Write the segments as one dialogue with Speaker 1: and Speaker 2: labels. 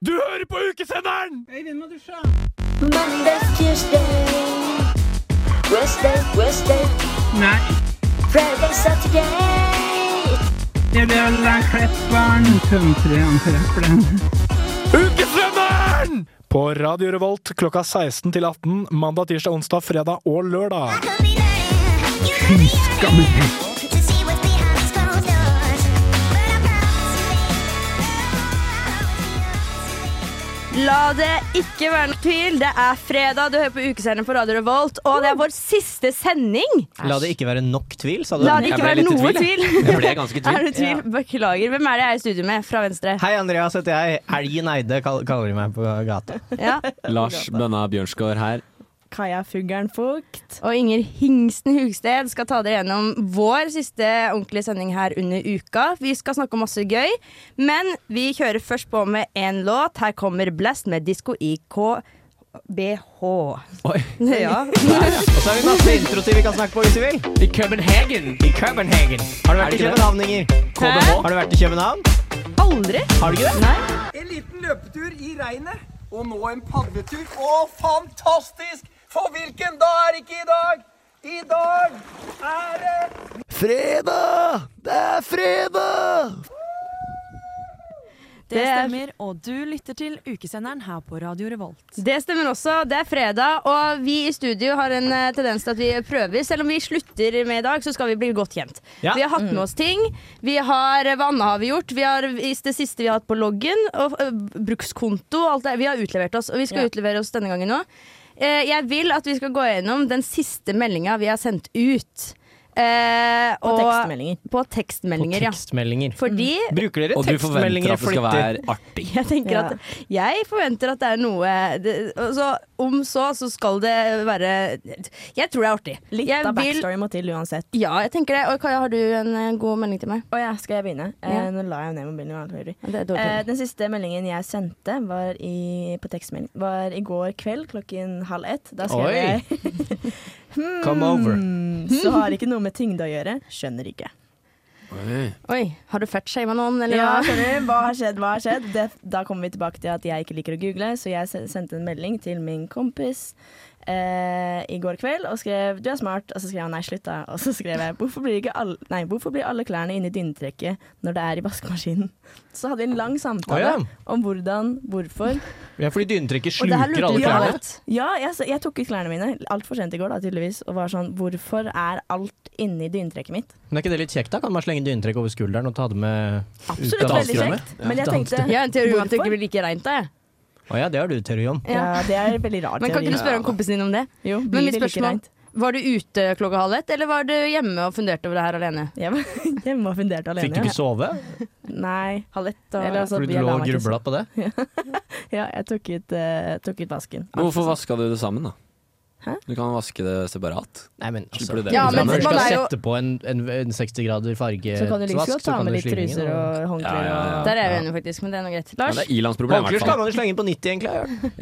Speaker 1: Du hører på ukesenderen!
Speaker 2: Mondays, Tuesday, Wednesday, Wednesday,
Speaker 3: Nei,
Speaker 2: Friday, Saturday.
Speaker 3: det blir alle klepperen, tømtreren, trefferen.
Speaker 1: Ukesenderen! På Radio Revolt klokka 16 til 18 mandag, tirsdag, onsdag, fredag og lørdag.
Speaker 3: Skammel.
Speaker 4: La det ikke være noe tvil. Det er fredag, du hører på ukesenderen på Radio Revolt, og det er vår siste sending.
Speaker 5: La det ikke være nok tvil, sa du.
Speaker 4: La det ikke
Speaker 5: Jeg
Speaker 4: være
Speaker 5: ble litt i
Speaker 4: noe
Speaker 5: jeg.
Speaker 4: tvil.
Speaker 5: Jeg ble ganske i
Speaker 4: Er
Speaker 5: tvil.
Speaker 4: du i tvil? Beklager. Hvem er det jeg er i studio med fra venstre?
Speaker 5: Hei, Andreas heter jeg. Elgen Eide kall- kaller de meg på gata.
Speaker 4: Ja.
Speaker 6: Lars Bønna Bjørnsgaard her.
Speaker 7: Kaja Fuggeren Fugt.
Speaker 4: Og Inger Hingsten Hugsted skal ta dere gjennom vår siste ordentlige sending her under uka. Vi skal snakke om masse gøy, men vi kjører først på med én låt. Her kommer Blast med disko IKBH.
Speaker 6: Oi.
Speaker 4: Ja.
Speaker 5: Og så har vi masse introtid vi kan snakke på hvis vi vil.
Speaker 6: I Copenhagen!
Speaker 5: I Copenhagen. Har
Speaker 6: Er
Speaker 5: du vært
Speaker 6: det ikke
Speaker 5: i
Speaker 6: det?
Speaker 5: København, Inger?
Speaker 6: KDH.
Speaker 5: Har du vært i København?
Speaker 4: Aldri.
Speaker 5: Har du ikke det?
Speaker 4: Nei.
Speaker 8: En liten løpetur i regnet, og nå en padletur. Å, fantastisk! For hvilken dag er ikke i dag? I dag er det
Speaker 5: Fredag! Det er fredag!
Speaker 7: Det
Speaker 4: er-
Speaker 7: stemmer, og du lytter til ukesenderen her på Radio Revolt.
Speaker 4: Det stemmer også. Det er fredag, og vi i studio har en eh, tendens til at vi prøver. Selv om vi slutter med i dag, så skal vi bli godt kjent.
Speaker 5: Ja.
Speaker 4: Vi har hatt med oss
Speaker 7: Mm.
Speaker 4: ting. Vi har, eh, Hva annet har vi gjort? Vi har vist det siste vi har hatt på loggen. Og eh, brukskonto og alt det. Vi har utlevert oss, og vi skal
Speaker 7: Ja.
Speaker 4: utlevere oss denne gangen òg. Jeg vil at vi skal gå gjennom den siste meldinga vi har sendt ut. Eh,
Speaker 7: Og
Speaker 4: og-
Speaker 7: tekstmeldinger.
Speaker 4: På tekstmeldinger, ja.
Speaker 5: Tekstmeldinger. Mm.
Speaker 4: Fordi
Speaker 5: Bruker dere
Speaker 6: Og du forventer
Speaker 5: tekstmeldinger
Speaker 6: at det skal
Speaker 5: flittig?
Speaker 6: være artig.
Speaker 4: Jeg tenker
Speaker 7: Ja.
Speaker 4: at Jeg forventer at det er noe det, altså, Om så, så skal det være Jeg tror det er artig.
Speaker 7: Litt
Speaker 4: jeg
Speaker 7: av backstory må til uansett.
Speaker 4: Ja, jeg tenker det. Og Kaja, har du en eh, god melding til meg?
Speaker 7: Å ja, skal jeg begynne?
Speaker 4: Ja.
Speaker 7: Eh, nå la jeg jo ned mobilen. og alt mulig.
Speaker 4: Det er
Speaker 7: Eh,
Speaker 4: dårlig.
Speaker 7: den siste meldingen jeg sendte var i, på tekstmelding, var i går kveld klokken halv ett. Da skrev
Speaker 5: Oi.
Speaker 7: jeg
Speaker 5: Come over.
Speaker 7: «Hmm, Så har ikke noe med tyngde å gjøre. Skjønner ikke.
Speaker 4: Oi, har du fettshama noen, eller
Speaker 7: Ja,
Speaker 4: hva?
Speaker 7: skjønner du? Hva har skjedd, hva har skjedd? Det, da kommer vi tilbake til at jeg ikke liker å google, så jeg se- sendte en melding til min kompis eh, i går kveld og skrev 'du er smart', og så skrev han 'nei, slutt', da. Og så skrev jeg 'hvorfor blir, ikke alle, nei, hvorfor blir alle klærne inni dynetrekket når det er i vaskemaskinen'? Så hadde vi en lang samtale
Speaker 5: Å, ja.
Speaker 7: om hvordan, hvorfor.
Speaker 5: Ja, fordi dynetrykket
Speaker 4: Og det her
Speaker 5: sluker
Speaker 4: lurte
Speaker 5: alle
Speaker 4: vi på
Speaker 5: klærne.
Speaker 4: litt.
Speaker 7: Ja, jeg, s- jeg tok ut klærne mine altfor sent i går, da, tydeligvis, og var sånn 'hvorfor er alt inni dynetrekket mitt'?
Speaker 5: Men er ikke det litt kjekt, da? Kan man slenge dynetrekk over skulderen og ta det med ut
Speaker 7: Absolutt
Speaker 5: av
Speaker 7: veldig
Speaker 5: hanskerommet?
Speaker 7: kjekt, men jeg
Speaker 5: Ut av
Speaker 7: tenkte
Speaker 4: Jeg har en teori om at det ikke
Speaker 7: Hvorfor?
Speaker 4: blir like reint da, jeg.
Speaker 5: Å ja, det har du teori om.
Speaker 7: Ja, det er en veldig rar
Speaker 4: Men kan ikke du
Speaker 7: teori.
Speaker 4: spørre om kompisen din om det?
Speaker 7: Jo,
Speaker 4: Men
Speaker 7: blir
Speaker 4: mitt
Speaker 7: det like
Speaker 4: spørsmål
Speaker 7: reint?
Speaker 4: var du ute klokka halv ett, eller var du hjemme og funderte over det her alene?
Speaker 7: Jeg var hjemme og funderte alene.
Speaker 5: Fikk du ikke sove
Speaker 7: ja. Nei.
Speaker 4: Halv ett og
Speaker 7: Eller altså,
Speaker 5: fordi du
Speaker 7: jeg
Speaker 5: lå
Speaker 7: la
Speaker 5: og
Speaker 7: meg til-
Speaker 5: grubla på det?
Speaker 7: Ja, jeg tok ut, eh, tok ut vasken.
Speaker 6: Men Hvorfor vaska du det sammen, da?
Speaker 7: Hæ?
Speaker 6: Du kan vaske det separat.
Speaker 5: Nei, men altså,
Speaker 6: Slipper du det?
Speaker 4: Ja,
Speaker 5: Hvis
Speaker 4: men
Speaker 5: man først
Speaker 4: man
Speaker 5: skal
Speaker 4: er jo-
Speaker 5: sette på en, en, en 60 grader fargesvask,
Speaker 7: Så kan du like godt ta med litt
Speaker 5: slynge den
Speaker 7: truser
Speaker 5: over.
Speaker 7: og håndklær.
Speaker 6: Ja, ja, ja.
Speaker 7: og-
Speaker 4: Der er jeg uenig, faktisk, men det er noe greit.
Speaker 6: Men
Speaker 4: Lars?
Speaker 6: det er Ilans problem, i
Speaker 5: Håndklær
Speaker 6: hvert
Speaker 5: skal
Speaker 6: fall.
Speaker 5: man jo slenge på nytt egentlig. har jeg hørt.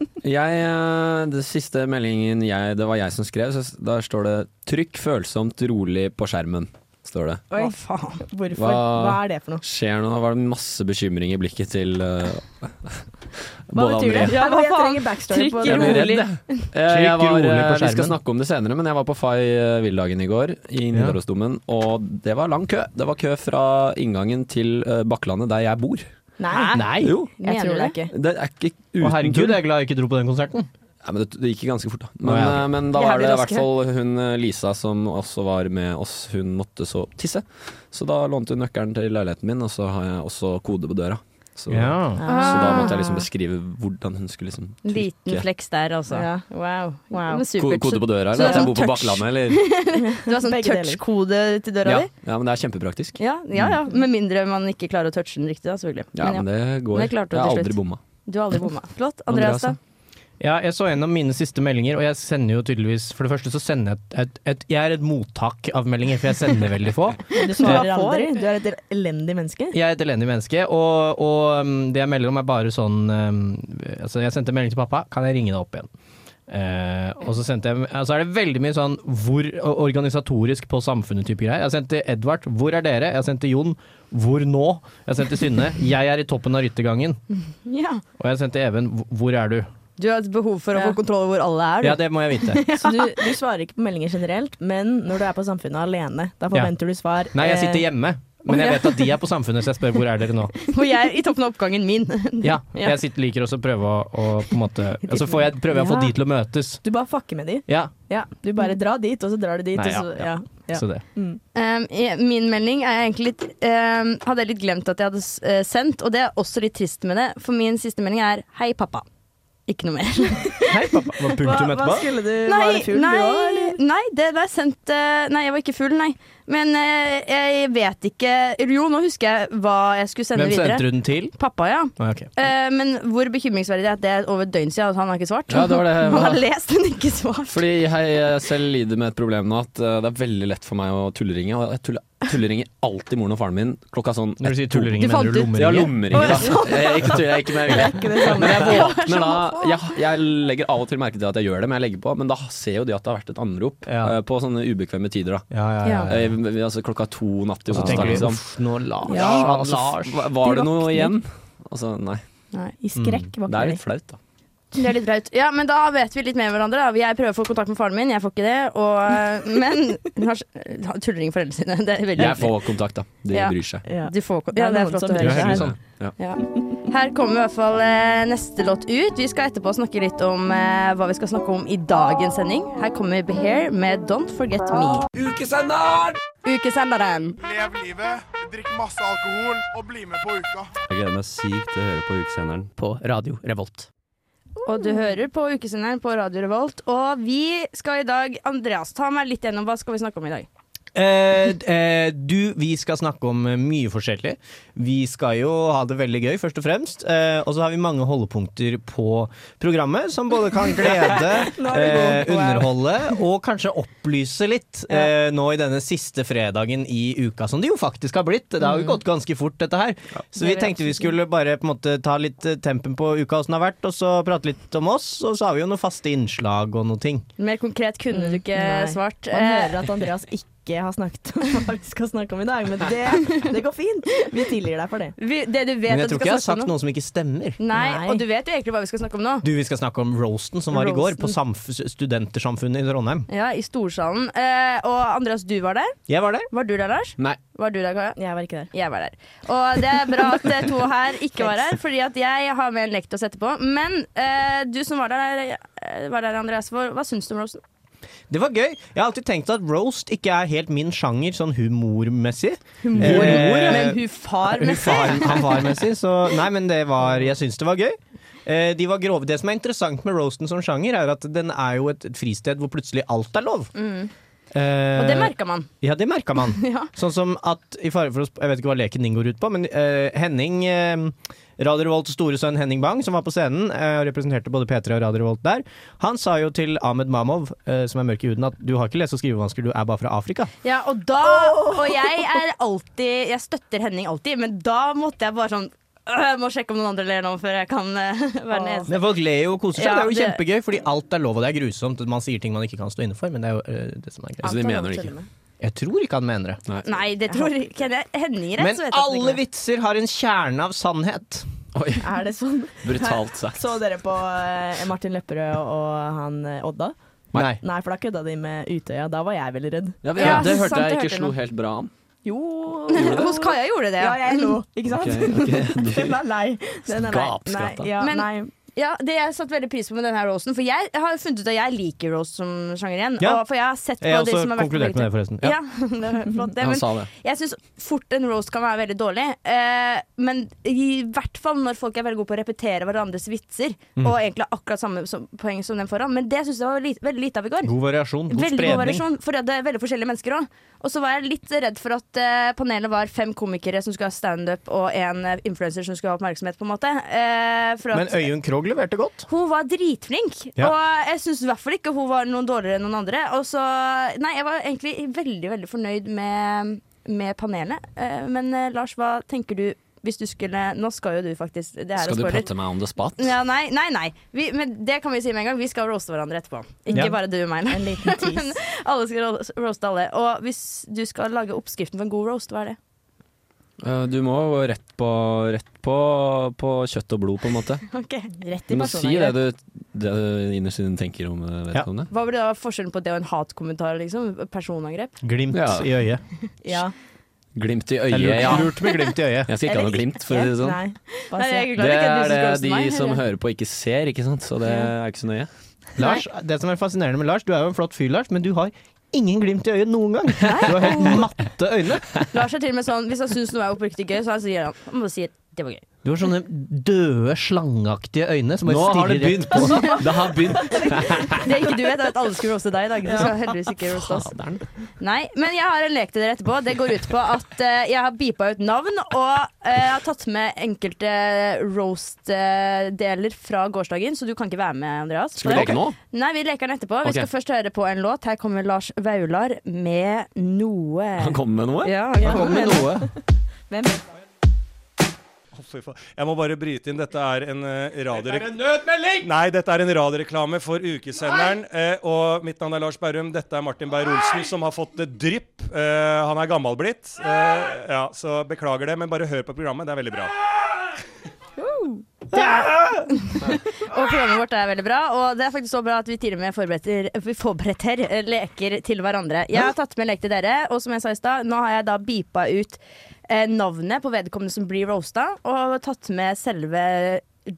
Speaker 6: Jeg, jeg, eh, det siste meldingen jeg, det var jeg som skrev, så s- der står det 'trykk følsomt rolig på skjermen'. Står det.
Speaker 7: Oi, faen. Hvorfor? Hva
Speaker 6: Hva-
Speaker 7: er det for noe?
Speaker 6: Skjer noe? Da var det masse bekymring i blikket til eh,
Speaker 7: Hva
Speaker 6: både
Speaker 7: betyr
Speaker 6: André
Speaker 7: det? Ja,
Speaker 4: hva
Speaker 7: jeg
Speaker 4: faen?
Speaker 7: trenger backstory på det.
Speaker 4: Trykk i
Speaker 6: Jeg blir
Speaker 4: rolig.
Speaker 6: redd, jeg. Eh,
Speaker 5: Trykk
Speaker 6: jeg var,
Speaker 5: rolig på
Speaker 6: eh, vi skal
Speaker 5: skjermen.
Speaker 6: snakke om det senere, men jeg var på Fay eh, Villdagen i går i Nidarosdomen, og det var lang kø. Det var kø fra inngangen til eh, Bakklandet, der jeg bor.
Speaker 7: Nei,
Speaker 5: Nei!
Speaker 6: Jo,
Speaker 7: jeg
Speaker 4: Mener
Speaker 7: tror
Speaker 4: du
Speaker 7: det ikke.
Speaker 6: det er ikke
Speaker 5: Å
Speaker 6: uten
Speaker 5: herregud,
Speaker 6: tull.
Speaker 5: jeg er glad jeg ikke dro på den konserten.
Speaker 6: Nei, men det, det gikk ganske fort, da. Men,
Speaker 5: Å, ja.
Speaker 6: eh, men da
Speaker 7: Jævlig
Speaker 6: var det i hvert
Speaker 7: raske.
Speaker 6: fall hun eh, Lisa som også var med oss. Hun måtte så tisse, så da lånte hun nøkkelen til leiligheten min, og så har jeg også kode på døra. Så,
Speaker 5: Ja.
Speaker 6: så da måtte
Speaker 4: Ah.
Speaker 6: jeg liksom beskrive hvordan hun skulle liksom
Speaker 4: Liten
Speaker 6: trykke.
Speaker 4: flex der, altså.
Speaker 7: Ja.
Speaker 4: Wow.
Speaker 7: Wow.
Speaker 4: Men
Speaker 6: Ko-
Speaker 4: supert.
Speaker 6: Kode på døra,
Speaker 4: Så det
Speaker 6: eller?
Speaker 4: er
Speaker 6: At jeg
Speaker 4: sånn
Speaker 6: bor på
Speaker 4: touch.
Speaker 6: Bakklandet, eller?
Speaker 4: Du har sånn
Speaker 7: Begge deler.
Speaker 4: touch-kode til døra
Speaker 6: Ja.
Speaker 4: di?
Speaker 6: ja, men det er kjempepraktisk.
Speaker 4: Ja, ja, ja. Med mindre man ikke klarer å touche den riktig, da, selvfølgelig.
Speaker 6: Ja,
Speaker 4: Men
Speaker 6: men det går.
Speaker 4: Men det klarte du
Speaker 6: jeg har
Speaker 4: til
Speaker 6: aldri altså.
Speaker 4: slutt.
Speaker 6: bomma.
Speaker 4: ja, du har aldri bomma. Flott. Andreas, da?
Speaker 5: ja, jeg så gjennom mine siste meldinger, og jeg sender jo tydeligvis For det første så sender jeg et, et, et Jeg er et mottak av meldinger, for jeg sender veldig få.
Speaker 7: Du svarer aldri. Du er et elendig menneske.
Speaker 5: Jeg er et elendig menneske, og, og um, det jeg melder om er bare sånn um, altså Jeg sendte en melding til pappa, kan jeg ringe deg opp igjen? Eh, og så sendte jeg altså er det veldig mye sånn hvor og organisatorisk på samfunnet-type greier. Jeg sendte Edvard 'Hvor er dere?' Jeg sendte Jon 'Hvor nå?' Jeg sendte Synne 'Jeg er i toppen av ryttergangen'.
Speaker 4: Ja.
Speaker 5: Og jeg sendte Even 'Hvor er du?'
Speaker 4: Du har et behov for å
Speaker 7: Ja.
Speaker 4: få kontroll over hvor alle er. du.
Speaker 5: Ja, det må jeg vite.
Speaker 7: Så du, du svarer ikke på meldinger generelt, men når du er på Samfunnet alene, da forventer du svar.
Speaker 5: Nei, jeg
Speaker 7: eh,
Speaker 5: sitter hjemme. Men jeg
Speaker 7: ja.
Speaker 5: vet at de er på Samfunnet, så jeg spør hvor er dere nå.
Speaker 4: For jeg er i toppen av oppgangen min.
Speaker 5: Ja,
Speaker 4: Ja.
Speaker 5: Jeg sitter, liker også å prøve å, å på en måte Og så får jeg, prøver jeg å få
Speaker 7: Ja.
Speaker 5: de til å møtes.
Speaker 7: Du bare fucker med de.
Speaker 5: Ja,
Speaker 7: Ja, du
Speaker 4: Mm.
Speaker 7: bare drar dit, og så drar du dit.
Speaker 5: Nei,
Speaker 7: og så,
Speaker 5: ja,
Speaker 7: ja, ja. Mm.
Speaker 5: så det.
Speaker 4: Um, i- min melding er egentlig litt um, Hadde jeg litt glemt at jeg hadde s- eh, sendt, og det er også litt trist med det, for min siste melding er 'Hei, pappa'. Ikke noe mer.
Speaker 5: Hei, pappa. Var punktum
Speaker 7: Hva, hva
Speaker 5: etterpå?
Speaker 7: skulle du Var du full,
Speaker 4: nei,
Speaker 7: du òg, eller?
Speaker 4: nei, det ble sendt eh, Nei, jeg var ikke full, nei. Men eh, jeg vet ikke Jo, nå husker jeg hva jeg skulle sende
Speaker 5: Hvem
Speaker 4: videre.
Speaker 5: sendte du den til?
Speaker 4: Pappa, ja.
Speaker 5: Nei, ok.
Speaker 4: Eh, men hvor bekymringsverdig det er at det er over et døgn siden, og han har ikke svart.
Speaker 6: Ja, det var det jeg
Speaker 4: han har
Speaker 6: var.
Speaker 4: lest, men ikke svart.
Speaker 6: Fordi jeg eh, selv lider med et problem nå, at eh, det er veldig lett for meg å tulleringe. Og jeg tuller, tulleringer alltid moren og faren min klokka sånn
Speaker 5: Når du sier
Speaker 6: ett, to.
Speaker 4: Du
Speaker 5: tulleringer,
Speaker 4: fant
Speaker 5: mener du
Speaker 4: ut-
Speaker 6: Ja, lommeringer,
Speaker 5: lommeringer?
Speaker 6: da. Jeg, ikke tuller, jeg, ikke med vilje.
Speaker 7: Ikke sånn. det samme.
Speaker 6: Men jeg våkner da jeg, jeg legger av og til merke til at jeg gjør det, men jeg legger på. Men da ser jo de at det har vært et anrop
Speaker 5: Ja.
Speaker 6: eh, på sånne ubekvemme tider, da.
Speaker 5: Ja, ja, ja,
Speaker 6: Eh,
Speaker 5: ja.
Speaker 6: vi- altså klokka to natt til
Speaker 5: Og så
Speaker 6: onsdag,
Speaker 5: tenker de
Speaker 6: liksom.
Speaker 5: uff, nå Lars.
Speaker 7: Ja,
Speaker 5: han
Speaker 6: altså,
Speaker 5: Lars.
Speaker 6: hva- var
Speaker 7: De
Speaker 6: det noe
Speaker 7: våkner.
Speaker 6: igjen? Altså, nei.
Speaker 7: I
Speaker 5: Mm.
Speaker 7: skrekk
Speaker 6: Det er
Speaker 7: våkner de.
Speaker 6: litt flaut, da.
Speaker 4: Det er litt braut. Ja, men da vet vi litt mer hverandre. Da. Jeg prøver å få kontakt med faren min, jeg får ikke det. Og, eh, men hun har s- tuller ingen foreldre sine. Det er veldig
Speaker 6: Jeg
Speaker 4: hyggelig.
Speaker 6: får kontakt, da. De
Speaker 4: Ja.
Speaker 6: bryr seg.
Speaker 7: Ja.
Speaker 4: Du får, kon-
Speaker 7: Det er
Speaker 4: ja, det er
Speaker 7: noen
Speaker 4: flott
Speaker 7: som
Speaker 4: å
Speaker 5: Det
Speaker 7: bryr
Speaker 4: høre.
Speaker 5: er
Speaker 7: seg.
Speaker 5: hyggelig sånn.
Speaker 4: Ja. Her kommer i hvert fall eh, neste låt ut. Vi skal etterpå snakke litt om eh, hva vi skal snakke om i dagens sending. Her kommer Behair med 'Don't Forget Me'.
Speaker 8: Ukesenderen!
Speaker 4: Ukesenderen.
Speaker 9: Lev livet, drikk masse alkohol og bli med på uka.
Speaker 10: Jeg gleder meg sykt til å høre på ukesenderen.
Speaker 5: På Radio Revolt.
Speaker 4: Og du hører på Ukesenderen på Radio Revolt. Og vi skal i dag Andreas, ta meg litt gjennom hva skal vi snakke om i dag.
Speaker 5: Eh, eh, du, vi skal snakke om eh, mye forskjellig. Vi skal jo ha det veldig gøy, først og fremst. Eh, og så har vi mange holdepunkter på programmet, som både kan glede, eh, underholde og kanskje opplyse litt. Eh, nå i denne siste fredagen i uka, som det jo faktisk har blitt. Det har jo gått ganske fort, dette her. Så vi tenkte vi skulle bare på en måte ta litt eh, tempen på uka, åssen det har vært, og så prate litt om oss. Og så har vi jo noen faste innslag og noen ting.
Speaker 4: Mer konkret kunne du ikke
Speaker 7: Mm, Nei.
Speaker 4: svart.
Speaker 7: Man
Speaker 4: Eh,
Speaker 7: hører at Andreas ikke har snakket om hva vi skal snakke om i dag, men det, det går fint. Vi tilgir deg for det.
Speaker 4: vi, det du vet
Speaker 5: Men
Speaker 4: at
Speaker 5: jeg
Speaker 4: du
Speaker 5: tror ikke
Speaker 4: skal
Speaker 5: jeg
Speaker 4: snakke
Speaker 5: har sagt
Speaker 4: om nå.
Speaker 5: noe som ikke stemmer.
Speaker 4: Nei,
Speaker 7: Nei.
Speaker 4: og du vet jo egentlig hva vi skal snakke om nå.
Speaker 5: Du, vi skal snakke om roasten som var i går på
Speaker 4: Roasten.
Speaker 5: samf- Studentersamfunnet i Trondheim.
Speaker 4: Ja, I storsalen. Eh, og Andreas, du var der.
Speaker 5: Jeg var der.
Speaker 4: Var du der, Lars?
Speaker 6: Nei.
Speaker 4: Var du der, Kaja?
Speaker 7: Jeg var ikke der.
Speaker 4: Jeg var der. Og det er bra at eh, to her ikke var her, fordi at jeg har med en lek til å sette på. Men eh, du som var der, eh, var der Andreas, hva, hva syns du om roasten?
Speaker 5: Det var gøy. Jeg har alltid tenkt at roast ikke er helt min sjanger sånn humormessig.
Speaker 4: Hvor-
Speaker 5: Eh,
Speaker 4: Men hun far
Speaker 5: Hun
Speaker 4: nesten.
Speaker 5: far, han farmessig, så Nei, men det var Jeg syns det var gøy. Eh, de var grove. Det som er interessant med roasten som sjanger, er at den er jo et, et fristed hvor plutselig alt er lov.
Speaker 4: Mm.
Speaker 5: Eh,
Speaker 4: Og det merka man.
Speaker 5: Ja, det merka man.
Speaker 4: Ja.
Speaker 5: Sånn som at i fare for å, sp- Jeg vet ikke hva leken din går ut på, men eh, Henning eh, Radio Revolts store sønn Henning Bang, som var på scenen eh, og representerte både P3 og Radio Revolt der, han sa jo til Ahmed Mamov, eh, som er mørk i huden, at du har ikke lese- og skrivevansker, du er bare fra Afrika.
Speaker 4: Ja, og da Og jeg er alltid Jeg støtter Henning alltid, men da måtte jeg bare sånn «Øh, Jeg må sjekke om noen andre ler nå før jeg kan eh, være den
Speaker 7: Åh.
Speaker 4: eneste.
Speaker 5: Men folk ler jo og koser seg.
Speaker 4: Ja,
Speaker 5: det er jo
Speaker 4: det-
Speaker 5: kjempegøy, fordi alt er lov, og det er grusomt. Man sier ting man ikke kan stå inne for, men det er jo eh, det som er greit.
Speaker 6: Altså,
Speaker 7: Alt
Speaker 6: de
Speaker 7: er lov
Speaker 6: mener
Speaker 7: å
Speaker 6: det
Speaker 7: tulle
Speaker 6: ikke.
Speaker 7: med.
Speaker 5: Jeg tror ikke han mener det.
Speaker 4: Nei, det tror ikke jeg. Henning er rett,
Speaker 5: Men
Speaker 4: så vet jeg at det
Speaker 5: alle
Speaker 4: ikke er.
Speaker 5: vitser har en kjerne av sannhet.
Speaker 6: Oi,
Speaker 7: Er det sånn?
Speaker 6: brutalt sagt.
Speaker 7: Så dere på eh, Martin Lepperød og han eh, Odda?
Speaker 5: Nei.
Speaker 7: Nei, for da kødda de med Utøya. Da var jeg veldig redd.
Speaker 6: Ja,
Speaker 4: Ja,
Speaker 6: det
Speaker 4: sant,
Speaker 6: hørte
Speaker 4: det
Speaker 6: jeg
Speaker 4: hørte
Speaker 6: ikke slo
Speaker 4: jeg.
Speaker 6: helt bra an.
Speaker 7: Jo
Speaker 4: Hos Kaja gjorde det.
Speaker 7: Ja, jeg lo, ikke sant? Den er lei. Den er lei.
Speaker 6: Gapskratt, da.
Speaker 7: Nei, ja,
Speaker 4: Men-
Speaker 7: nei.
Speaker 4: Ja, det jeg satt veldig pris på med denne roasten. For jeg har jo funnet ut at jeg liker roast som sjanger igjen.
Speaker 5: Ja.
Speaker 4: Og for jeg har sett på
Speaker 5: Jeg har
Speaker 4: de
Speaker 5: også
Speaker 4: som har vært
Speaker 5: konkludert med det, forresten. Ja.
Speaker 4: Ja, det er flott det.
Speaker 6: Han
Speaker 4: Men
Speaker 6: sa det.
Speaker 4: jeg syns fort en roast kan være veldig dårlig. Eh, men i hvert fall når folk er veldig gode på å repetere hverandres vitser.
Speaker 5: Mm.
Speaker 4: Og egentlig har akkurat samme som, poeng som den foran. Men det syns jeg var li veldig lite av i går.
Speaker 5: God variasjon, god
Speaker 4: Veldig god
Speaker 5: spredning.
Speaker 4: variasjon, for det er veldig forskjellige mennesker òg. Og så var jeg litt redd for at eh, panelet var fem komikere som skulle ha standup, og en eh, influenser som skulle ha oppmerksomhet, på en måte. Eh, for
Speaker 5: Men
Speaker 4: at,
Speaker 5: Øyunn Krogh leverte godt.
Speaker 4: hun var dritflink,
Speaker 5: Ja.
Speaker 4: og jeg syns i hvert fall ikke hun var noen dårligere enn noen andre. Og så, nei, jeg var egentlig veldig veldig fornøyd med, med panelet. Eh, Men eh, Lars, hva tenker du hvis du skulle Nå skal jo du faktisk det her er
Speaker 6: Skal du
Speaker 4: spoiler.
Speaker 6: prate meg on the spot?
Speaker 4: Ja, nei, nei. nei. Vi, men det kan vi si med en gang. Vi skal roaste hverandre etterpå. Ikke
Speaker 5: Ja.
Speaker 4: bare du og meg. nei.
Speaker 7: En liten tease.
Speaker 4: Alle skal ro- roaste alle. Og hvis du skal lage oppskriften for en god roast, hva er det?
Speaker 6: Eh, Du må gå rett på, rett på, på kjøtt og blod, på en måte.
Speaker 4: Ok.
Speaker 7: Rett
Speaker 6: Du
Speaker 7: i
Speaker 6: må si det
Speaker 7: personen.
Speaker 6: du, det du innerst inne tenker om eh, vedkommende.
Speaker 4: Hva blir da forskjellen på det og en hatkommentar? liksom? Personangrep?
Speaker 5: Glimt
Speaker 6: Ja.
Speaker 5: i øyet.
Speaker 7: Ja.
Speaker 6: Glimt i
Speaker 5: Jeg
Speaker 6: øyet,
Speaker 5: lurte,
Speaker 6: ja.
Speaker 5: lurte med glimt i øyet.
Speaker 6: Jeg skal ikke ha noe glimt, for å si det sånn.
Speaker 7: Nei, bare
Speaker 4: Nei,
Speaker 7: si-
Speaker 4: jeg er glad
Speaker 6: Det
Speaker 4: ikke at du
Speaker 6: er det
Speaker 4: skal roaste
Speaker 6: de
Speaker 4: meg,
Speaker 6: som
Speaker 4: eller?
Speaker 6: hører på, ikke ser, ikke sant? Så det
Speaker 4: Ja.
Speaker 6: er ikke så nøye.
Speaker 5: Lars, det som er fascinerende med Lars, du er jo en flott fyr, Lars, men du har ingen glimt i øyet noen gang. Du har helt matte øyne.
Speaker 4: Lars er til og med sånn, Hvis han syns noe er oppriktig gøy, så han sier han, han bare sier det var gøy.
Speaker 5: Du har sånne døde, slangeaktige øyne som
Speaker 6: Nå
Speaker 5: bare
Speaker 6: har det
Speaker 5: stirrer
Speaker 6: begynt! På. Det har begynt.
Speaker 4: Det ikke du vet, er at alle skulle roaste deg i dag. Du skal heldigvis ikke roaste oss. Nei, Men jeg har en lek til dere etterpå. Det går ut på at eh, jeg har beepa ut navn, og eh, jeg har tatt med enkelte roast-deler fra gårsdagen, så du kan ikke være med, Andreas.
Speaker 6: Skal vi leke nå?
Speaker 4: Nei, vi leker den etterpå. Vi
Speaker 6: Ok.
Speaker 4: skal først høre på en låt. Her kommer Lars Vaular med noe.
Speaker 6: Han kommer med noe?
Speaker 4: Ja, han
Speaker 5: Kom
Speaker 4: kommer med
Speaker 5: med
Speaker 4: noe.
Speaker 5: noe.
Speaker 4: Hvem?
Speaker 11: Jeg må bare bryte inn. Dette er en radioreklame Nei, dette er en radioreklame for ukesenderen. eh, og mitt navn er Lars Berrum. Dette er Martin Beyer-Olsen, som har fått eh, drypp. Eh, han er gammel blitt. Eh, ja, så beklager det, men bare hør på programmet. Det er veldig bra.
Speaker 4: Og programmet vårt er veldig bra. Og det er faktisk så bra at vi til og med forbereder, vi forbereder eh, leker til hverandre. Jeg har tatt med en lek til dere, og som jeg sa i stad, nå har jeg da beepa ut eh, navnet på vedkommende som blir roasta, og tatt med selve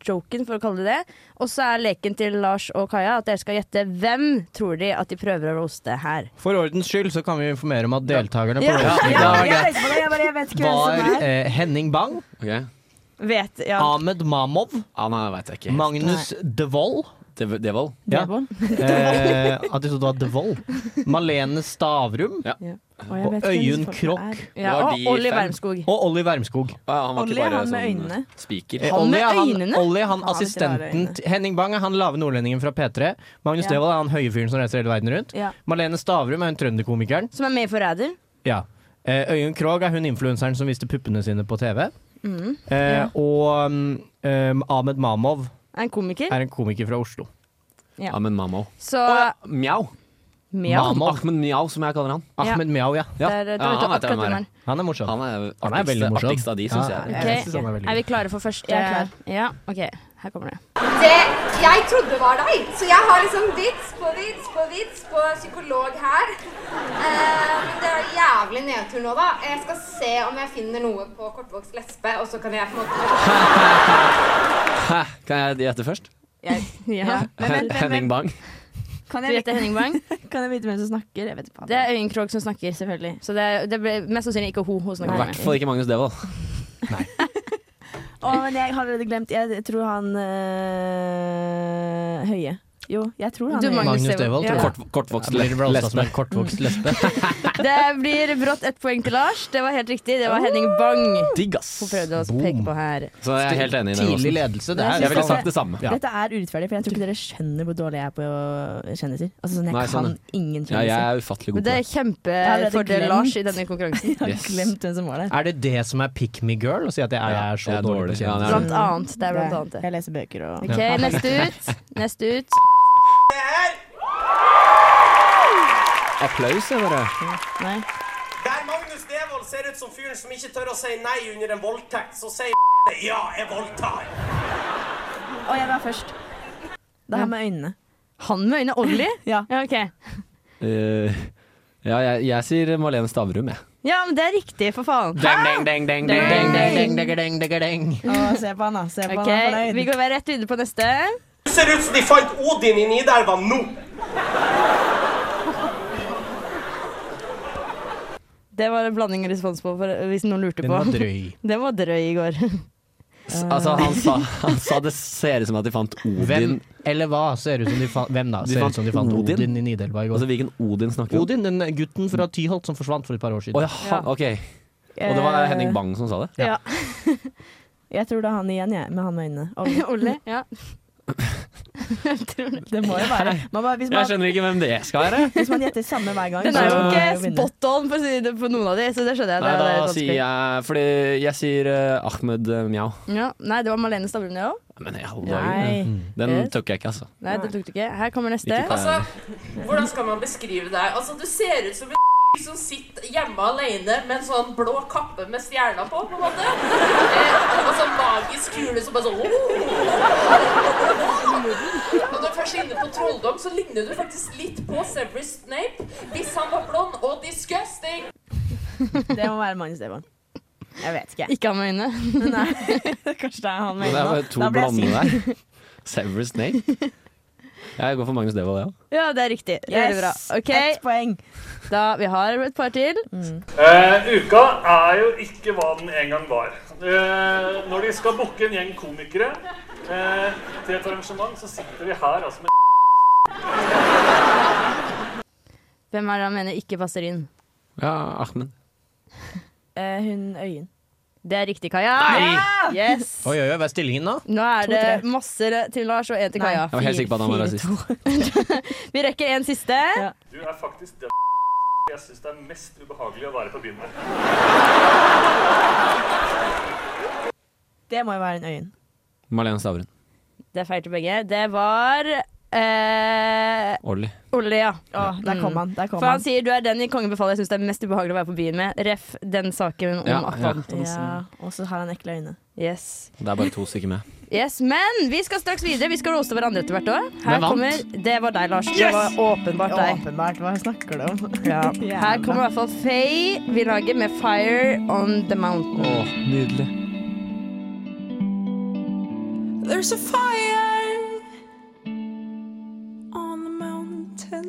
Speaker 4: joken, for å kalle det det. Og så er leken til Lars og Kaja at dere skal gjette hvem tror de at de prøver å roaste her.
Speaker 5: For ordens skyld så kan vi informere om at deltakerne på
Speaker 4: Ja.
Speaker 5: roasten i
Speaker 7: Ja,
Speaker 5: dag
Speaker 7: jeg tenkte på det, jeg bare jeg vet ikke hvem
Speaker 5: var
Speaker 7: som er.
Speaker 5: eh, Henning Bang,
Speaker 6: Ok.
Speaker 4: Vet, ja.
Speaker 5: Ahmed Mamov,
Speaker 6: Ah, nei, det veit jeg ikke.
Speaker 5: Magnus Devold
Speaker 6: Det, det var
Speaker 5: ja.
Speaker 7: Devon.
Speaker 5: eh, At de trodde det var Devold. Malene Stavrum
Speaker 7: Å, jeg
Speaker 5: og
Speaker 7: vet ikke hvem
Speaker 5: Øyunn
Speaker 7: som er.
Speaker 5: Krokk.
Speaker 4: ja
Speaker 6: var de
Speaker 4: og Olli
Speaker 6: fem.
Speaker 4: Wermskog.
Speaker 5: Og Olli Wermskog.
Speaker 6: Å ja, han var
Speaker 7: Olli,
Speaker 6: ikke bare
Speaker 7: han med
Speaker 6: sånn
Speaker 7: øynene.
Speaker 6: eh, spiker.
Speaker 5: Eh,
Speaker 4: Han
Speaker 5: Olli
Speaker 4: med
Speaker 5: er han,
Speaker 4: øynene?
Speaker 5: Olli er han
Speaker 7: Faen, hvis det var
Speaker 5: assistenten
Speaker 7: øynene.
Speaker 5: til Henning Bang er han lave nordlendingen fra P3. Magnus
Speaker 4: Ja.
Speaker 5: Devold er han høye fyren som reiser hele verden rundt.
Speaker 4: Ja.
Speaker 5: Malene Stavrum er hun trønderkomikeren.
Speaker 4: Som er med i Forræder.
Speaker 5: Ja. Eh, Øyunn Krogh er hun influenseren som viste puppene sine på TV.
Speaker 4: Mm.
Speaker 5: eh,
Speaker 4: ja.
Speaker 5: Og um, um, Ahmed Mamov
Speaker 4: Er en komiker.
Speaker 5: er en komiker fra Oslo.
Speaker 4: Ja.
Speaker 6: Ahmed Mamo.
Speaker 4: Så
Speaker 6: Å ja, Mjau.
Speaker 4: Mia.
Speaker 5: Mam- Mamo.
Speaker 6: Ahmed Mjau, som jeg kaller han.
Speaker 5: Ahmed Mjau, ja.
Speaker 4: Der, der,
Speaker 6: Ja, han vet jeg hvem er.
Speaker 4: der,
Speaker 5: Han er morsom.
Speaker 6: Han er
Speaker 5: Han er
Speaker 6: artigst,
Speaker 5: veldig morsom.
Speaker 6: artigst av de, syns
Speaker 5: Ja,
Speaker 6: jeg.
Speaker 4: Ok.
Speaker 5: synes han er veldig
Speaker 4: Er vi klare for første?
Speaker 7: Jeg er klar.
Speaker 4: Ja, ok. Her kommer det.
Speaker 2: Det jeg trodde var deg. Så jeg har liksom vits på vits på vits på psykolog her. Eh, Men det er jævlig nedtur nå, da. Jeg skal se om jeg finner noe på kortvokst lesbe, og så kan jeg på en måte
Speaker 6: Hæ, kan jeg gjette først?
Speaker 4: Ja.
Speaker 6: Henning Bang.
Speaker 7: Kan
Speaker 4: Du
Speaker 7: jeg,
Speaker 4: heter Henning Bang.
Speaker 7: vite- kan jeg vite hvem som snakker? Jeg vet ikke. faen.
Speaker 4: Det er Øyunn Krogh som snakker, selvfølgelig. Så det, det ble mest sannsynlig ikke hun hun
Speaker 6: I
Speaker 4: snakker
Speaker 6: hvert
Speaker 4: med.
Speaker 6: fall ikke Magnus Devold.
Speaker 7: Å, men jeg har allerede glemt. Jeg tror han
Speaker 4: eh,
Speaker 7: øh, Høie. Jo, jeg tror han
Speaker 4: Du,
Speaker 7: Høie.
Speaker 4: Magnus
Speaker 5: Magnus
Speaker 4: Devold,
Speaker 5: Devold,
Speaker 4: ja.
Speaker 5: tror jeg.
Speaker 6: Kort, kortvokst
Speaker 5: Blir roastet som
Speaker 6: lesbe.
Speaker 5: en kortvokst lesbe.
Speaker 4: Det blir brått ett poeng til Lars. Det var helt riktig. Det var Henning Bang
Speaker 6: Digg,
Speaker 4: hun
Speaker 6: ass.
Speaker 4: prøvde å
Speaker 5: Boom.
Speaker 4: peke på her.
Speaker 6: Så jeg er helt enig i den.
Speaker 5: Tidlig
Speaker 6: Åsen.
Speaker 5: ledelse. Det
Speaker 7: Jeg
Speaker 5: er
Speaker 6: Jeg ville
Speaker 7: synes
Speaker 6: sagt det samme.
Speaker 5: Ja.
Speaker 7: Dette er urettferdig, for jeg tror ikke dere skjønner hvor dårlig jeg er på
Speaker 4: eh,
Speaker 7: kjendiser. Altså, sånn, jeg
Speaker 6: Nei, sånn,
Speaker 7: kan ingen
Speaker 6: Ja, jeg
Speaker 7: kjendiser.
Speaker 6: er ufattelig
Speaker 4: Men
Speaker 6: god
Speaker 4: det
Speaker 6: på
Speaker 4: er
Speaker 6: det.
Speaker 4: kjempefordel
Speaker 7: glemt.
Speaker 4: Lars i denne konkurransen.
Speaker 7: Jeg har
Speaker 6: Yes.
Speaker 7: glemt hvem som var der.
Speaker 5: Er det det som er pick me girl? Å si at jeg er, jeg er så
Speaker 6: Jeg er
Speaker 5: dårlig på
Speaker 6: dårlig. Ja,
Speaker 5: kjendis?
Speaker 6: det er det.
Speaker 4: Blant annet. Det er blant annet det.
Speaker 7: Jeg leser bøker og
Speaker 4: OK, neste ut. Neste ut.
Speaker 6: Applaus, jeg bare.
Speaker 4: Nei.
Speaker 11: Der Magnus Devold ser ut som fyren som ikke tør å si nei under en voldtekt, så sier ja, jeg voldtar.
Speaker 7: Å, jeg var først. Det her med øynene.
Speaker 4: Han med øynene Olli?
Speaker 7: Ja.
Speaker 4: Ja, ok.
Speaker 6: Eh, ja, jeg, jeg sier Malene Stavrum, jeg.
Speaker 4: Ja, men det er riktig, for faen.
Speaker 5: Deng, deng, deng, deng, deng, deng, deng, deng, deng, deng, deng.
Speaker 7: Å, se på han, da. Se på
Speaker 4: Ok,
Speaker 7: han, han er
Speaker 4: Vi
Speaker 7: fornøyd.
Speaker 4: går bare rett videre på neste.
Speaker 11: Du ser ut som de fant Odin i Nidelva nå.
Speaker 4: Det var en blanding og respons på, for, eh, hvis noen lurte
Speaker 5: Den
Speaker 4: på.
Speaker 5: var drøy.
Speaker 4: Den var drøy i går. Eh.
Speaker 6: S- Altså, han sa, han sa det ser ut som at de fant Odin.
Speaker 5: Hvem eller hva ser ut som de fant Hvem da?
Speaker 6: De
Speaker 5: Ser
Speaker 6: fant
Speaker 5: ut som de fant
Speaker 6: Odin.
Speaker 5: Odin i Nidelva i går.
Speaker 6: Altså, hvilken Odin snakker vi om?
Speaker 5: Odin, den gutten fra Tyholt som forsvant for et par år siden.
Speaker 6: Å ja, han- ok. Og
Speaker 4: Eh.
Speaker 6: det var Henning Bang som sa det?
Speaker 4: Ja.
Speaker 7: Jeg tror det er han igjen, jeg. Med han med øynene. Olli.
Speaker 4: Olli? Ja.
Speaker 7: Det må jo være man bare, hvis man,
Speaker 6: Jeg skjønner ikke hvem det skal være.
Speaker 7: Hvis man gjetter samme hver gang,
Speaker 4: Den er jo
Speaker 7: så-
Speaker 4: ikke spot on for, å si det, på noen av de, så det skjønner jeg.
Speaker 6: Nei,
Speaker 4: det, det er
Speaker 6: da
Speaker 4: et
Speaker 6: sier
Speaker 4: oppspill.
Speaker 6: jeg Fordi jeg sier eh, Ahmed eh, Mjau.
Speaker 4: ja. Nei, det var Malene Stavrum, det òg.
Speaker 6: Men i alle
Speaker 4: Nei.
Speaker 6: dager. Den
Speaker 4: Yes.
Speaker 6: tok jeg ikke, altså.
Speaker 4: Nei, det tok du ikke. Her kommer neste.
Speaker 6: Ikke på-
Speaker 12: Altså, hvordan skal man beskrive deg? Altså, du ser ut som en som sitter hjemme alene med en sånn blå kappe med stjerna på, på en måte. Eh, og sånn magisk kule som bare sånn Og når du først er inne på trolldom, så ligner du faktisk litt på Severus Snape hvis han var blond og disgusting.
Speaker 7: Det må være Magnus Devold. Jeg vet ikke.
Speaker 4: Ikke han med øynene.
Speaker 7: Nei, kanskje det er han med
Speaker 6: Men det
Speaker 7: øynene.
Speaker 6: er bare to
Speaker 7: Da ble jeg
Speaker 6: blonde
Speaker 7: sint.
Speaker 6: der. Severus Snape. Jeg går for Magnus Devold, jeg òg.
Speaker 4: Ja, det er riktig. Det er
Speaker 7: Yes,
Speaker 4: bra. Ok.
Speaker 7: ett poeng. Mm.
Speaker 4: Da, vi har et par til.
Speaker 13: Eh, uka er jo ikke hva den en gang var. Eh, når de skal booke en gjeng komikere eh, til et arrangement, så sitter de her altså med
Speaker 4: Hvem er det han mener ikke passer inn?
Speaker 6: Ja, Ahmed.
Speaker 4: Eh, hun Øyen. Det er riktig, Kaja.
Speaker 5: Nei!
Speaker 4: Ah, Yes.
Speaker 5: Oi, oi, oi, hva er stillingen da?
Speaker 4: Nå er
Speaker 5: To,
Speaker 4: det masse til Lars og en til Kaja.
Speaker 5: Jeg var helt
Speaker 4: Fire,
Speaker 5: sikker på at han var
Speaker 4: fire,
Speaker 5: rasist.
Speaker 4: to. Vi rekker en siste.
Speaker 13: Du er faktisk den jeg syns det er mest ubehagelig å være på byen med.
Speaker 7: Det må jo være en øyen.
Speaker 6: Malene Stavrum.
Speaker 4: Det er feil til begge. Det var eh,
Speaker 6: Olli.
Speaker 4: Olli, ja. Mm.
Speaker 7: Å, der kom han, der kom
Speaker 4: For han
Speaker 7: han.
Speaker 4: sier du er den i Kongen befaler jeg syns det er mest ubehagelig å være på byen med. Ref den saken om
Speaker 6: Ja, ja.
Speaker 4: Atle Antonsen.
Speaker 7: Ja, og så har han ekle øyne.
Speaker 4: Yes.
Speaker 6: Det er bare to stykker med.
Speaker 4: Yes, Men vi skal straks videre. Vi skal rose hverandre etter hvert òg.
Speaker 6: Hvem vant?
Speaker 4: Det var deg, Lars. Det
Speaker 7: Yes!
Speaker 4: var åpenbart deg.
Speaker 7: Åpenbart, hva snakker du om?
Speaker 4: Ja. Her kommer i hvert fall Faye Village med 'Fire On The Mountain'.
Speaker 6: nydelig.
Speaker 14: There's a fire on the mountain.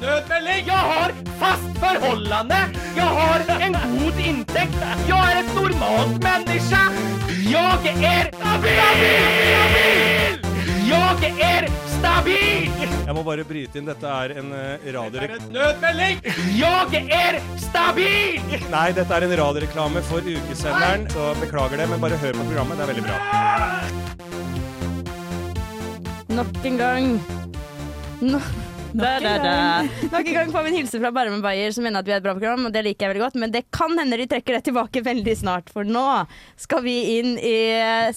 Speaker 15: Nødmelding! Jeg har fast forholdende! Jeg har en god inntekt! Jeg er et normalt menneske! Jeg er stabil! Jeg er stabil!
Speaker 11: Jeg må bare bryte inn. Dette er en eh, radioreklame
Speaker 15: Nødmelding! Jeg er stabil!
Speaker 11: Nei, dette er en radioreklame for ukesenderen, så beklager det, men bare hør på programmet. Det er veldig bra.
Speaker 4: Nok en gang. No da, da, da. Nok en gang får vi en hilsen fra Bærum og Beyer, som mener at vi har et bra program, og det liker jeg veldig godt, men det kan hende de trekker det tilbake veldig snart, for nå skal vi inn i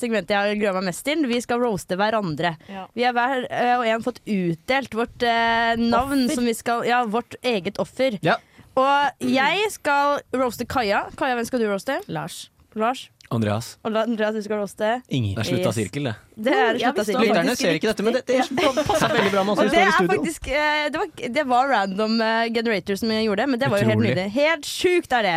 Speaker 4: segmentet jeg gleder meg mest til. Vi skal roaste hverandre.
Speaker 7: Ja.
Speaker 4: Vi har hver eh, og en fått utdelt vårt eh, navn, som vi skal Ja, vårt eget offer. Og jeg skal roaste Kaja. Kaja, hvem skal du roaste?
Speaker 7: Lars.
Speaker 4: Lars.
Speaker 6: Andreas.
Speaker 4: Og La- Andreas, du skal roaste?
Speaker 6: Inger. Det er slutta
Speaker 4: Yes.
Speaker 6: sirkel, det.
Speaker 4: Det er
Speaker 6: Ja,
Speaker 4: slutta
Speaker 6: vi står
Speaker 4: sirkel.
Speaker 6: Lytterne ser ikke dette, men det- det passer veldig bra med oss
Speaker 4: Og
Speaker 6: som
Speaker 4: det
Speaker 6: står i
Speaker 4: er
Speaker 6: studio.
Speaker 4: faktisk, eh, det, var, det var random eh, generator som gjorde det, men det var jo helt
Speaker 5: Utrolig.
Speaker 4: nydelig. Helt sjukt er det.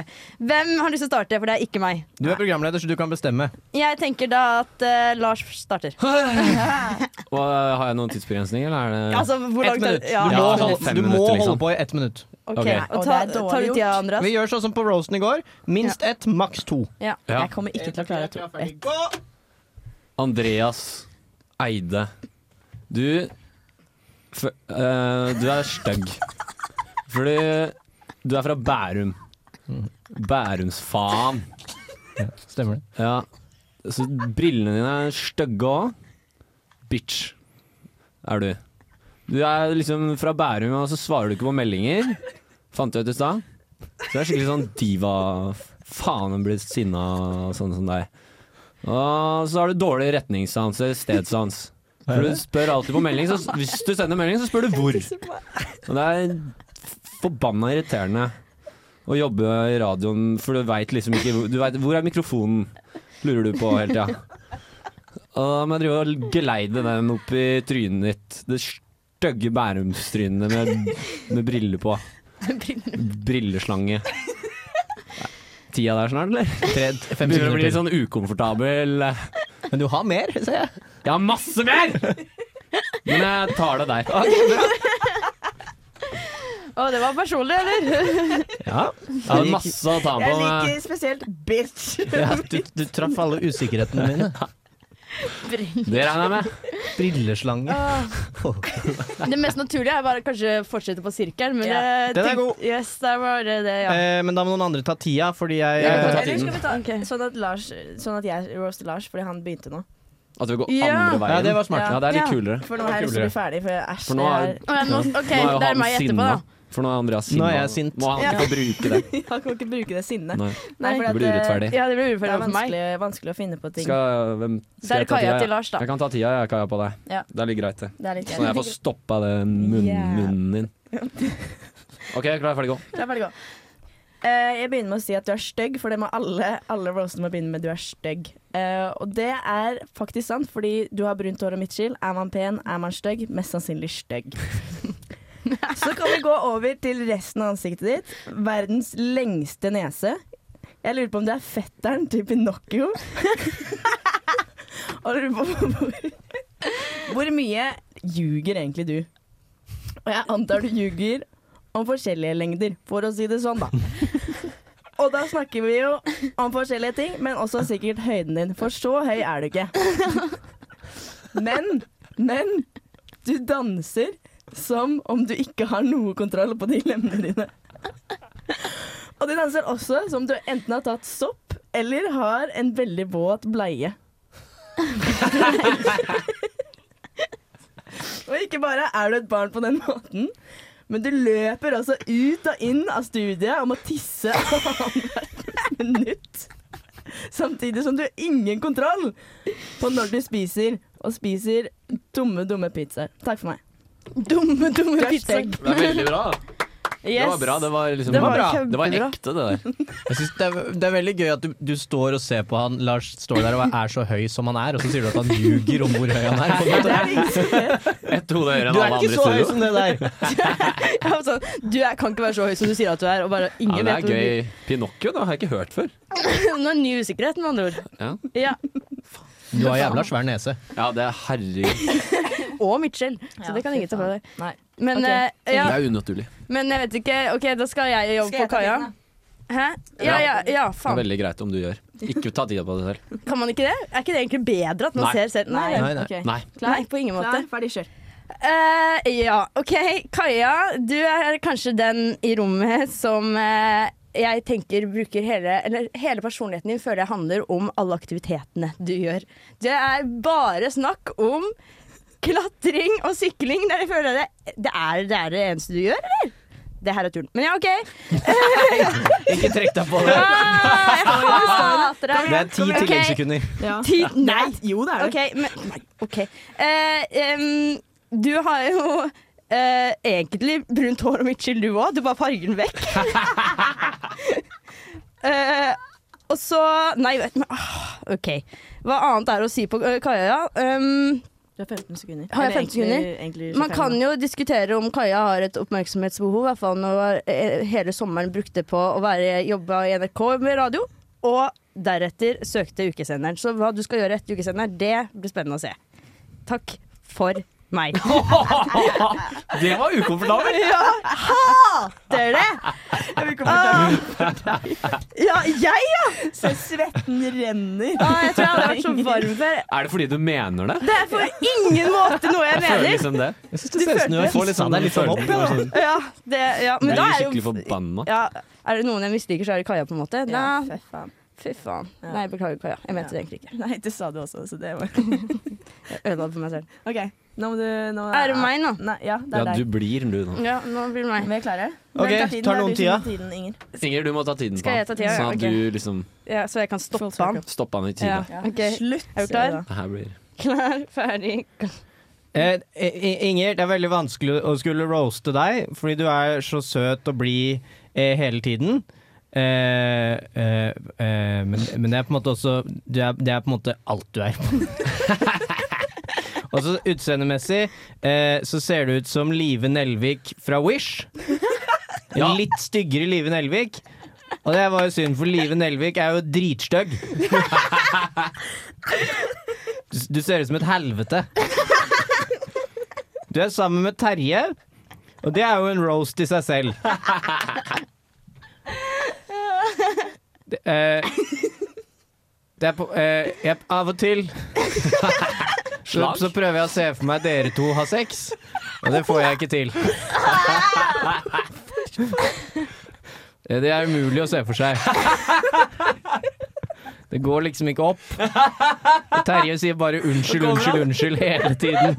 Speaker 4: Hvem har lyst til å starte? For det er ikke meg.
Speaker 5: Du er programleder, så du kan bestemme.
Speaker 4: Jeg tenker da at eh, Lars starter.
Speaker 6: Og øh, Har jeg noen tidsbegrensning, eller er det
Speaker 4: Altså, hvor langt er-
Speaker 5: minutt.
Speaker 4: ja.
Speaker 5: Du må, holde, du må
Speaker 6: liksom.
Speaker 5: holde på i ett minutt.
Speaker 4: Ok, og ta, ta ut tida, Andreas.
Speaker 5: Vi gjør sånn som på roasten i går. Minst ett, maks to.
Speaker 4: Ja.
Speaker 6: Ja.
Speaker 7: Jeg kommer ikke til å klare to. Et.
Speaker 6: Andreas Eide. Du f øh, Du er stygg. Fordi du er fra Bærum. Bærumsfaen.
Speaker 5: Stemmer det.
Speaker 6: Ja. Så brillene dine er stygge òg. Bitch er du. Du er liksom fra Bærum, og så svarer du ikke på meldinger. Fant jeg ut i stad. Så det er skikkelig sånn diva Faen, hun blir sinna av sånne som deg. Og så har du dårlig retningssans eller stedsans. For du spør alltid på melding, så hvis du sender melding, så spør du hvor. Og det er f- forbanna irriterende å jobbe i radioen, for du veit liksom ikke hvor- du vet, Hvor er mikrofonen? Lurer du på hele tida. Og da må jeg drive og geleide den opp i trynet ditt. Det stygge bærumstrynet med, med briller på. Brilleslange. Nei, Tida der snart, eller?
Speaker 5: fem
Speaker 6: Begynner å bli
Speaker 5: sekunder
Speaker 6: litt sånn ukomfortabel.
Speaker 5: Men du har mer, ser jeg.
Speaker 6: Jeg har masse mer! Men jeg tar det der.
Speaker 4: Å, det var personlig, eller?
Speaker 6: Ja. Jeg har masse å ta på.
Speaker 7: Jeg
Speaker 6: men-
Speaker 7: liker spesielt bitch.
Speaker 5: du, du traff alle usikkerhetene mine.
Speaker 6: Det regner jeg med.
Speaker 5: Brilleslange.
Speaker 4: Ah, det mest naturlige er bare kanskje fortsette på sirkelen, men
Speaker 5: Ja.
Speaker 4: det-
Speaker 5: Den er god.
Speaker 4: Yes, det var det, det, ja.
Speaker 5: Eh, men da må noen andre ta tida, fordi jeg
Speaker 7: Eller skal vi ta sånn at, Lars, sånn at jeg roaster Lars fordi han begynte nå?
Speaker 6: At vi går
Speaker 7: Ja.
Speaker 6: andre veien.
Speaker 7: Ja, det var smart.
Speaker 6: Ja, det er litt
Speaker 7: Ja,
Speaker 6: kulere.
Speaker 7: for nå har jeg lyst til å bli ferdig, for æsj,
Speaker 6: For nå er,
Speaker 7: det er- Å, jeg må-
Speaker 6: ja.
Speaker 7: ok,
Speaker 6: Nå er jo
Speaker 7: det er
Speaker 6: han
Speaker 7: meg etterpå,
Speaker 6: sinna.
Speaker 7: da.
Speaker 6: For nå er Andreas sinna.
Speaker 5: Nå er jeg sint.
Speaker 6: Må han
Speaker 7: Ja.
Speaker 6: ikke få bruke det.
Speaker 7: Han kan ikke bruke det sinnet.
Speaker 6: Nei.
Speaker 7: for eh,
Speaker 6: Det blir urettferdig.
Speaker 7: Ja, det blir urettferdig
Speaker 4: for meg.
Speaker 7: Det er vanskelig, vanskelig å finne på ting.
Speaker 6: Skal, hvem,
Speaker 7: Da er
Speaker 6: skal jeg
Speaker 7: det
Speaker 6: ta
Speaker 7: Kaja
Speaker 6: tida?
Speaker 7: til Lars, da.
Speaker 6: Jeg kan ta tida, jeg, Kaja, på deg.
Speaker 7: Ja.
Speaker 6: Det er litt greit, det.
Speaker 7: Det er litt greit.
Speaker 6: Sånn at jeg får stoppa det munnen,
Speaker 7: Yeah.
Speaker 6: munnen din. OK, klar, ferdig, gå.
Speaker 7: La meg gå. Eh, jeg begynner med å si at du er stygg, for det må alle Alle roastene må begynne med 'du er stygg'. Eh, og det er faktisk sant, fordi du har brunt hår og midtskill. Er man pen, er man stygg. Mest sannsynlig stygg. Så kan vi gå over til resten av ansiktet ditt. Verdens lengste nese. Jeg lurer på om det er fetteren til Pinocchio. og lurer på hvor, hvor mye ljuger egentlig du? Og jeg antar du ljuger om forskjellige lengder, for å si det sånn, da. Og da snakker vi jo om forskjellige ting, men også sikkert høyden din, for så høy er du ikke. Men, men du danser som om du ikke har noe kontroll på de lemmene dine. Og du danser også som om du enten har tatt sopp eller har en veldig våt bleie. Og ikke bare er du et barn på den måten, men du løper også ut og inn av studiet og må tisse annethvert minutt. Samtidig som du har ingen kontroll på når du spiser, og spiser dumme, dumme pizzaer. Takk for meg. Dumme, dumme pizzaer.
Speaker 6: Det er veldig bra. Det var bra. Det var, liksom,
Speaker 7: Det var
Speaker 6: det var
Speaker 7: kjempebra.
Speaker 6: ekte, det der.
Speaker 5: Jeg synes det, er, det er veldig gøy at du, du står og ser på han Lars står der og er så høy som han er, og så sier du at han ljuger om hvor høy han er. På en måte.
Speaker 6: Ett hode høyere
Speaker 5: Du
Speaker 6: enn alle
Speaker 5: er ikke
Speaker 6: andre i
Speaker 5: så høy
Speaker 6: studio.
Speaker 5: som det der!
Speaker 4: Jeg var sånn, du er, kan ikke være så høy som du sier at du er. Og bare,
Speaker 6: Ja,
Speaker 4: ingen
Speaker 6: det
Speaker 4: vet
Speaker 6: er gøy. Pinocchio, det har jeg ikke hørt før.
Speaker 4: hvor- Nå er ny usikkerhet, med andre ord.
Speaker 6: Ja,
Speaker 4: Ja.
Speaker 5: Du har jævla svær nese.
Speaker 6: ja det er herregud.
Speaker 4: Og Mitchell, så det kan ingen ta fra deg. Men,
Speaker 7: Ok.
Speaker 4: eh,
Speaker 6: Det
Speaker 4: ja,
Speaker 6: er unnatterlig.
Speaker 4: men jeg vet ikke OK, da skal jeg jobbe
Speaker 7: Skal jeg
Speaker 4: for
Speaker 7: ta
Speaker 4: Kaja. Hæ? Ja, ja, ja,
Speaker 6: Det er
Speaker 4: faen.
Speaker 6: veldig greit om du gjør. Ikke ta tida på det selv.
Speaker 4: Kan man ikke det? Er ikke det egentlig bedre at man
Speaker 6: Nei.
Speaker 4: ser selv?
Speaker 6: Nei, nei.
Speaker 4: ok.
Speaker 6: Nei.
Speaker 4: Nei, på ingen måte.
Speaker 7: Klar, ferdig, kjør.
Speaker 4: Eh, ja, OK. Kaja, du er kanskje den i rommet som eh, jeg tenker bruker hele Eller hele personligheten din føler jeg handler om alle aktivitetene du gjør. Det er bare snakk om klatring og sykling. Det, er- jeg føler det, det, er, det er det eneste du gjør, eller? Det her er tull. Men ja, OK.
Speaker 5: Ikke trekk deg på det.
Speaker 4: Ah, jeg hater deg.
Speaker 5: Det er ti
Speaker 4: Ok.
Speaker 5: tilleggssekunder.
Speaker 4: Ti, nei.
Speaker 7: Jo, det er det.
Speaker 4: Ok, men, nei, ok. Eh, em, du har jo eh, egentlig brunt hår og midtskill, du òg. Du bare farger den vekk. eh, og så Nei, vet men, ah, OK. Hva annet er å si på eh, Kaja? Um,
Speaker 7: Du har 15 sekunder.
Speaker 4: Har jeg
Speaker 7: Eller
Speaker 4: 15 sekunder?
Speaker 7: egentlig- egentlig
Speaker 4: man
Speaker 7: 25
Speaker 4: kan
Speaker 7: nå.
Speaker 4: jo diskutere om Kaja har et oppmerksomhetsbehov, i hvert fall når eh, hele sommeren brukte på å være jobba i NRK med radio, og deretter søkte ukesenderen. Så hva du skal gjøre etter ukesenderen, det blir spennende å se. Takk for meg.
Speaker 5: Det var ukomfortabelt.
Speaker 4: Ja, hater det! Ah, ja, jeg, ja!
Speaker 7: Så svetten renner.
Speaker 4: Ah, jeg tror jeg hadde vært så varm før.
Speaker 6: Er det fordi du mener det?
Speaker 4: Det er på ingen måte noe jeg
Speaker 6: Føler
Speaker 4: mener.
Speaker 6: liksom det.
Speaker 5: Jeg syns det ser ut som du har fissa deg litt sånn opp. Ja, da.
Speaker 4: Ja, det, ja. Men
Speaker 6: Jeg
Speaker 4: da
Speaker 6: blir
Speaker 4: er
Speaker 6: skikkelig
Speaker 4: jo
Speaker 6: forbanna.
Speaker 4: ja, Er det noen jeg misliker, så er det Kaja, på en måte.
Speaker 7: Ja,
Speaker 4: Nei,
Speaker 7: fy faen.
Speaker 4: fy faen.
Speaker 7: Ja.
Speaker 4: Nei, beklager, Kaja. Jeg mente
Speaker 7: Ja.
Speaker 4: det egentlig ikke.
Speaker 7: Nei, det sa du også, så det var
Speaker 4: Jeg ødela for meg selv.
Speaker 7: OK, nå må du nå
Speaker 4: Er det meg nå?
Speaker 7: Nei, ja, det
Speaker 6: Ja,
Speaker 7: er deg.
Speaker 6: du blir du nå.
Speaker 4: Ja, nå blir det meg.
Speaker 7: Vi er klare?
Speaker 5: Ok,
Speaker 7: Hvem tiden? Det
Speaker 5: tar
Speaker 7: er du som tar
Speaker 5: noen tida?
Speaker 7: Tiden, Inger.
Speaker 6: Inger, du må ta tiden på
Speaker 4: Skal jeg ta tida? Ja,
Speaker 6: Sånn at
Speaker 4: ok.
Speaker 6: du liksom
Speaker 4: Ja, så jeg kan stoppe han.
Speaker 6: stopper han Sånn i tide.
Speaker 4: Ja, ok.
Speaker 7: Slutt.
Speaker 4: Er du klar?
Speaker 6: Det her blir
Speaker 4: Klar, ferdig.
Speaker 5: Eh, I- Inger, det er veldig vanskelig å skulle roaste deg, fordi du er så søt og blid eh, hele tiden. Eh, eh, eh, men, men det er på en måte også Det er, det er på en måte alt du er. Og så utseendemessig eh, så ser du ut som Live Nelvik fra Wish.
Speaker 6: Ja.
Speaker 5: Litt styggere Live Nelvik. Og det var jo synd, for Live Nelvik er jo dritstygg. Du- Du ser ut som et helvete. Du er sammen med Terje, og det er jo en roast i seg selv. Det, eh, det er på eh, jeg, Av og til så,
Speaker 6: Slag?
Speaker 5: så prøver jeg å se for meg dere to har sex, og det får jeg ikke til. Eh, Det er umulig å se for seg. Det Det går liksom ikke opp. Og Terje sier bare unnskyld, unnskyld, unnskyld hele tiden.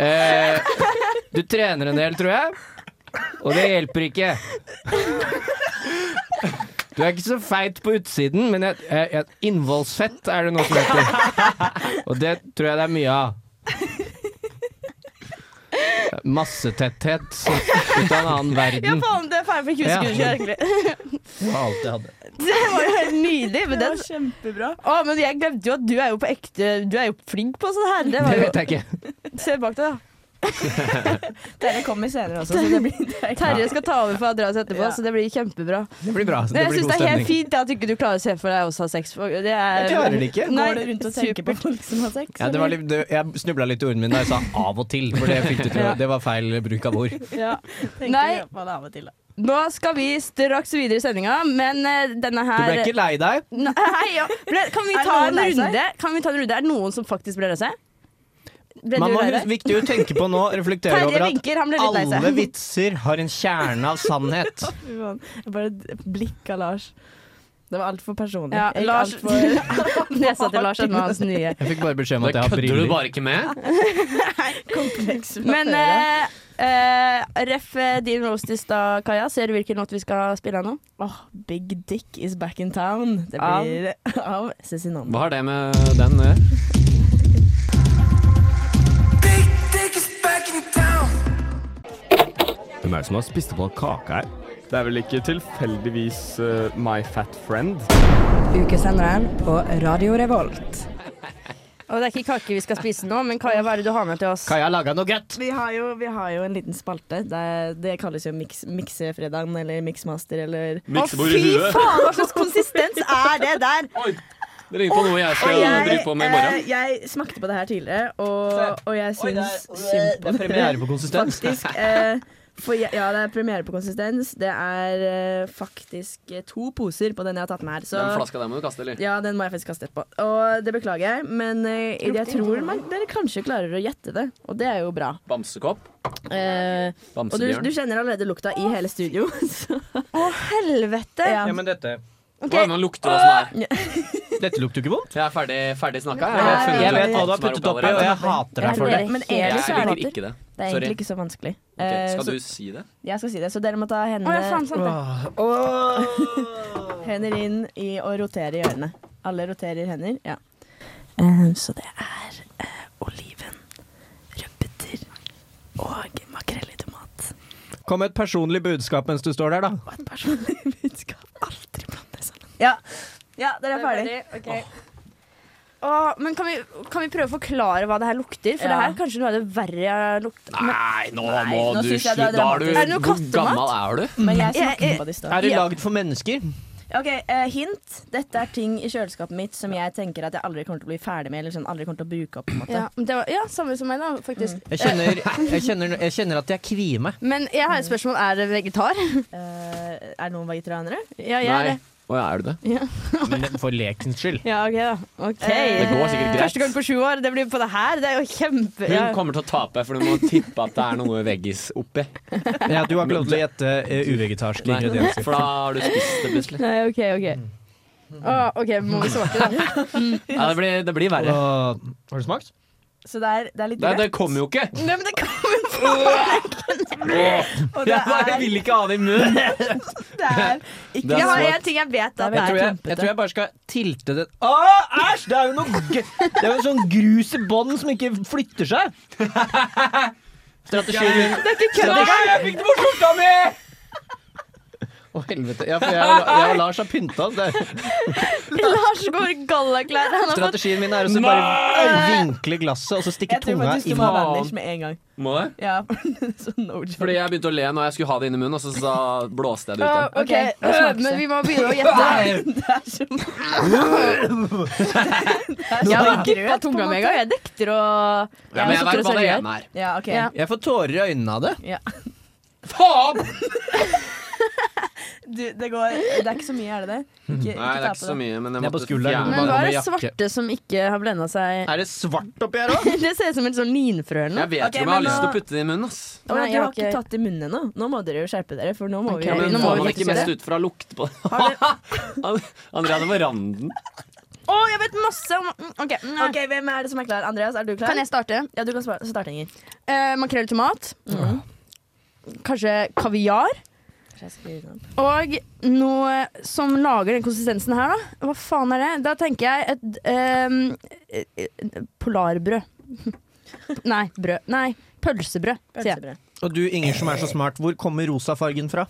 Speaker 5: Eh, du trener en del, tror jeg, og det hjelper ikke. Du er ikke så feit på utsiden, men jeg, jeg, jeg, innvollsfett er det noe som heter. Og det tror jeg det er mye av. Massetetthet som- ut av en annen
Speaker 4: Ja,
Speaker 5: verden.
Speaker 4: faen, det er ferdig for 20
Speaker 5: Ja.
Speaker 4: sekunder siden, egentlig.
Speaker 5: Det var alt jeg hadde.
Speaker 4: Det var jo helt nydelig. Men den... kjempebra. Å, men jeg glemte jo at du er jo på ekte Du er jo flink på sånn her. Det,
Speaker 5: Det
Speaker 4: var jo...
Speaker 5: vet jeg ikke.
Speaker 4: Se bak deg, da.
Speaker 7: Dere kommer senere også, så det blir
Speaker 4: Terje skal ta over for Andreas etterpå, så det blir kjempebra.
Speaker 5: Det blir bra. Altså, Det
Speaker 4: jeg
Speaker 5: blir
Speaker 4: syns
Speaker 5: god
Speaker 4: det er
Speaker 5: stemning.
Speaker 4: helt fint at du ikke du klarer å se for deg også å ha sex. for Det er...
Speaker 5: Jeg klarer det ikke.
Speaker 4: Nei,
Speaker 7: Går du rundt og tenker på folk som har sex?
Speaker 5: Ja, det var litt, det, jeg snubla litt i ordene mine da jeg sa 'av og til', for det, fikk du til, å- det var feil bruk av ord.
Speaker 4: Ja.
Speaker 7: Nei.
Speaker 4: Nei, nå skal vi straks videre i sendinga, men eh, denne
Speaker 5: Du
Speaker 4: her
Speaker 5: ble ikke lei deg?
Speaker 4: Nei, ja. ble, kan, vi
Speaker 7: Er
Speaker 4: ta
Speaker 7: noen
Speaker 4: en
Speaker 7: lei seg?
Speaker 4: runde? kan vi ta en runde? Er det noen som faktisk ble lei seg? Ble
Speaker 5: Man
Speaker 4: du
Speaker 5: må
Speaker 4: lei
Speaker 5: hus-
Speaker 4: deg?
Speaker 5: viktig å tenke på nå, reflektere
Speaker 4: Terje
Speaker 5: over at
Speaker 4: vinker, han ble litt lei seg.
Speaker 5: alle vitser har en kjerne av sannhet.
Speaker 7: Fy faen. Jeg Bare blikket av Lars. Det var altfor personlig.
Speaker 4: Ja,
Speaker 7: Jeg gikk
Speaker 4: Lars-
Speaker 7: alt for-
Speaker 4: Nesa til Lars Edmund Hansen nye.
Speaker 5: Jeg fikk bare beskjed om at jeg har
Speaker 6: kødder du
Speaker 5: briller.
Speaker 6: bare ikke med.
Speaker 7: Kompleks fra
Speaker 4: Men
Speaker 7: før, ja.
Speaker 4: eh, eh, ref eh, din roast i stad, Kaja. Ser du hvilken låt vi skal spille nå?
Speaker 7: Åh, Big Dick is back in town. Det
Speaker 4: Av?
Speaker 7: blir av Cezinando.
Speaker 6: Hva har det med den å gjøre?
Speaker 10: Hvem er det som har spist opp all kaka her?
Speaker 16: Det er vel ikke tilfeldigvis My Fat Friend?
Speaker 17: Ukesenderen på Radio Revolt.
Speaker 4: Og det er ikke kake vi skal spise nå, men Kaja, hva er det du har med til oss?
Speaker 5: Kaja laga noe godt.
Speaker 7: Vi har, jo, vi har jo en liten spalte. Det, det kalles jo miks, miksefredagen eller miksmaster eller
Speaker 6: Miksebord i Å, fy huet.
Speaker 4: faen, hva slags konsistens er det der?
Speaker 6: Det ringer på noe jeg skal drive på med i morgen.
Speaker 7: eh, jeg smakte på det her tidligere, og, og jeg syns synd på
Speaker 5: Det er premiere på konsistens.
Speaker 7: Faktisk. Eh, for jeg, ja, det er premiere på konsistens. Det er eh, faktisk eh, to poser på den jeg har tatt med her. Så
Speaker 6: Den flaska der må du kaste, eller?
Speaker 7: Ja, den må jeg faktisk kaste etterpå. Og det beklager jeg, men eh, jeg tror man, dere kanskje klarer å gjette det, og det er jo bra.
Speaker 6: Bamsekopp?
Speaker 7: Eh, og du,
Speaker 6: Bamsebjørn?
Speaker 7: du kjenner allerede lukta i hele studio. så-
Speaker 4: Å, helvete!
Speaker 7: Ja.
Speaker 5: men dette
Speaker 6: Hva er det man lukter av som
Speaker 7: er?
Speaker 5: Dette lukter ikke vondt.
Speaker 6: Jeg er ferdig, ferdig snakka.
Speaker 7: Nei,
Speaker 5: Jeg vet hva du har puttet oppi, og jeg hater deg for det.
Speaker 7: Men ellers
Speaker 6: Jeg
Speaker 7: er
Speaker 6: liker
Speaker 7: det
Speaker 6: ikke det.
Speaker 7: Det er
Speaker 6: Sorry.
Speaker 7: egentlig ikke så vanskelig.
Speaker 6: Ok,
Speaker 7: Eh,
Speaker 6: Skal
Speaker 7: så-
Speaker 6: du si det?
Speaker 7: Jeg skal si det, så dere må ta hendene
Speaker 4: Å, ja, faen, sant det.
Speaker 7: Hender inn i og rotere i ørene. Alle roterer hender. Ja. Eh, så det er oliven, rødbeter og makrell i tomat.
Speaker 5: Kom med et personlig budskap mens du står der, da.
Speaker 7: Et personlig budskap. Aldri bland det sammen. Ja. ja, dere er ferdig.
Speaker 4: Å, men kan vi, kan vi prøve å forklare hva det her lukter?
Speaker 7: Ja.
Speaker 4: For det her er kanskje noe av det verre jeg har lukta.
Speaker 6: Nei, nå må
Speaker 4: nå
Speaker 6: du
Speaker 4: synes jeg det
Speaker 6: slutte.
Speaker 4: er
Speaker 6: Da er du
Speaker 4: dramatisk. Er det noe
Speaker 6: Hvor
Speaker 4: kattemat?
Speaker 6: gammel er du?
Speaker 7: Men jeg
Speaker 4: Jeg-
Speaker 6: Mm.
Speaker 7: smakte
Speaker 4: jeg-
Speaker 7: på det i stad.
Speaker 5: Er det
Speaker 7: Ja.
Speaker 5: lagd for mennesker?
Speaker 7: Ok, eh, Hint. Dette er ting i kjøleskapet mitt som jeg tenker at jeg aldri kommer til å bli ferdig med. Eller sånn, aldri kommer til å bruke opp på en måte
Speaker 4: Ja, men det var, ja, samme som meg, da, faktisk.
Speaker 6: Mm.
Speaker 5: Jeg kjenner, jeg kjenner, jeg kjenner at jeg kvier meg.
Speaker 4: Men jeg har et spørsmål. Er det vegetar?
Speaker 7: Eh, er det noen vegetarianere?
Speaker 4: Ja, jeg er
Speaker 6: Nei.
Speaker 4: det.
Speaker 6: Å ja, er du det?
Speaker 4: Ja.
Speaker 5: Men det- For lekens skyld.
Speaker 4: Ja, ok da. Ok.
Speaker 6: Det går sikkert greit.
Speaker 4: Første gang på sju år, det blir på det her. Det er jo kjempe...
Speaker 6: Hun
Speaker 4: Ja.
Speaker 6: kommer til å tape, for du må tippe at det er noe veggis oppi.
Speaker 5: Ja, du har ikke lov til å gjette eh, uvegetarske
Speaker 6: Nei,
Speaker 5: ingredienser.
Speaker 6: For da har du spist det plutselig.
Speaker 4: Nei, ok, ok. Å, ok, må vi svake da.
Speaker 6: Mm. Ja, det blir, det blir verre.
Speaker 5: har du smakt?
Speaker 7: Så det er, det er litt
Speaker 6: Nei, det
Speaker 7: grønt.
Speaker 6: kommer jo ikke.
Speaker 4: Nei, men det kommer faen
Speaker 7: Og det
Speaker 6: Jeg bare
Speaker 7: er,
Speaker 6: vil ikke ha det i munnen.
Speaker 7: det er
Speaker 4: ikke
Speaker 6: Det er
Speaker 4: Jeg har
Speaker 6: svakt.
Speaker 4: en ting jeg vet at
Speaker 5: Jeg
Speaker 4: det
Speaker 5: tror
Speaker 4: er
Speaker 5: jeg, jeg tror jeg bare skal tilte det Å, æsj! Det er jo noe g- Det er jo en sånn grus i bånd som ikke flytter seg. Strategien min
Speaker 4: Det er ikke kødd engang!
Speaker 5: fikk det på skjorta mi! Å, helvete. Ja, for jeg, og- jeg og Lars har pynta oss. Det er-
Speaker 4: Lars går i gallaklær. Han har fått
Speaker 5: Strategien min er å så bare vinkle glasset og så stikke
Speaker 7: Jeg tror
Speaker 5: tunga
Speaker 7: faktisk
Speaker 5: i
Speaker 7: du må ha
Speaker 5: faen.
Speaker 7: vanish med en gang.
Speaker 6: Må det?
Speaker 7: Ja, så no joke.
Speaker 6: Fordi jeg begynte å le når jeg skulle ha det inn i munnen, og så, så blåste jeg det ut
Speaker 4: Å,
Speaker 6: igjen.
Speaker 4: ok, men vi må begynne å gjette.
Speaker 7: Det er så
Speaker 4: Jeg har ikke
Speaker 7: grøt,
Speaker 4: dyppet
Speaker 7: på en
Speaker 4: tunga
Speaker 7: måte.
Speaker 4: meg engang. Jeg dekter og
Speaker 6: Ja, men jeg
Speaker 4: satt
Speaker 6: vet hva det
Speaker 4: og
Speaker 6: ene er.
Speaker 7: Ja, ok.
Speaker 4: Ja.
Speaker 5: Jeg får tårer i øynene av det.
Speaker 7: Ja.
Speaker 6: Faen!
Speaker 7: Du, det, går, det er ikke så mye, er det det? Ikke,
Speaker 6: Nei, det er ikke så mye, men jeg måtte fjerne
Speaker 4: Men hva
Speaker 6: noe
Speaker 4: er
Speaker 6: med
Speaker 4: det
Speaker 6: jakke.
Speaker 4: svarte som ikke har blenda seg
Speaker 6: Er det svart oppi her òg?
Speaker 4: det ser ut som en sånn linfrø eller noe.
Speaker 6: Jeg vet ikke om jeg har lyst til å putte det i munnen, ass.
Speaker 7: Å, nei,
Speaker 4: Nei,
Speaker 7: du
Speaker 4: jeg
Speaker 7: har
Speaker 4: har
Speaker 7: ikke
Speaker 4: ikke-
Speaker 7: tatt i munnen ennå. Nå må dere jo skjerpe dere, for nå må
Speaker 6: Ja,
Speaker 7: vi
Speaker 6: men
Speaker 7: nå må
Speaker 6: får
Speaker 7: vi
Speaker 6: man ikke
Speaker 7: fikse
Speaker 6: mest
Speaker 7: det.
Speaker 6: ut fra lukt på Andrea, det var randen.
Speaker 4: Å, jeg vet masse om mm, OK.
Speaker 7: Ok, Hvem er det som er klar? Andreas, er du klar?
Speaker 4: Kan jeg starte?
Speaker 7: Ja, du kan spa- starte, Inger.
Speaker 4: Eh, Makrell i tomat. Kanskje kaviar.
Speaker 7: Kanskje jeg skriver den opp.
Speaker 4: Og noe som lager den konsistensen her, da. Hva faen er det? Da tenker jeg et ehm, eh, eh, polarbrød. Nei, brød. Nei, pølsebrød, sier jeg.
Speaker 5: Og du, Inger, som er så smart, hvor kommer rosafargen fra?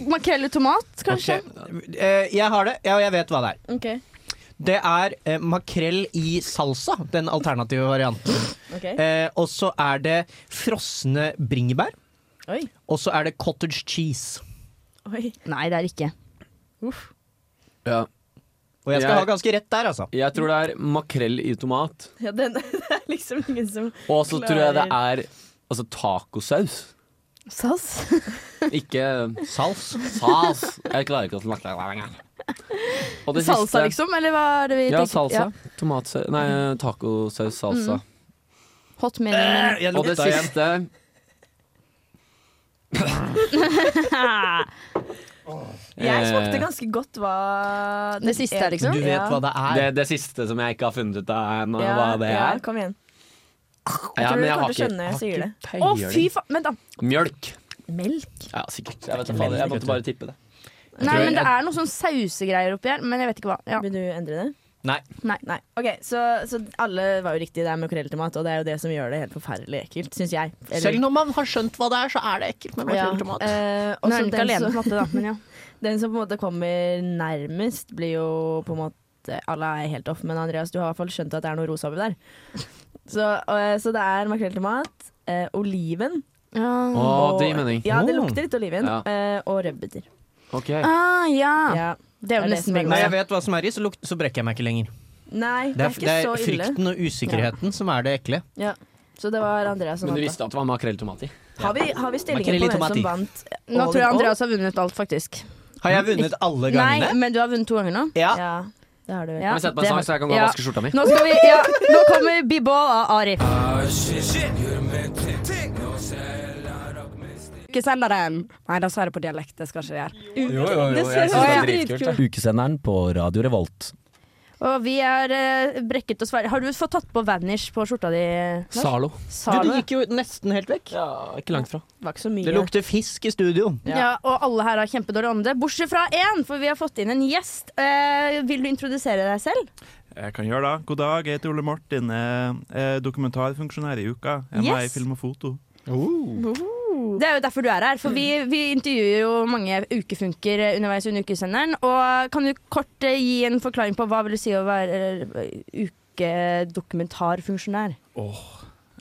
Speaker 4: Makrell i tomat, kanskje?
Speaker 5: Ok. Eh, jeg har det, ja, og jeg vet hva det er.
Speaker 7: Ok.
Speaker 5: Det er eh, makrell i salsa, den alternative varianten.
Speaker 7: Ok.
Speaker 5: Eh, og så er det frosne bringebær.
Speaker 7: Oi.
Speaker 5: Og så er det cottage cheese.
Speaker 7: Oi.
Speaker 4: Nei, det er ikke.
Speaker 7: Uff.
Speaker 6: Ja.
Speaker 5: Og jeg skal ha ganske rett der, altså.
Speaker 6: Jeg tror det er makrell i tomat.
Speaker 7: Ja, den, det er liksom ingen som
Speaker 6: Og så tror jeg det er altså, tacosaus.
Speaker 4: Sass?
Speaker 6: Ikke
Speaker 5: Sals.
Speaker 6: Sals. Jeg klarer ikke å snakke lenger. Og det
Speaker 4: Salsa,
Speaker 6: siste-
Speaker 4: liksom? Eller hva er det vi
Speaker 6: Ja,
Speaker 4: tenker?
Speaker 6: salsa. Tomatsaus Nei, tacosaus salsa.
Speaker 4: Mm. Hot mening,
Speaker 6: Og det siste
Speaker 4: men
Speaker 7: Jeg smakte
Speaker 6: Eh,
Speaker 7: ganske godt hva
Speaker 4: Det siste er liksom?
Speaker 6: Det, det siste som jeg ikke har funnet ut av ennå,
Speaker 7: ja,
Speaker 6: hva det
Speaker 7: ja,
Speaker 6: er.
Speaker 7: kom igjen.
Speaker 6: Ja,
Speaker 7: Jeg tror
Speaker 6: men
Speaker 7: du
Speaker 6: jeg har
Speaker 7: kommer til å
Speaker 6: ikke-
Speaker 7: skjønne når
Speaker 6: har
Speaker 7: jeg sier det.
Speaker 6: ikke
Speaker 4: Å,
Speaker 6: peiling.
Speaker 4: fy faen! Vent, da.
Speaker 6: Mjølk.
Speaker 7: Melk?
Speaker 6: Ja, sikkert. Jeg, vet ikke hva det er. jeg måtte bare tippe det.
Speaker 4: Nei, men det er noe sånn sausegreier oppi her, men jeg vet ikke hva. Ja.
Speaker 7: Vil du endre det?
Speaker 5: Nei.
Speaker 4: Nei.
Speaker 7: Nei. Ok, så, så alle var jo riktige. Det er makrelltomat, og det er jo det som gjør det helt forferdelig ekkelt, syns jeg.
Speaker 5: Selv når man har skjønt hva det er, så er det ekkelt med
Speaker 7: Ja,
Speaker 5: makrelltomat.
Speaker 7: eh,
Speaker 4: Nå
Speaker 7: også
Speaker 4: er den ikke
Speaker 7: den
Speaker 4: alene
Speaker 7: som-
Speaker 4: på matte, da, men ja.
Speaker 7: Den som på en måte kommer nærmest, blir jo på en måte Alle er helt off, men Andreas, du har i hvert fall skjønt at det er noe rosa oppi der. Så, øh, så det er makrell til mat, øh, oliven
Speaker 6: Å,
Speaker 7: og-
Speaker 6: det gir mening.
Speaker 7: Ja, det
Speaker 6: Oh.
Speaker 7: lukter litt oliven.
Speaker 6: Ja.
Speaker 7: øh, og rødbeter.
Speaker 6: Ok.
Speaker 4: Ah, ja.
Speaker 7: Ja.
Speaker 4: Det er jo
Speaker 7: det
Speaker 4: nesten
Speaker 7: som er
Speaker 4: bingo.
Speaker 5: Når jeg vet hva som er i, så, luk så brekker jeg meg ikke lenger.
Speaker 7: Nei, det
Speaker 5: Det
Speaker 7: er,
Speaker 5: er,
Speaker 7: ikke
Speaker 5: det
Speaker 7: så
Speaker 5: er
Speaker 7: ille.
Speaker 5: frykten og usikkerheten som er det ekle.
Speaker 7: Ja. Så det var Andreas som
Speaker 6: Men du
Speaker 7: vant.
Speaker 6: visste at det var makrell tomat i?
Speaker 7: da. Har vi, har vi stillingen
Speaker 5: Makrell
Speaker 7: på
Speaker 5: i
Speaker 7: hvem
Speaker 5: tomat i.
Speaker 7: som vant?
Speaker 4: Nå tror jeg Andreas har vunnet alt, faktisk.
Speaker 5: Har jeg vunnet alle
Speaker 4: Nei,
Speaker 5: gangene?
Speaker 4: men du har vunnet to ganger nå.
Speaker 5: Ja.
Speaker 7: Det har du.
Speaker 4: Ja.
Speaker 6: Kan vi sette på en sang, så jeg kan gå og
Speaker 4: Ja.
Speaker 6: vaske skjorta mi?
Speaker 4: Nå, skal vi, ja, nå kommer B-ball av Arif. Ukesenderen. Nei, da sa jeg det på dialekt. Det skal ikke jeg gjøre.
Speaker 6: Jo, jo,
Speaker 4: Det ser jeg synes det er dritkult, jeg.
Speaker 6: Ukesenderen på Radio Revolt.
Speaker 4: Og vi er eh, brekket og sverre. Har du fått tatt på vanish på skjorta di? Lars?
Speaker 6: Zalo.
Speaker 5: Du,
Speaker 4: Zalo.
Speaker 5: det gikk jo nesten helt vekk.
Speaker 6: Ikke langt fra.
Speaker 7: Det var ikke så mye.
Speaker 5: Det lukter fisk i studio.
Speaker 4: Ja. og alle her har kjempedårlig ånde, bortsett fra én, for vi har fått inn en gjest. Eh, vil du introdusere deg selv?
Speaker 18: Jeg kan gjøre det. God dag, jeg heter Ole Martin. Jeg er dokumentarfunksjonær i uka. Jeg er
Speaker 4: Yes.
Speaker 18: med i
Speaker 4: Oh.
Speaker 18: Film og Foto.
Speaker 5: Oh.
Speaker 4: Det er jo derfor du er her, for vi, vi intervjuer jo mange ukefunker underveis under ukesenderen. Og kan du kort eh, gi en forklaring på hva vil du si å være eh, ukedokumentarfunksjonær?
Speaker 18: Jeg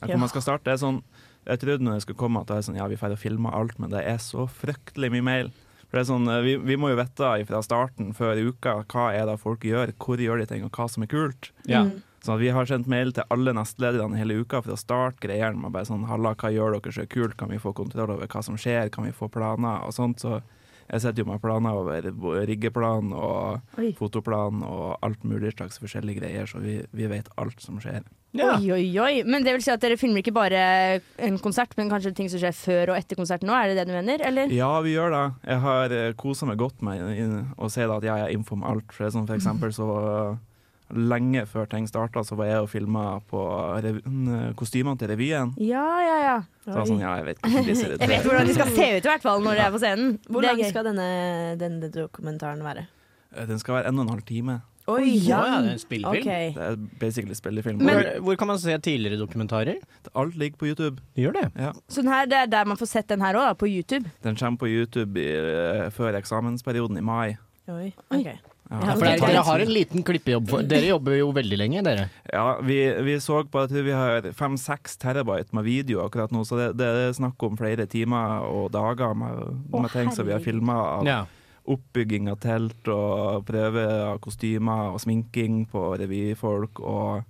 Speaker 18: hvor man skal starte. Det er sånn, jeg trodde når jeg skulle komme at det er sånn, ja, vi får filme alt, men det er så fryktelig mye mail. For det er sånn, vi, vi må jo vite fra starten før uka hva er det folk gjør, hvor gjør de ting, og hva som er kult.
Speaker 6: Ja.
Speaker 18: Sånn at Vi har sendt mail til alle nestlederne hele uka for å starte greiene med bare sånn Halla, hva gjør dere så kult? Kan vi få kontroll over hva som skjer? Kan vi få planer? Og sånt. Så jeg sitter jo med planer over riggeplan og
Speaker 4: Oi.
Speaker 18: fotoplan og alt mulig slags forskjellige greier, så vi, vi vet alt som skjer.
Speaker 4: Oi, oi, oi. Men det vil si at dere filmer ikke bare en konsert, men kanskje ting som skjer før og etter konserten òg? Er det det du mener, eller?
Speaker 18: Ja, vi gjør det. Jeg har kosa meg godt med inn- å se da at jeg er info om alt. For, det er sånn, for eksempel så eh, lenge før ting starta, så var jeg og filma på rev- kostymene til revyen.
Speaker 4: Ja, ja, ja.
Speaker 18: Så jeg var sånn, ja, jeg vet hvordan de ser ut.
Speaker 4: Jeg vet hvordan de skal se ut i hvert fall når de er på scenen.
Speaker 7: Hvor
Speaker 4: Det er
Speaker 7: lang
Speaker 4: gøy.
Speaker 7: skal denne, denne dokumentaren være?
Speaker 18: Eh, Den skal være en og en halv time.
Speaker 7: Oi,
Speaker 5: ja, ja, det er en spillefilm.
Speaker 7: Ok.
Speaker 18: Det er basically spillefilm.
Speaker 5: Hvor, hvor kan man se tidligere dokumentarer?
Speaker 18: Alt ligger på YouTube.
Speaker 5: Gjør det?
Speaker 18: Ja.
Speaker 4: Så den Sånn her, det er der man får sett den her òg, på YouTube.
Speaker 18: Den kommer på YouTube i, eh, før eksamensperioden i mai.
Speaker 7: Oi. ok.
Speaker 5: Ja, for dere har en liten klippejobb for Dere jobber jo veldig lenge, dere.
Speaker 18: Ja, vi, vi så på at vi har fem-seks terabyte med video akkurat nå, så det, det er snakk om flere timer og dager med, med ting som vi har
Speaker 5: herregud.
Speaker 18: filma av
Speaker 5: Ja.
Speaker 18: oppbygging av telt og prøve av kostymer og sminking på revyfolk og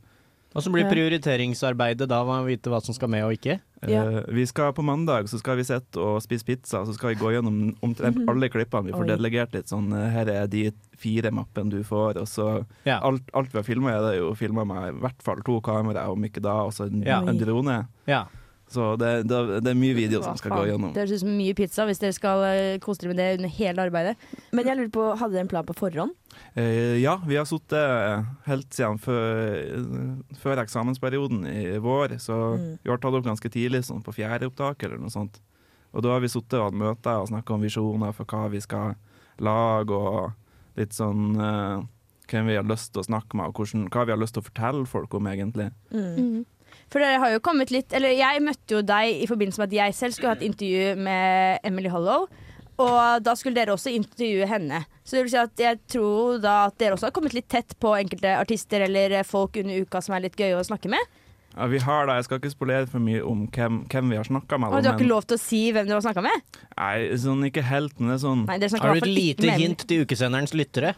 Speaker 5: Og så blir
Speaker 7: Ja.
Speaker 5: prioriteringsarbeidet da å vite hva som skal med og ikke?
Speaker 7: Ja.
Speaker 18: Eh, vi skal På mandag så skal vi sitte og spise pizza, og så skal vi gå gjennom omtrent alle klippene. Vi får
Speaker 5: Oi.
Speaker 18: delegert litt sånn eh, Her er de fire mappene du får, og så alt, alt vi har filma, er det jo filma med i hvert fall to kameraer, om ikke da, og så en,
Speaker 5: Ja.
Speaker 18: en drone. Så det, det, det er mye video som skal gå gjennom.
Speaker 4: Det høres ut som mye pizza hvis dere skal eh, kose dere med det under hele arbeidet.
Speaker 7: Men jeg lurer på, hadde dere en plan på forhånd?
Speaker 18: Eh, ja, vi har sittet eh, helt siden før, før eksamensperioden i vår, så
Speaker 7: Mm.
Speaker 18: vi har tatt opp ganske tidlig, sånn på fjerde opptak eller noe sånt. Og da har vi sittet og hatt møter og snakka om visjoner for hva vi skal lage, og litt sånn eh, hvem vi har lyst til å snakke med, og hvordan, hva vi har lyst til å fortelle folk om, egentlig.
Speaker 4: Mm. For dere har jo kommet litt Eller jeg møtte jo deg i forbindelse med at jeg selv skulle ha et intervju med Emily Hollow. Og da skulle dere også intervjue henne. Så det vil si at jeg tror da at dere også har kommet litt tett på enkelte artister eller folk under uka som er litt gøye å snakke med.
Speaker 18: Ja, vi har da, Jeg skal ikke spolere for mye om hvem, hvem vi har snakka med.
Speaker 4: Og du
Speaker 18: da,
Speaker 4: har
Speaker 18: men-
Speaker 4: ikke lov til å si hvem dere har snakka med.
Speaker 18: Nei, sånn ikke helt, men det er sånn
Speaker 4: Nei, dere snakker Har du i hvert et fall ikke lite med hint
Speaker 18: til ukesenderens lyttere?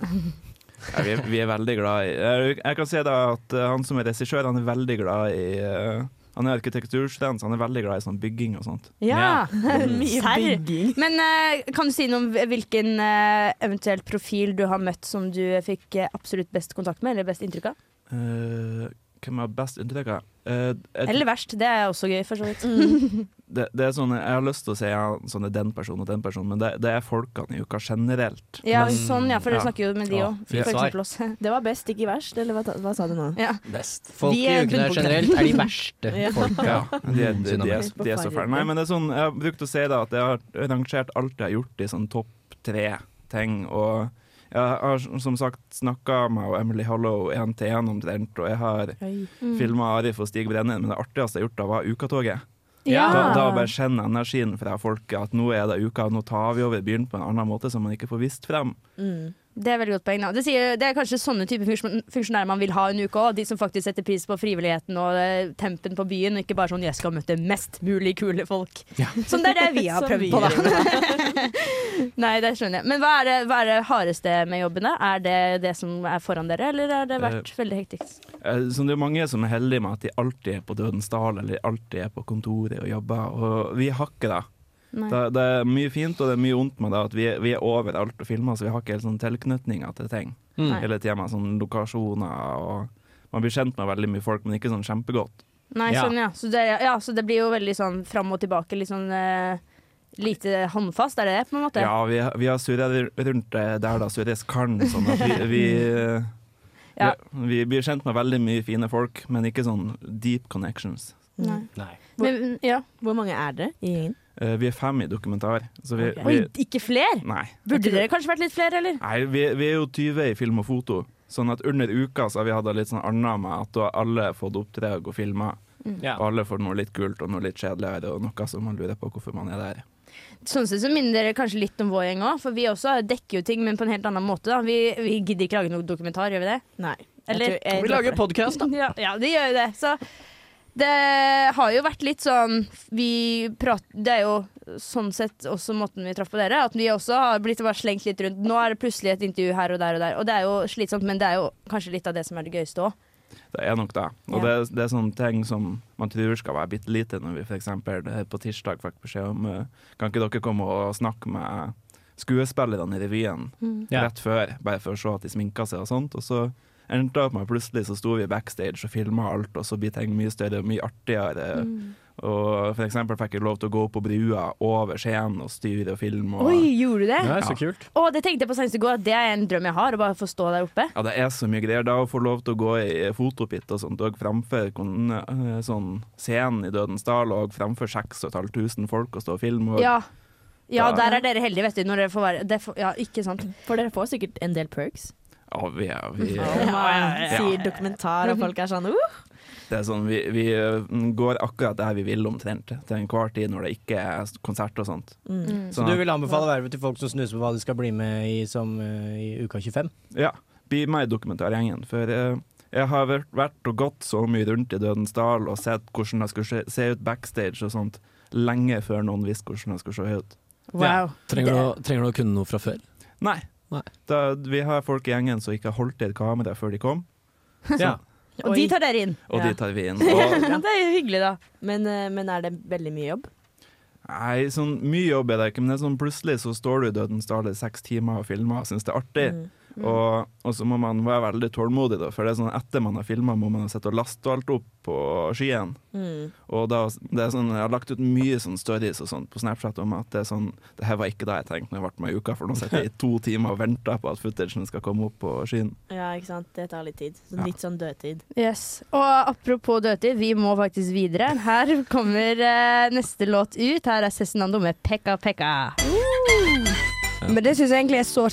Speaker 18: Nei, vi, er, vi er veldig glad i jeg, jeg kan si da at eh, han som er regissør, han er veldig glad i eh, Han er arkitekturstudent, så han er veldig glad i sånn bygging og sånt.
Speaker 4: Ja!
Speaker 18: Mhm.
Speaker 7: Mye
Speaker 4: Serr. Men eh, kan du si noe om hvilken eh, eventuell profil du har møtt som du fikk eh, absolutt best kontakt med, eller best inntrykk av?
Speaker 18: Eh, hvem har best inntrykk av? Eh, jeg-
Speaker 4: Eller verst. Det er også gøy, for så vidt.
Speaker 7: Mm.
Speaker 18: det, det er sånn, jeg har lyst til å si ja, sånn er den personen og den personen, men det, det er folkene i uka generelt.
Speaker 4: Ja,
Speaker 18: Men-
Speaker 4: sånn, ja, for dere
Speaker 18: Ja.
Speaker 4: snakker jo med de
Speaker 18: Ja.
Speaker 4: òg.
Speaker 18: Ja.
Speaker 4: For eksempel oss.
Speaker 7: Det var best, ikke verst, eller hva, ta- hva sa du nå?
Speaker 4: Ja.
Speaker 5: Best.
Speaker 4: Folk Vi i er ukene bunnpunktet. generelt er de verste Mm.
Speaker 7: Ja.
Speaker 4: folka.
Speaker 18: Ja, de, er- de, de, er,
Speaker 4: Helt på
Speaker 18: de er så fæle.
Speaker 4: fargen.
Speaker 18: Nei, men det er sånn, jeg har brukt å si da at jeg har rangert alt jeg har gjort i sånn topp tre ting. Og jeg har som sagt snakka med og Emily Hollow én til én omtrent, og jeg har
Speaker 7: Oi. Mm.
Speaker 18: filmet filma Arif og Stig Brennen, men det artigste jeg har gjort da, var Ukatoget.
Speaker 7: Ja.
Speaker 18: Da, da bare kjenne energien fra folket, at nå er det uka, nå tar vi over byen på en annen måte som man ikke får vist frem.
Speaker 4: Det er veldig godt poeng. Da. Det, sier, det er kanskje sånne type funksjon- funksjonærer man vil ha en uke òg. De som faktisk setter pris på frivilligheten og eh, tempen på byen, og ikke bare sånn 'jeg skal møte mest mulig kule folk'. Som det er det vi har
Speaker 7: Som
Speaker 4: prøvd
Speaker 7: vi
Speaker 4: på, da. Nei, det skjønner jeg. Men hva er det, hva er det hardeste med jobbene? Er det det som er foran dere, eller har det vært veldig hektisk?
Speaker 18: Eh, Så det er jo mange som er heldige med at de alltid er på Dødens dal, eller alltid er på kontoret og jobber, og vi har ikke det.
Speaker 4: Nei.
Speaker 18: Det, det er mye fint og det er mye vondt med det at vi er, vi er overalt og filmer, så vi har ikke helt sånn tilknytninga til ting.
Speaker 4: Mm. Nei.
Speaker 18: Hele tida med sånne lokasjoner og Man blir kjent med veldig mye folk, men ikke sånn kjempegodt.
Speaker 4: Nei,
Speaker 18: Ja.
Speaker 4: sånn ja. Så det, ja. Så det blir jo veldig sånn fram og tilbake, litt sånn eh, lite håndfast, er det det, på en måte?
Speaker 18: Ja, vi, vi har surra rundt det der da surres kan, sånn at vi vi,
Speaker 4: Ja.
Speaker 18: vi vi blir kjent med veldig mye fine folk, men ikke sånn deep connections. Nei.
Speaker 4: Hvor, ja.
Speaker 7: Hvor mange er dere i gjengen?
Speaker 18: Eh, vi er fem i dokumentar, så vi,
Speaker 4: Oi,
Speaker 18: vi
Speaker 4: ikke fler?
Speaker 18: Nei.
Speaker 4: Burde dere kanskje vært litt flere, eller?
Speaker 18: Nei, vi, vi er jo 20 i film og foto, sånn at under uka så har vi hatt det litt sånn annet med at da har alle fått oppdrag og filma.
Speaker 4: Mm.
Speaker 18: Og alle får noe litt kult og noe litt kjedeligere, og noe som man lurer på hvorfor man er der.
Speaker 4: Sånn sett så minner dere kanskje litt om vår gjeng òg, for vi også dekker jo ting, men på en helt annen måte. da Vi, vi gidder ikke lage noe dokumentar, gjør vi det?
Speaker 7: Nei.
Speaker 4: Eller,
Speaker 7: tror- jeg Vi tror lager det. podcast, da.
Speaker 4: Ja, ja, de gjør jo det. Så det har jo vært litt sånn Vi prat, Det er jo sånn sett også måten vi traff på dere, at vi også har blitt bare slengt litt rundt. Nå er det plutselig et intervju her og der og der, og det er jo slitsomt, men det er jo kanskje litt av det som er det gøyeste òg.
Speaker 18: Det er nok det. Og
Speaker 4: Ja.
Speaker 18: det, det er sånne ting som man tror skal være bitte lite, når vi f.eks. på tirsdag fikk beskjed om eh, Kan ikke dere komme og snakke med skuespillerne i revyen
Speaker 10: Mm. Ja.
Speaker 18: rett før, bare for å se at de sminka seg og sånt. Og så endte det opp med at plutselig så sto vi backstage og filma alt, og så blir ting mye større og mye artigere.
Speaker 4: Mm.
Speaker 18: Og for eksempel fikk jeg lov til å gå på brua over scenen og styre og filme. Og
Speaker 4: Oi, gjorde du det?
Speaker 18: Ja, så kult.
Speaker 4: Å, det tenkte jeg på senest i går, at det er en drøm jeg har, å bare få stå der oppe.
Speaker 18: Ja, det er så mye greier. Da å få lov til å gå i fotopit og sånt, og framfor kon- eh, sånn scenen i Dødens dal, og framfor 6500 folk og stå og filme. Og
Speaker 4: Ja. ja,
Speaker 18: Da-
Speaker 4: der er dere heldige, vet du. Når dere får være det får, Ja, ikke sant.
Speaker 7: For dere får sikkert en del perks.
Speaker 18: Ja, vi er, vi,
Speaker 7: Når man
Speaker 18: Ja.
Speaker 7: sier dokumentar, og folk er sånn uh.
Speaker 18: Det er sånn, vi, vi eh, går akkurat der vi vil omtrent, til enhver tid når det ikke er konsert og sånt.
Speaker 5: Mm. Så
Speaker 18: Sånn
Speaker 5: du
Speaker 18: at-
Speaker 5: vil anbefale vervet til folk som snuser på hva de skal bli med i, som, eh, i uka 25?
Speaker 18: Ja, bli med i dokumentargjengen. For eh, jeg har vært, vært og gått så mye rundt i Dødens dal og sett hvordan det skulle se, se ut backstage og sånt, lenge før noen visste hvordan det skulle se ut.
Speaker 6: Ja. Trenger, du, å- trenger du å kunne noe fra før?
Speaker 18: Nei. Da, vi har folk i gjengen som ikke har holdt i et kamera før de kom. Så,
Speaker 6: Ja.
Speaker 4: Og de tar dere inn.
Speaker 18: Og de tar vi inn. Og
Speaker 7: det er jo hyggelig, da. Men, eh, men er det veldig mye jobb?
Speaker 18: Nei, sånn mye jobb er det ikke, men det er sånn plutselig så står du i Dødens dal i seks timer og filmer og syns det er artig.
Speaker 7: Mm.
Speaker 18: Og, og så må man være veldig tålmodig, da, for det er sånn etter man har filma, må man ha sett og laste alt opp på skien.
Speaker 7: Mm.
Speaker 18: Og da, det er sånn, Jeg har lagt ut mye sånn stories og sånt på Snapchat om at det er sånn Det her var ikke det jeg tenkte når jeg ble med i uka, for nå sitter jeg i to timer og venter på at footagen skal komme opp på skien.
Speaker 7: Ja, ikke sant. Det tar litt tid. Så
Speaker 18: Ja.
Speaker 7: Litt sånn dødtid.
Speaker 4: Yes. Og apropos dødtid, vi må faktisk videre. Her kommer eh, neste låt ut. Her er Cezinando med Pekka Pekka.
Speaker 17: Men det syns jeg egentlig er så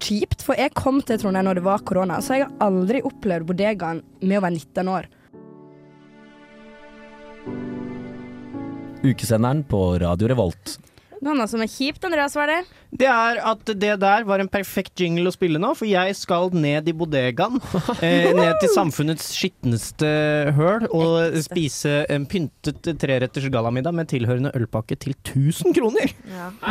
Speaker 17: kjipt, for jeg kom til Trondheim når det var korona, så jeg har aldri opplevd bodegaen med å være 19 år.
Speaker 5: Ukesenderen på Radio Revolt.
Speaker 4: Noe annet som er kjipt, Andreas, var det?
Speaker 5: Det er at det der var en perfekt jingle å spille nå, for jeg skal ned i bodegaen. Eh, ned til samfunnets skitneste høl og spise en pyntet treretters gallamiddag med tilhørende ølpakke til 1000 kroner.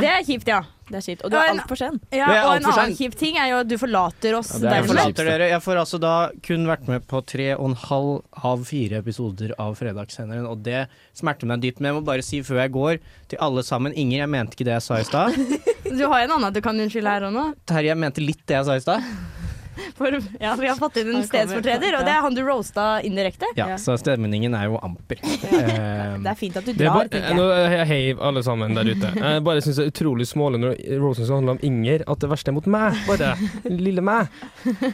Speaker 4: Det er kjipt, ja.
Speaker 7: Det er kjipt. Og du er altfor sen.
Speaker 4: Ja,
Speaker 5: Det er
Speaker 4: og
Speaker 5: alt
Speaker 4: en
Speaker 5: for
Speaker 4: annen
Speaker 5: sent.
Speaker 4: kjip ting er jo at du forlater oss.
Speaker 5: jeg
Speaker 4: dermed.
Speaker 5: forlater dere. Jeg får altså da kun vært med på tre og en halv av fire episoder av Fredagssenderen, og det smerter meg dypt. Men jeg må bare si før jeg går til alle sammen Inger, jeg mente ikke det jeg sa i stad.
Speaker 4: Du har jo en annen du kan unnskylde her òg nå.
Speaker 5: Terje, jeg mente litt det jeg sa i stad.
Speaker 4: For ja, vi har fått inn en
Speaker 7: Han kommer.
Speaker 4: stedsfortreder, og det er han du roasta indirekte.
Speaker 5: Ja, så stemningen er jo amper. Eh,
Speaker 4: Det er fint at du
Speaker 10: Det er bare, eh, nå, eh, hei, alle sammen der ute. Jeg bare syns det er utrolig smålig når Rosen skal handle om Inger, at det verste er mot meg. Bare. Lille meg.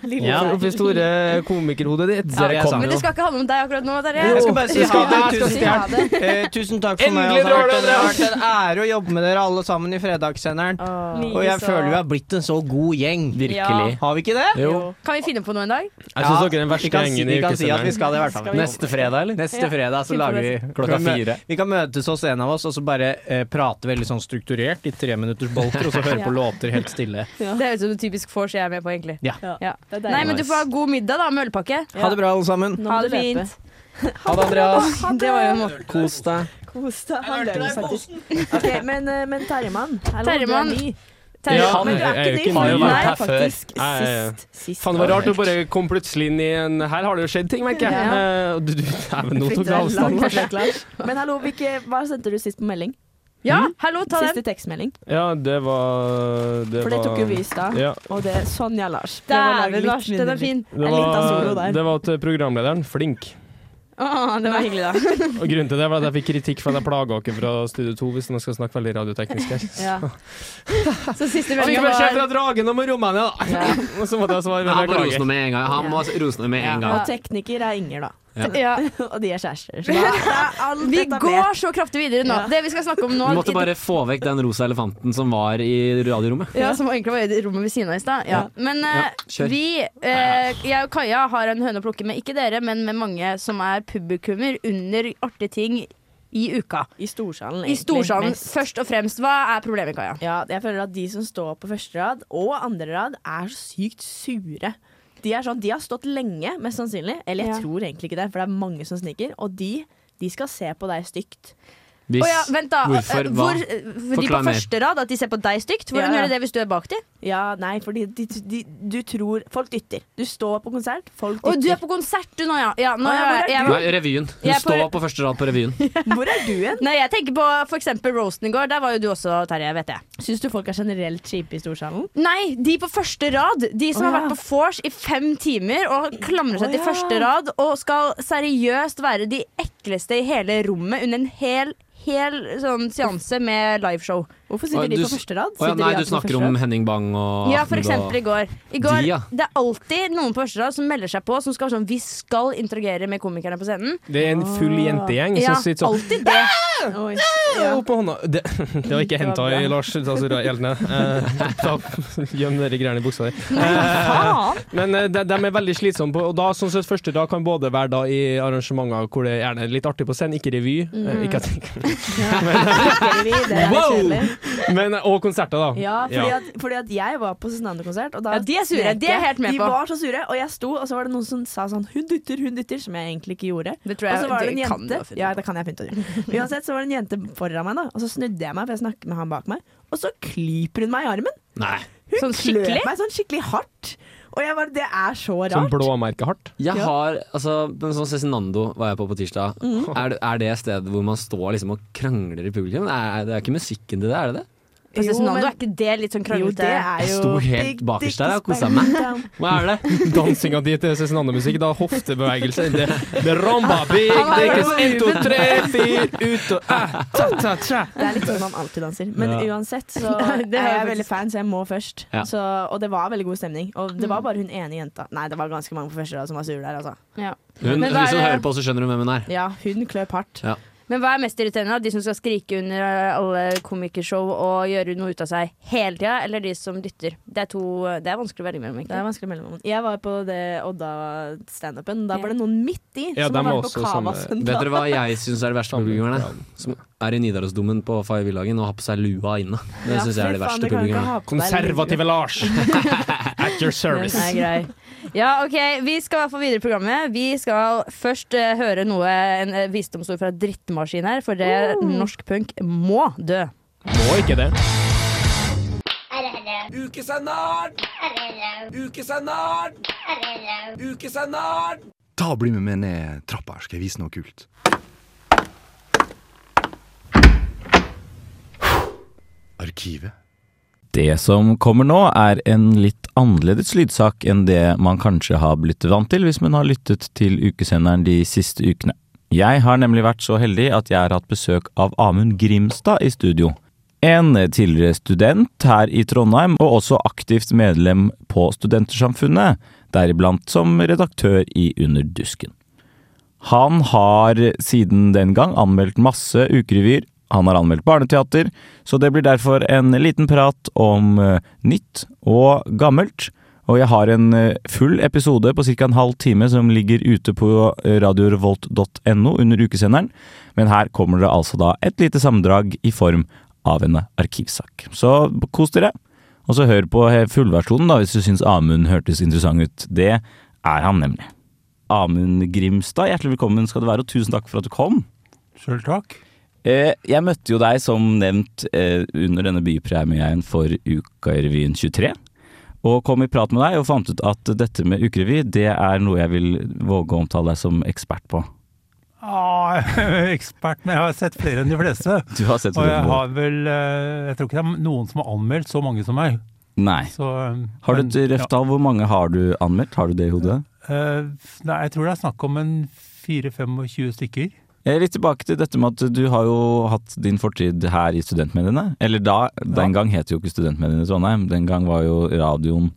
Speaker 4: Ja.
Speaker 10: Opp- Oppi store komikerhodet ditt.
Speaker 4: Ja,
Speaker 10: Der kom
Speaker 4: men det
Speaker 10: den.
Speaker 4: skal ikke handle om deg akkurat nå, Terje.
Speaker 5: Jeg skal bare si
Speaker 4: Ja,
Speaker 5: skal
Speaker 4: jeg
Speaker 5: tusen,
Speaker 4: skal si ha det.
Speaker 5: hjertelig- eh, tusen takk for meg.
Speaker 10: Endelig
Speaker 5: altså.
Speaker 10: drar du,
Speaker 5: det har
Speaker 10: Andreas.
Speaker 5: vært en ære å jobbe med dere alle sammen i Fredagssenderen.
Speaker 4: Like
Speaker 5: og jeg
Speaker 4: så.
Speaker 5: føler vi har blitt en så god gjeng.
Speaker 4: Virkelig. Ja.
Speaker 5: Har vi ikke det?
Speaker 10: Jo.
Speaker 4: Kan vi finne på noe en dag?
Speaker 10: Jeg syns dere er den
Speaker 5: Vi
Speaker 10: verste
Speaker 5: kan, si,
Speaker 10: gjengen i
Speaker 5: vi kan si at vi skal det i
Speaker 10: ukesenderen.
Speaker 5: hvert fall.
Speaker 10: Neste fredag, eller?
Speaker 5: Neste
Speaker 4: Ja.
Speaker 5: fredag så
Speaker 4: Fint
Speaker 5: lager
Speaker 4: program.
Speaker 5: vi
Speaker 10: Klokka
Speaker 5: vi kan mø-
Speaker 10: fire.
Speaker 5: Vi kan møtes oss en av oss og så bare eh, prate veldig sånn strukturert i treminuttersbolker, og så høre på
Speaker 4: Ja.
Speaker 5: låter helt stille.
Speaker 4: Det høres ut som en typisk vors jeg er med på, egentlig.
Speaker 5: Ja.
Speaker 4: deilig. Nei, men du får ha god middag, da, med ølpakke.
Speaker 5: Ha det bra, alle sammen.
Speaker 4: Ha det fint.
Speaker 5: Ha det, Andreas.
Speaker 4: Det var jo en måte.
Speaker 5: Kos deg.
Speaker 7: Kos deg. Han løp faktisk. Ok, men, eh, men Terjemann, hallo,
Speaker 4: Terjemann.
Speaker 7: du er ny.
Speaker 4: Terje-
Speaker 10: Ja, han
Speaker 7: men du er
Speaker 10: er jo
Speaker 7: ikke
Speaker 10: ikke
Speaker 7: ny.
Speaker 10: har jo
Speaker 7: Nei,
Speaker 10: vært her før.
Speaker 7: faktisk sist- sist
Speaker 10: Faen, det var
Speaker 7: var
Speaker 10: rart du
Speaker 7: det.
Speaker 10: bare kom plutselig inn i en Her har det jo skjedd ting, merker jeg.
Speaker 7: Ja.
Speaker 10: Eh, og Du, du, Dæven, nå tok
Speaker 7: Flytter
Speaker 10: du
Speaker 7: deg langt
Speaker 10: avstand. Lars.
Speaker 7: vekk, Lars. Men hallo, hvilke, hva sendte du sist på melding?
Speaker 4: Ja, hallo, ta
Speaker 7: Siste
Speaker 4: den.
Speaker 7: tekstmelding.
Speaker 10: Ja, det var det
Speaker 7: For det
Speaker 10: var-
Speaker 7: tok jo vi i stad.
Speaker 10: Ja.
Speaker 7: Og det Sånn ja, Lars. Prøv å lage
Speaker 4: Dæven,
Speaker 7: litt
Speaker 4: Lars, den
Speaker 7: mindre
Speaker 4: er fin.
Speaker 10: Det
Speaker 7: Jeg likte han solo
Speaker 10: var,
Speaker 7: der.
Speaker 10: det var til programlederen, flink.
Speaker 4: Å, det var hyggelig, da.
Speaker 10: Og grunnen til det var at jeg fikk kritikk for at jeg plaga dere fra Studio 2, hvis man skal snakke veldig radioteknisk her.
Speaker 4: Ja. Så siste
Speaker 10: Jeg
Speaker 4: melding
Speaker 10: fikk beskjed
Speaker 4: var
Speaker 10: fra dragen om Romania, da! Og så måtte jeg svare med
Speaker 6: Jeg må rose
Speaker 10: beklager.
Speaker 6: noe med en gang. Han må rose noe med en
Speaker 7: Og
Speaker 6: gang.
Speaker 7: tekniker er Inger, da.
Speaker 4: ja.
Speaker 7: og de er kjærester. Så da er alt
Speaker 4: Vi
Speaker 7: etablert.
Speaker 4: går så kraftig videre nå.
Speaker 7: Ja.
Speaker 4: Det vi skal snakke om nå
Speaker 6: Du måtte
Speaker 4: i-
Speaker 6: bare få vekk den rosa elefanten som var i radiorommet.
Speaker 4: Ja, som egentlig var i rommet ved siden av i stad. Ja. Men eh,
Speaker 6: Ja, kjør.
Speaker 4: vi, eh, jeg og Kaja har en høne å plukke med, ikke dere, men med mange som er publikummer under artige ting i uka.
Speaker 7: I storsalen,
Speaker 4: I storsalen,
Speaker 7: mest.
Speaker 4: først og fremst. Hva er problemet, Kaja?
Speaker 7: Ja, jeg føler at de som står på første rad og andre rad, er så sykt sure. De, er sånn, de har stått lenge, mest sannsynlig. Eller jeg
Speaker 4: Ja.
Speaker 7: tror egentlig ikke det, for det er mange som sniker. Og de, de skal se på deg stygt.
Speaker 4: Å ja, vent da.
Speaker 6: Hvorfor?
Speaker 4: Eh,
Speaker 6: Hva?
Speaker 4: Hvor, eh, for de på
Speaker 6: Forklar mer.
Speaker 4: første rad, at de ser på deg stygt.
Speaker 7: Ja,
Speaker 4: Hvordan
Speaker 7: ja.
Speaker 4: gjør de det hvis du er bak dem?
Speaker 7: Ja, nei, fordi de, de, du tror Folk dytter. Du står på konsert, folk
Speaker 4: Å, du er
Speaker 7: dytter.
Speaker 4: på konsert du nå, ja. ja nå,
Speaker 7: Å, ja, hvor er
Speaker 4: er jeg,
Speaker 6: Nei, revyen. Hun
Speaker 4: Jeg er på-
Speaker 6: står på første rad på revyen.
Speaker 7: Hvor er du hen?
Speaker 4: Nei, jeg tenker på for eksempel roasten i går. Der var jo du også, Terje. vet jeg
Speaker 7: Syns du folk er generelt kjipe i storsalen?
Speaker 4: Nei, de på første rad. De som
Speaker 7: Å,
Speaker 4: har
Speaker 7: ja.
Speaker 4: vært på vors i fem timer og klamrer seg
Speaker 7: Å,
Speaker 4: til
Speaker 7: ja.
Speaker 4: første rad og skal seriøst være de ekleste i hele rommet under en hel, hel sånn seanse med liveshow.
Speaker 7: Hvorfor
Speaker 6: Å,
Speaker 7: sitter de
Speaker 6: du
Speaker 7: på
Speaker 6: s-
Speaker 7: første rad?
Speaker 6: Å ja,
Speaker 7: Sitter de
Speaker 6: nei, du
Speaker 7: alltid på
Speaker 6: snakker
Speaker 7: første
Speaker 6: om
Speaker 7: rad?
Speaker 6: Henning Bang og
Speaker 4: Ja, for
Speaker 6: Ahmed og-
Speaker 4: eksempel i går. I går
Speaker 6: De, ja.
Speaker 4: Det er alltid noen på første rad som melder seg på, som skal være sånn Vi skal interagere med komikerne på scenen.
Speaker 10: Det er en full jentegjeng
Speaker 4: Ja,
Speaker 10: som sitter sånn
Speaker 4: alltid det.
Speaker 7: Oi.
Speaker 10: «Åh, Opp med hånda. Det, det var ikke henta i Lars. Ta så helt ned. Eh, ta, gjem de greiene i buksa di. Eh, men eh, de, de er veldig slitsomme på Og da, sånn sett, første dag kan både være da i arrangementer hvor det gjerne er litt artig på scenen, ikke revy, eh, ikke at,
Speaker 7: Drikker vi? Mm. Det er litt
Speaker 10: Wow!
Speaker 7: kjedelig.
Speaker 10: men, eh, og konserter, da.
Speaker 7: Ja, fordi,
Speaker 10: Ja.
Speaker 7: At, fordi at jeg var på Cezinando-konsert. Og da
Speaker 4: Ja, de er sure.
Speaker 7: skrek
Speaker 4: De er helt med
Speaker 7: de
Speaker 4: på.
Speaker 7: var så sure, og jeg sto, og så var det noen som sa sånn 'hun dytter, hun dytter', som jeg egentlig ikke gjorde.
Speaker 4: Det tror
Speaker 7: Og
Speaker 4: jeg-
Speaker 7: så var det en
Speaker 4: det kan du
Speaker 7: jente
Speaker 4: ha funnet.
Speaker 7: Ja, det kan jeg fint å gjøre. Uansett, så var det en jente foran meg, da, og så snudde jeg meg, for jeg snakket med han bak meg, og så klyper hun meg i armen.
Speaker 6: Nei.
Speaker 7: Hun
Speaker 4: Sånn
Speaker 7: klør
Speaker 4: skikkelig?
Speaker 7: meg sånn skikkelig hardt. Og jeg bare, det er så rart.
Speaker 10: Sånn blåmerke hardt.
Speaker 6: Jeg har, altså, men sånn Cezinando var jeg på på tirsdag.
Speaker 7: Mhm.
Speaker 6: Er, det- er det stedet hvor man står liksom og krangler i publikum? Er, det er ikke musikken til det, er det det?
Speaker 4: Jo, Cezinando,
Speaker 7: men-
Speaker 4: er ikke det litt sånn
Speaker 7: Jo,
Speaker 4: krøllete?
Speaker 7: det er
Speaker 6: Jeg
Speaker 7: jo
Speaker 6: sto
Speaker 7: big
Speaker 6: helt
Speaker 7: dick
Speaker 6: bakerst der og kosa
Speaker 7: span
Speaker 6: meg.
Speaker 7: down.
Speaker 6: Hva er det?
Speaker 10: Dansinga di til Cezinando-musikk, da hoftebevegelser. Det, det rumba big,
Speaker 7: Han var
Speaker 10: det
Speaker 7: jo
Speaker 10: er én, to, tre, fire, ut og æ, ta, ta, tra.
Speaker 7: Det er litt sånn man alltid danser. Men
Speaker 10: Ja.
Speaker 7: uansett så
Speaker 4: Nei,
Speaker 7: er
Speaker 4: det er
Speaker 7: jeg
Speaker 4: faktisk-
Speaker 7: veldig fan, så jeg må først.
Speaker 10: Ja.
Speaker 7: Så, og det var veldig god stemning. Og det
Speaker 4: Mm.
Speaker 7: var bare hun ene jenta Nei, det var ganske mange på første rad som var sure der, altså.
Speaker 4: Ja.
Speaker 6: Hun,
Speaker 4: Men hva
Speaker 6: hvis
Speaker 4: er
Speaker 6: hun
Speaker 4: det-
Speaker 6: hører på, så skjønner hun hvem hun er.
Speaker 7: Ja, hun kløp hardt.
Speaker 6: Ja.
Speaker 4: Men hva er mest irriterende? da? De som skal skrike under eh, alle komikershow og gjøre noe ut av seg hele tida, eller de som dytter? Det er, to, det er vanskelig å velge mellom.
Speaker 7: Det er vanskelig mellom noen. Jeg var på det Odda-standupen. Da var det noen midt i
Speaker 6: Ja,
Speaker 7: som
Speaker 6: dem
Speaker 7: var
Speaker 6: var
Speaker 7: på
Speaker 6: også sånn,
Speaker 7: Kava
Speaker 6: Vet dere hva jeg syns er det verste publikummerne? Som er i Nidarosdomen på Faye-villagen og har på seg lua inne. Det
Speaker 4: Ja,
Speaker 6: syns jeg er det
Speaker 4: fy faen,
Speaker 6: verste
Speaker 4: det kan ikke
Speaker 6: publikummerne.
Speaker 4: ha på deg Konservative lue.
Speaker 10: Lars. At your service.
Speaker 4: Den er grei. Ja, ok, Vi skal i hvert fall videre i programmet. Vi skal først eh, høre noe, en eh, visdomsord fra drittmaskin her, for det norsk punk må dø.
Speaker 10: Må ikke det.
Speaker 8: Ukesenderen! Ukesenderen! Ukesenderen!
Speaker 19: Ta og Bli med meg ned trappa, her, skal jeg vise noe kult. Arkivet.
Speaker 20: Det som kommer nå, er en litt annerledes lydsak enn det man kanskje har blitt vant til hvis man har lyttet til ukesenderen de siste ukene. Jeg har nemlig vært så heldig at jeg har hatt besøk av Amund Grimstad i studio. En tidligere student her i Trondheim, og også aktivt medlem på Studentersamfunnet, deriblant som redaktør i Under dusken. Han har siden den gang anmeldt masse ukerevyer. Han har anmeldt barneteater, så det blir derfor en liten prat om eh, nytt og gammelt. Og jeg har en eh, full episode på ca. en halv time som ligger ute på eh, radiorevolt.no under ukesenderen, men her kommer det altså da et lite sammendrag i form av en arkivsak. Så kos dere, og så hør på he- fullversjonen da hvis du syns Amund hørtes interessant ut. Det er han nemlig. Amund Grimstad, hjertelig velkommen skal du være, og tusen takk for at du kom.
Speaker 21: Sjøl takk.
Speaker 20: Eh, Jeg møtte jo deg som nevnt eh, under denne bypremien for Ukarevyen 23. Og kom i prat med deg og fant ut at dette med ukerevy, det er noe jeg vil våge å omtale deg som ekspert på.
Speaker 21: Ah, ekspert, men jeg har sett flere enn de fleste.
Speaker 20: Du har sett
Speaker 21: og jeg
Speaker 20: flere.
Speaker 21: har vel eh, Jeg tror ikke det er noen som har anmeldt så mange som meg.
Speaker 20: Nei.
Speaker 21: Så, eh,
Speaker 20: Har du
Speaker 21: men-
Speaker 20: et røft tall? Hvor mange har du anmeldt? Har du det i hodet?
Speaker 21: Ja. Eh, Nei, jeg tror det er snakk om en 4-25 stykker.
Speaker 20: Eh, Litt tilbake til dette med at du har jo hatt din fortid her i studentmediene. Eller da, den gang het det jo ikke studentmediene i Trondheim. Den gang var jo radioen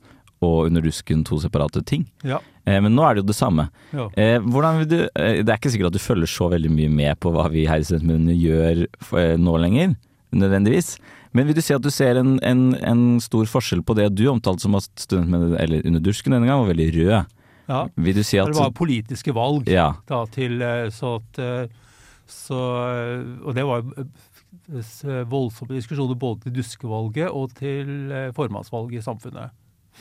Speaker 20: og Under rusken to separate ting.
Speaker 21: Ja.
Speaker 20: Eh, Men nå er det jo det samme.
Speaker 21: Ja.
Speaker 20: Eh, Hvordan vil du, eh, det er ikke sikkert at du følger så veldig mye med på hva vi her i studentmediene gjør eh, nå lenger, nødvendigvis. Men vil du si at du ser en, en, en stor forskjell på det du omtalte som at studentmediene, eller Under dusken denne gang, var veldig rød?
Speaker 21: Ja.
Speaker 20: Vil du si at
Speaker 21: det var politiske valg.
Speaker 20: Ja.
Speaker 21: Da, til, eh, så at, eh, så, eh, og det var eh, s- eh, voldsomme diskusjoner både til duskevalget og til eh, formannsvalget i samfunnet.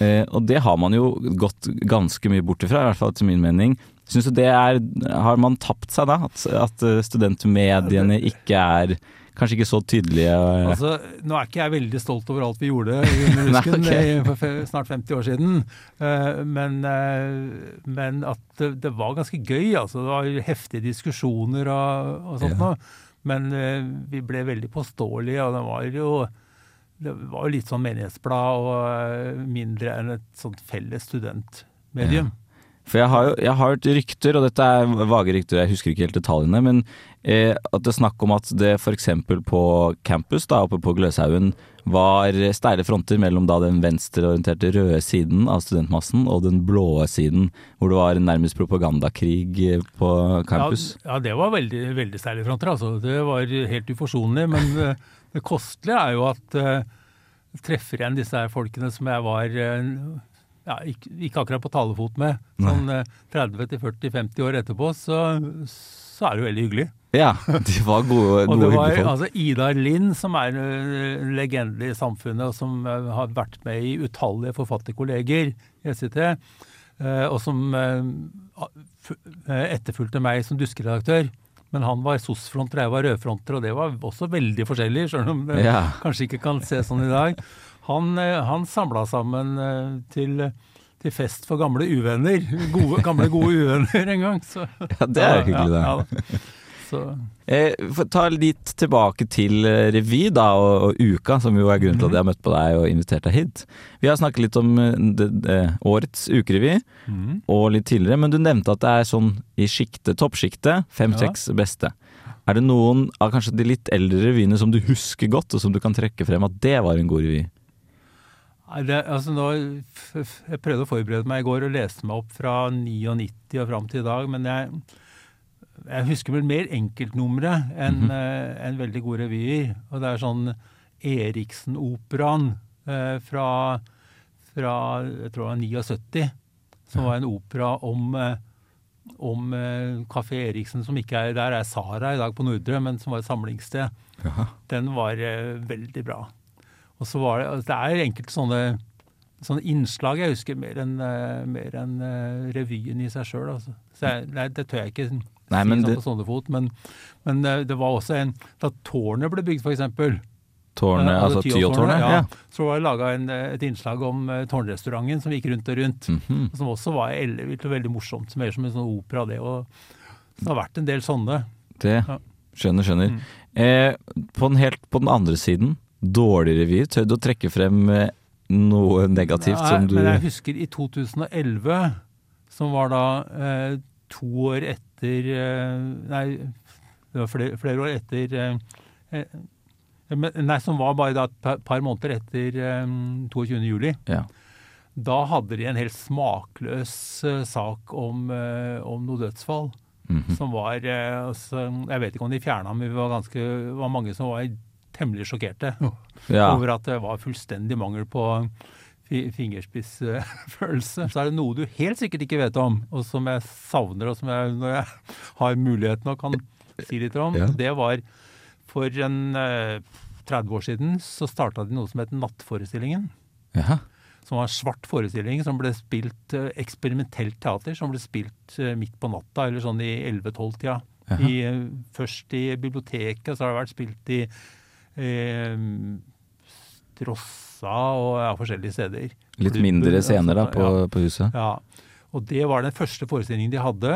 Speaker 20: Eh, og det har man jo gått ganske mye bort ifra, i hvert fall etter min mening. Syns du det er Har man tapt seg da? At, at eh, studentmediene ikke er Kanskje ikke så tydelige? eh,
Speaker 21: Altså, nå er ikke jeg veldig stolt over alt vi gjorde under
Speaker 20: Nei,
Speaker 21: rusken
Speaker 20: ok.
Speaker 21: eh, for fe- snart 50 år siden, Eh, men, eh, men at det det var ganske gøy. Altså, det var jo heftige diskusjoner og, og sånt
Speaker 20: Ja.
Speaker 21: noe. Men eh, vi ble veldig påståelige, og det var jo det var jo litt sånn menighetsblad og eh, mindre enn et sånt felles studentmedium.
Speaker 20: For jeg har jo jeg har hørt rykter, og dette er vage rykter, jeg husker ikke helt detaljene, men eh, at det er snakk om at det f.eks. på campus da, oppe på Gløshaugen var steile fronter mellom da den venstreorienterte røde siden av studentmassen og den blå siden, hvor det var nærmest propagandakrig eh, på campus.
Speaker 21: Ja, ja, det var veldig, veldig steile fronter, altså. Det var helt uforsonlig. Men eh, det kostelige er jo at eh, treffer igjen disse her folkene som jeg var eh, ja, ikke, ikke akkurat på talefot med, sånn eh, 30-40-50 år etterpå, så, så er det jo veldig hyggelig.
Speaker 20: Ja, de var gode,
Speaker 21: Og
Speaker 20: gode
Speaker 21: det var
Speaker 20: hyggelige folk.
Speaker 21: altså, Ida Lind, som er en ø, legende i samfunnet, og som ø, har vært med i utallige forfatterkolleger i SIT, ø, eh, og som ø, a- f- ø, etterfulgte meg som duskeredaktør. Men han var SOS-fronter, jeg var rødfronter, og det var også veldig forskjellig, sjøl om det
Speaker 20: Ja.
Speaker 21: eh, kanskje ikke kan se sånn i dag. Han, ø, han samla sammen ø, til til fest for gamle uvenner. Gode, gamle, gode uvenner en gang. Så.
Speaker 20: Ja, det er hyggelig, det.
Speaker 21: Ja, da. Så
Speaker 20: Eh, for- ta litt tilbake til eh, revy da, og, og uka, som jo er grunnen
Speaker 21: Mhm.
Speaker 20: til at jeg har møtt på deg og invitert deg hit. Vi har snakket litt om eh, det, det, årets ukerevy,
Speaker 21: Mhm.
Speaker 20: og litt tidligere, men du nevnte at det er sånn i sjiktet,
Speaker 21: Ja.
Speaker 20: toppsjiktet, fem-seks beste. Er det noen av kanskje de litt eldre revyene som du husker godt, og som du kan trekke frem at det var en god revy?
Speaker 21: Nei, det, altså nå, f- f- jeg prøvde å forberede meg i går og leste meg opp fra 99 og fram til i dag, men jeg, jeg husker vel mer enkeltnumre enn
Speaker 20: Mhm.
Speaker 21: eh, enn veldig gode revyer. Og det er sånn Eriksen-operaen eh, fra, fra jeg tror det var 79, som var en opera om eh, om eh, Café Eriksen, som ikke er der, er Sara i dag på Nordre, men som var et samlingssted.
Speaker 20: Jaha.
Speaker 21: Den var eh, veldig bra. Og så var det, altså, det er enkelte sånne, sånne innslag jeg husker mer enn eh, mer enn, eh, revyen i seg sjøl. Altså. Så jeg, nei, det tør jeg ikke
Speaker 20: Nei,
Speaker 21: si
Speaker 20: men
Speaker 21: sånn
Speaker 20: det-
Speaker 21: på sånne fot, men, men eh, det var også en Da tårnet ble bygd, f.eks.
Speaker 20: Tårnet, altså Tyholttårnet, ja.
Speaker 21: Så var det laga et innslag om eh, tårnrestauranten som gikk rundt og rundt.
Speaker 20: Mhm.
Speaker 21: Som også var ellevilt og veldig morsomt, mer som en sånn opera det. Og, så det har vært en del sånne.
Speaker 20: Det
Speaker 21: Ja. Mhm.
Speaker 20: skjønner, skjønner. Eh, på, den helt, på den andre siden, dårlig revy. Tør du å trekke frem eh, noe negativt
Speaker 21: Nei,
Speaker 20: som du
Speaker 21: Men jeg husker i 2011, som var da eh, to år etter eh, Nei, det var flere, flere år etter eh, eh, men- Nei, som var bare da et par- par måneder etter eh, 22. juli.
Speaker 20: Ja.
Speaker 21: Da hadde de en helt smakløs eh, sak om, eh, om noe dødsfall.
Speaker 20: Mhm.
Speaker 21: Som var eh, altså, Jeg vet ikke om de fjerna, men vi var ganske, det var mange som var temmelig sjokkerte
Speaker 20: Ja.
Speaker 21: over at det var fullstendig mangel på fi- fingerspissfølelse. Så er det noe du helt sikkert ikke vet om, og som jeg savner, og som jeg, når jeg har muligheten og kan si litt om,
Speaker 20: Ja.
Speaker 21: det var for en eh, 30 år siden så starta de noe som het Nattforestillingen.
Speaker 20: Jaha.
Speaker 21: Som var en svart forestilling som ble spilt eh, eksperimentelt teater, som ble spilt eh, midt på natta, eller sånn i 11-12-tida.
Speaker 20: Jaha.
Speaker 21: I, eh, først i biblioteket, så har det vært spilt i eh, Strossa og ja, forskjellige steder.
Speaker 20: Litt mindre scener da,
Speaker 21: sånn,
Speaker 20: på, på huset.
Speaker 21: ja. Og det var den første forestillingen de hadde.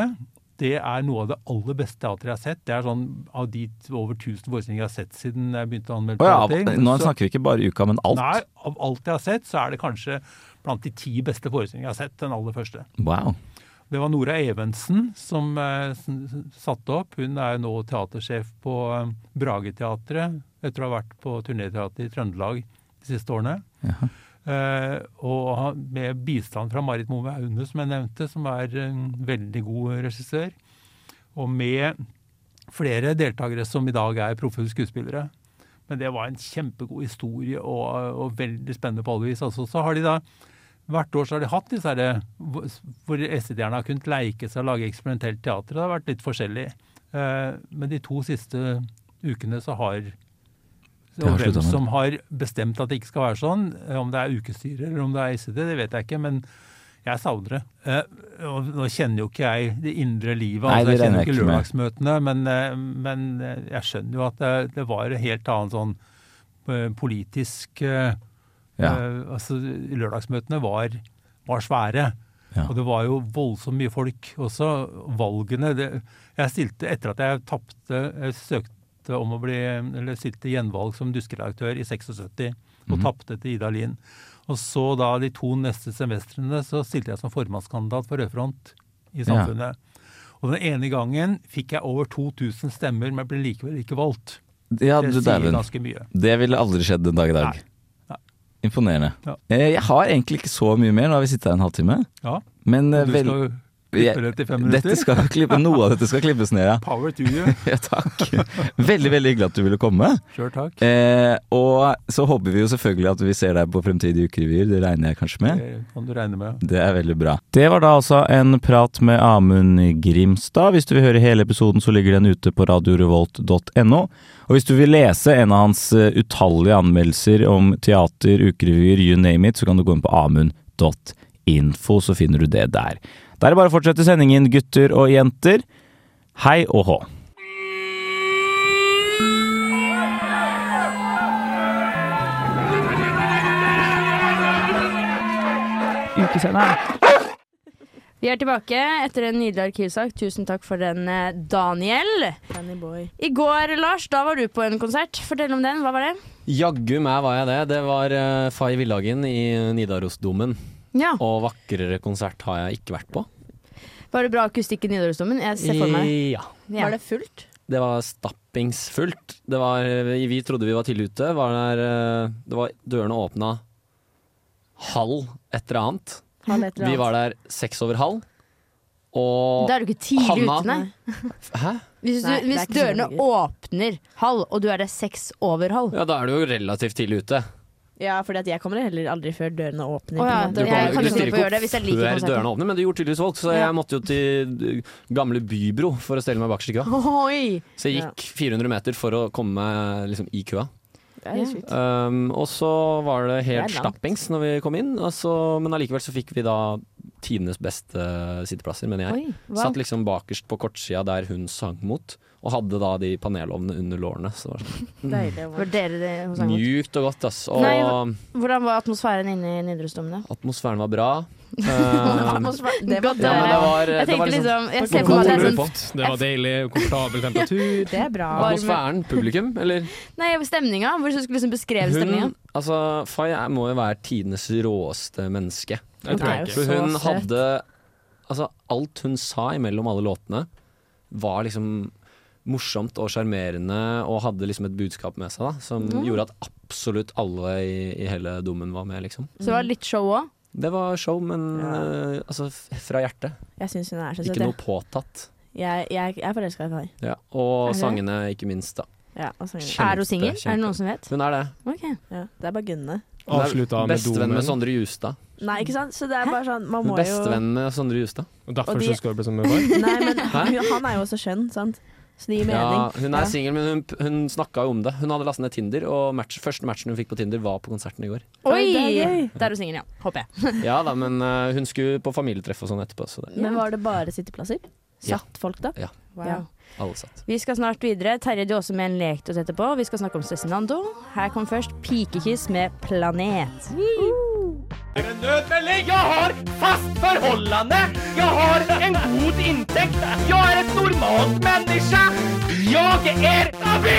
Speaker 21: Det er noe av det aller beste teatret jeg har sett. Det er sånn av de t- over 1000 forestillinger jeg har sett siden jeg begynte å anmelde
Speaker 20: Å ja,
Speaker 21: teater.
Speaker 20: nå
Speaker 21: så-
Speaker 20: snakker vi ikke bare uka, men alt.
Speaker 21: Nei, av alt jeg har sett, så er det kanskje blant de ti beste forestillingene jeg har sett. Den aller første.
Speaker 20: Wow.
Speaker 21: Det var Nora Evensen som eh, s- s- satte opp. Hun er jo nå teatersjef på eh, Brageteatret, etter å ha vært på turnéteater i Trøndelag de siste årene. Eh, og han- med bistand fra Marit Move Aune, som jeg nevnte, som er en veldig god regissør. Og med flere deltakere som i dag er proffe skuespillere. Men det var en kjempegod historie og, og veldig spennende på alle vis. Altså, så har de da Hvert år så har de hatt disse her, hvor hvor SID-erne har kunnet leike seg og lage eksperimentelt teater. Det har vært litt forskjellig. Eh, Men de to siste ukene så har
Speaker 20: Det har
Speaker 21: og hvem
Speaker 20: sluttet med.
Speaker 21: som har bestemt at det ikke skal være sånn, eh, om det er ukestyret eller om det er ICD, det vet jeg ikke, men jeg savner det. Eh, Og nå kjenner jo ikke jeg det indre livet,
Speaker 20: Nei,
Speaker 21: altså,
Speaker 20: det
Speaker 21: jeg kjenner jo
Speaker 20: regner
Speaker 21: ikke
Speaker 20: jeg ikke
Speaker 21: lørdagsmøtene, men, eh, men eh, jeg skjønner jo at det, det var en helt annen sånn eh, politisk eh,
Speaker 20: Ja.
Speaker 21: eh, altså, Lørdagsmøtene var, var svære. Og det var jo voldsomt mye folk også. Valgene det, Jeg stilte etter at jeg tapte Jeg søkte om å bli Eller stilte gjenvalg som duskeredaktør i 76 og
Speaker 20: Mhm.
Speaker 21: tapte til Ida Lien. Og så da de to neste semestrene så stilte jeg som formannskandidat for Rødfront i
Speaker 20: Ja.
Speaker 21: samfunnet. Og den ene gangen fikk jeg over 2000 stemmer, men ble likevel ikke valgt.
Speaker 20: Ja,
Speaker 21: det
Speaker 20: du
Speaker 21: sier
Speaker 20: dæven.
Speaker 21: ganske mye.
Speaker 20: Det ville aldri skjedd den dag i dag. Imponerende.
Speaker 21: Ja.
Speaker 20: Eh, Jeg har egentlig ikke så mye mer, nå har vi sittet her en halvtime.
Speaker 21: Ja.
Speaker 20: Men eh,
Speaker 21: Og du
Speaker 20: vel
Speaker 21: skal klippe
Speaker 20: Jeg-
Speaker 21: det til fem minutter?
Speaker 20: Dette skal klippe, noe av dette skal klippes ned, ja.
Speaker 21: Power to you.
Speaker 20: ja, takk. Veldig veldig hyggelig at du ville komme.
Speaker 21: Sure, takk.
Speaker 20: Eh, og så håper vi jo selvfølgelig at vi ser deg på fremtidige ukerevyer, det regner jeg kanskje med.
Speaker 21: Det kan du regne med.
Speaker 20: Det er veldig bra. Det var da altså en prat med Amund Grimstad. Hvis du vil høre hele episoden, så ligger den ute på radiorevolt.no. Og hvis du vil lese en av hans eh, utallige anmeldelser om teater, ukerevyer, you name it, så kan du gå inn på amund.info, så finner du det der. Da er det bare å fortsette sendingen, gutter og jenter. Hei og hå.
Speaker 4: ukesenderen. Vi er tilbake etter en nydelig arkivsak. Tusen takk for den, eh, Daniel. I går, Lars, da var du på en konsert. Fortell om den. Hva var det?
Speaker 6: Jaggu meg var jeg det. Det var eh, Fay Villhagen i Nidarosdomen.
Speaker 4: Ja.
Speaker 6: Og vakrere konsert har jeg ikke vært på.
Speaker 4: Var det bra akustikk i Nidarosdomen? Jeg ser for meg det.
Speaker 6: Ja.
Speaker 4: Var det fullt?
Speaker 6: Det var stappingsfullt. Det var, eh, vi trodde vi var tidlig ute. Var der, eh, det var dørene åpna halv et eller annet.
Speaker 4: Halv et eller
Speaker 6: Vi
Speaker 4: annet.
Speaker 6: var der seks over halv. Og
Speaker 4: Da er du ikke tidlig
Speaker 6: Hanna-
Speaker 4: ute, nei.
Speaker 6: Hæ?
Speaker 4: Hvis, du,
Speaker 6: Nei, det er
Speaker 4: hvis
Speaker 6: ikke så
Speaker 4: dørene
Speaker 6: tidlig.
Speaker 4: åpner halv, og du er der seks over halv
Speaker 6: Ja, da er du jo relativt tidlig ute.
Speaker 7: Ja, fordi at jeg kommer heller aldri før dørene åpner.
Speaker 4: Å
Speaker 7: på
Speaker 4: ja,
Speaker 7: en
Speaker 6: Du,
Speaker 7: måte.
Speaker 6: kommer, du stiller ikke opp før dørene åpner, men det gjorde tydeligvis folk, så
Speaker 4: Ja.
Speaker 6: jeg måtte jo til eh, gamle Bybro for å stelle meg bak i køa.
Speaker 4: Oi!
Speaker 6: Så jeg gikk 400 meter for å komme meg liksom, i køa.
Speaker 4: Det er helt sykt.
Speaker 6: Um, og så var det helt
Speaker 4: Det er langt.
Speaker 6: stappings når vi kom inn, og så- men allikevel så fikk vi da tidenes beste sitteplasser, mener jeg.
Speaker 4: Oi, wow.
Speaker 6: Satt liksom bakerst på kortsida der hun sang mot, og hadde da de panelovnene under lårene. Så det var sånn,
Speaker 4: Deilig. Var dere det hos Angmot?
Speaker 6: mjukt og godt, ass. Og
Speaker 4: Nei, Hvordan var atmosfæren inne i Nidarosdomen, da?
Speaker 6: atmosfæren var bra. Um,
Speaker 4: det var
Speaker 6: Ja, men det var-
Speaker 4: jeg
Speaker 6: det var
Speaker 4: tenkte liksom,
Speaker 6: liksom-
Speaker 4: jeg
Speaker 6: Det
Speaker 4: ser for meg at det er
Speaker 6: var god
Speaker 4: sånn
Speaker 6: luft.
Speaker 10: Det var deilig, komfortabel temperatur.
Speaker 4: Det er bra.
Speaker 6: atmosfæren, publikum, eller?
Speaker 4: Nei, stemninga. Hvordan skulle du liksom beskrevet stemninga?
Speaker 6: Hun, altså, Fay er- må jo være tidenes råeste
Speaker 4: Jeg
Speaker 6: menneske.
Speaker 4: tror Hun er ikke. jo
Speaker 6: For hun
Speaker 4: så søt.
Speaker 6: hadde Altså, alt hun sa imellom alle låtene, var liksom morsomt og sjarmerende og hadde liksom et budskap med seg da, som
Speaker 4: Ja.
Speaker 6: gjorde at absolutt alle i, i hele dommen var med, liksom.
Speaker 4: Så det var litt show òg.
Speaker 6: Det var show, men eh, altså f- fra hjertet.
Speaker 7: Jeg syns hun er så søt.
Speaker 6: Ikke
Speaker 7: jeg.
Speaker 6: noe påtatt.
Speaker 7: Jeg, jeg, jeg er forelska i far.
Speaker 6: Ja. Og
Speaker 7: Er det?
Speaker 6: sangene, ikke minst, da.
Speaker 7: Ja, og sangene.
Speaker 6: Kjempe,
Speaker 7: Er hun singel? Er det
Speaker 6: kjempe.
Speaker 7: noen som vet?
Speaker 6: Hun er det.
Speaker 7: Ja, det er bare Gunne.
Speaker 6: Hun er
Speaker 10: Avslutta med
Speaker 6: Bestevenn med
Speaker 10: Domen.
Speaker 6: Sondre Justad.
Speaker 7: Nei, ikke sant? Så det er bare sånn Man må jo
Speaker 6: Bestevenn med Sondre Justad.
Speaker 10: Og
Speaker 7: derfor Og de- så skal
Speaker 10: du bli sånn sammen
Speaker 7: Nei, men
Speaker 6: Hæ?
Speaker 7: hun, han er jo også skjønn, sant? Så det gir mening.
Speaker 6: Ja, hun er singel, men hun, hun snakka jo om det. Hun hadde lastet ned Tinder, og match, første matchen hun fikk på Tinder, var på konserten i går.
Speaker 4: Oi!
Speaker 7: det er gøy.
Speaker 4: Der er hun singel, ja. Håper jeg.
Speaker 6: Ja da, men eh, hun skulle på familietreff og sånn etterpå, så det
Speaker 7: Men var det bare sitteplasser?
Speaker 6: Ja.
Speaker 7: Satt folk da?
Speaker 6: Ja.
Speaker 4: Wow.
Speaker 6: Alle satt.
Speaker 4: Vi skal snart videre. Terje du også med en lek til oss etterpå. Vi skal snakke om Cezinando. Her kom først Pikekyss med Planet.
Speaker 15: Er det nødmelding? Jeg har fast forholdende. Jeg har en god inntekt. Jeg er et normalt menneske. Jeg er stabil!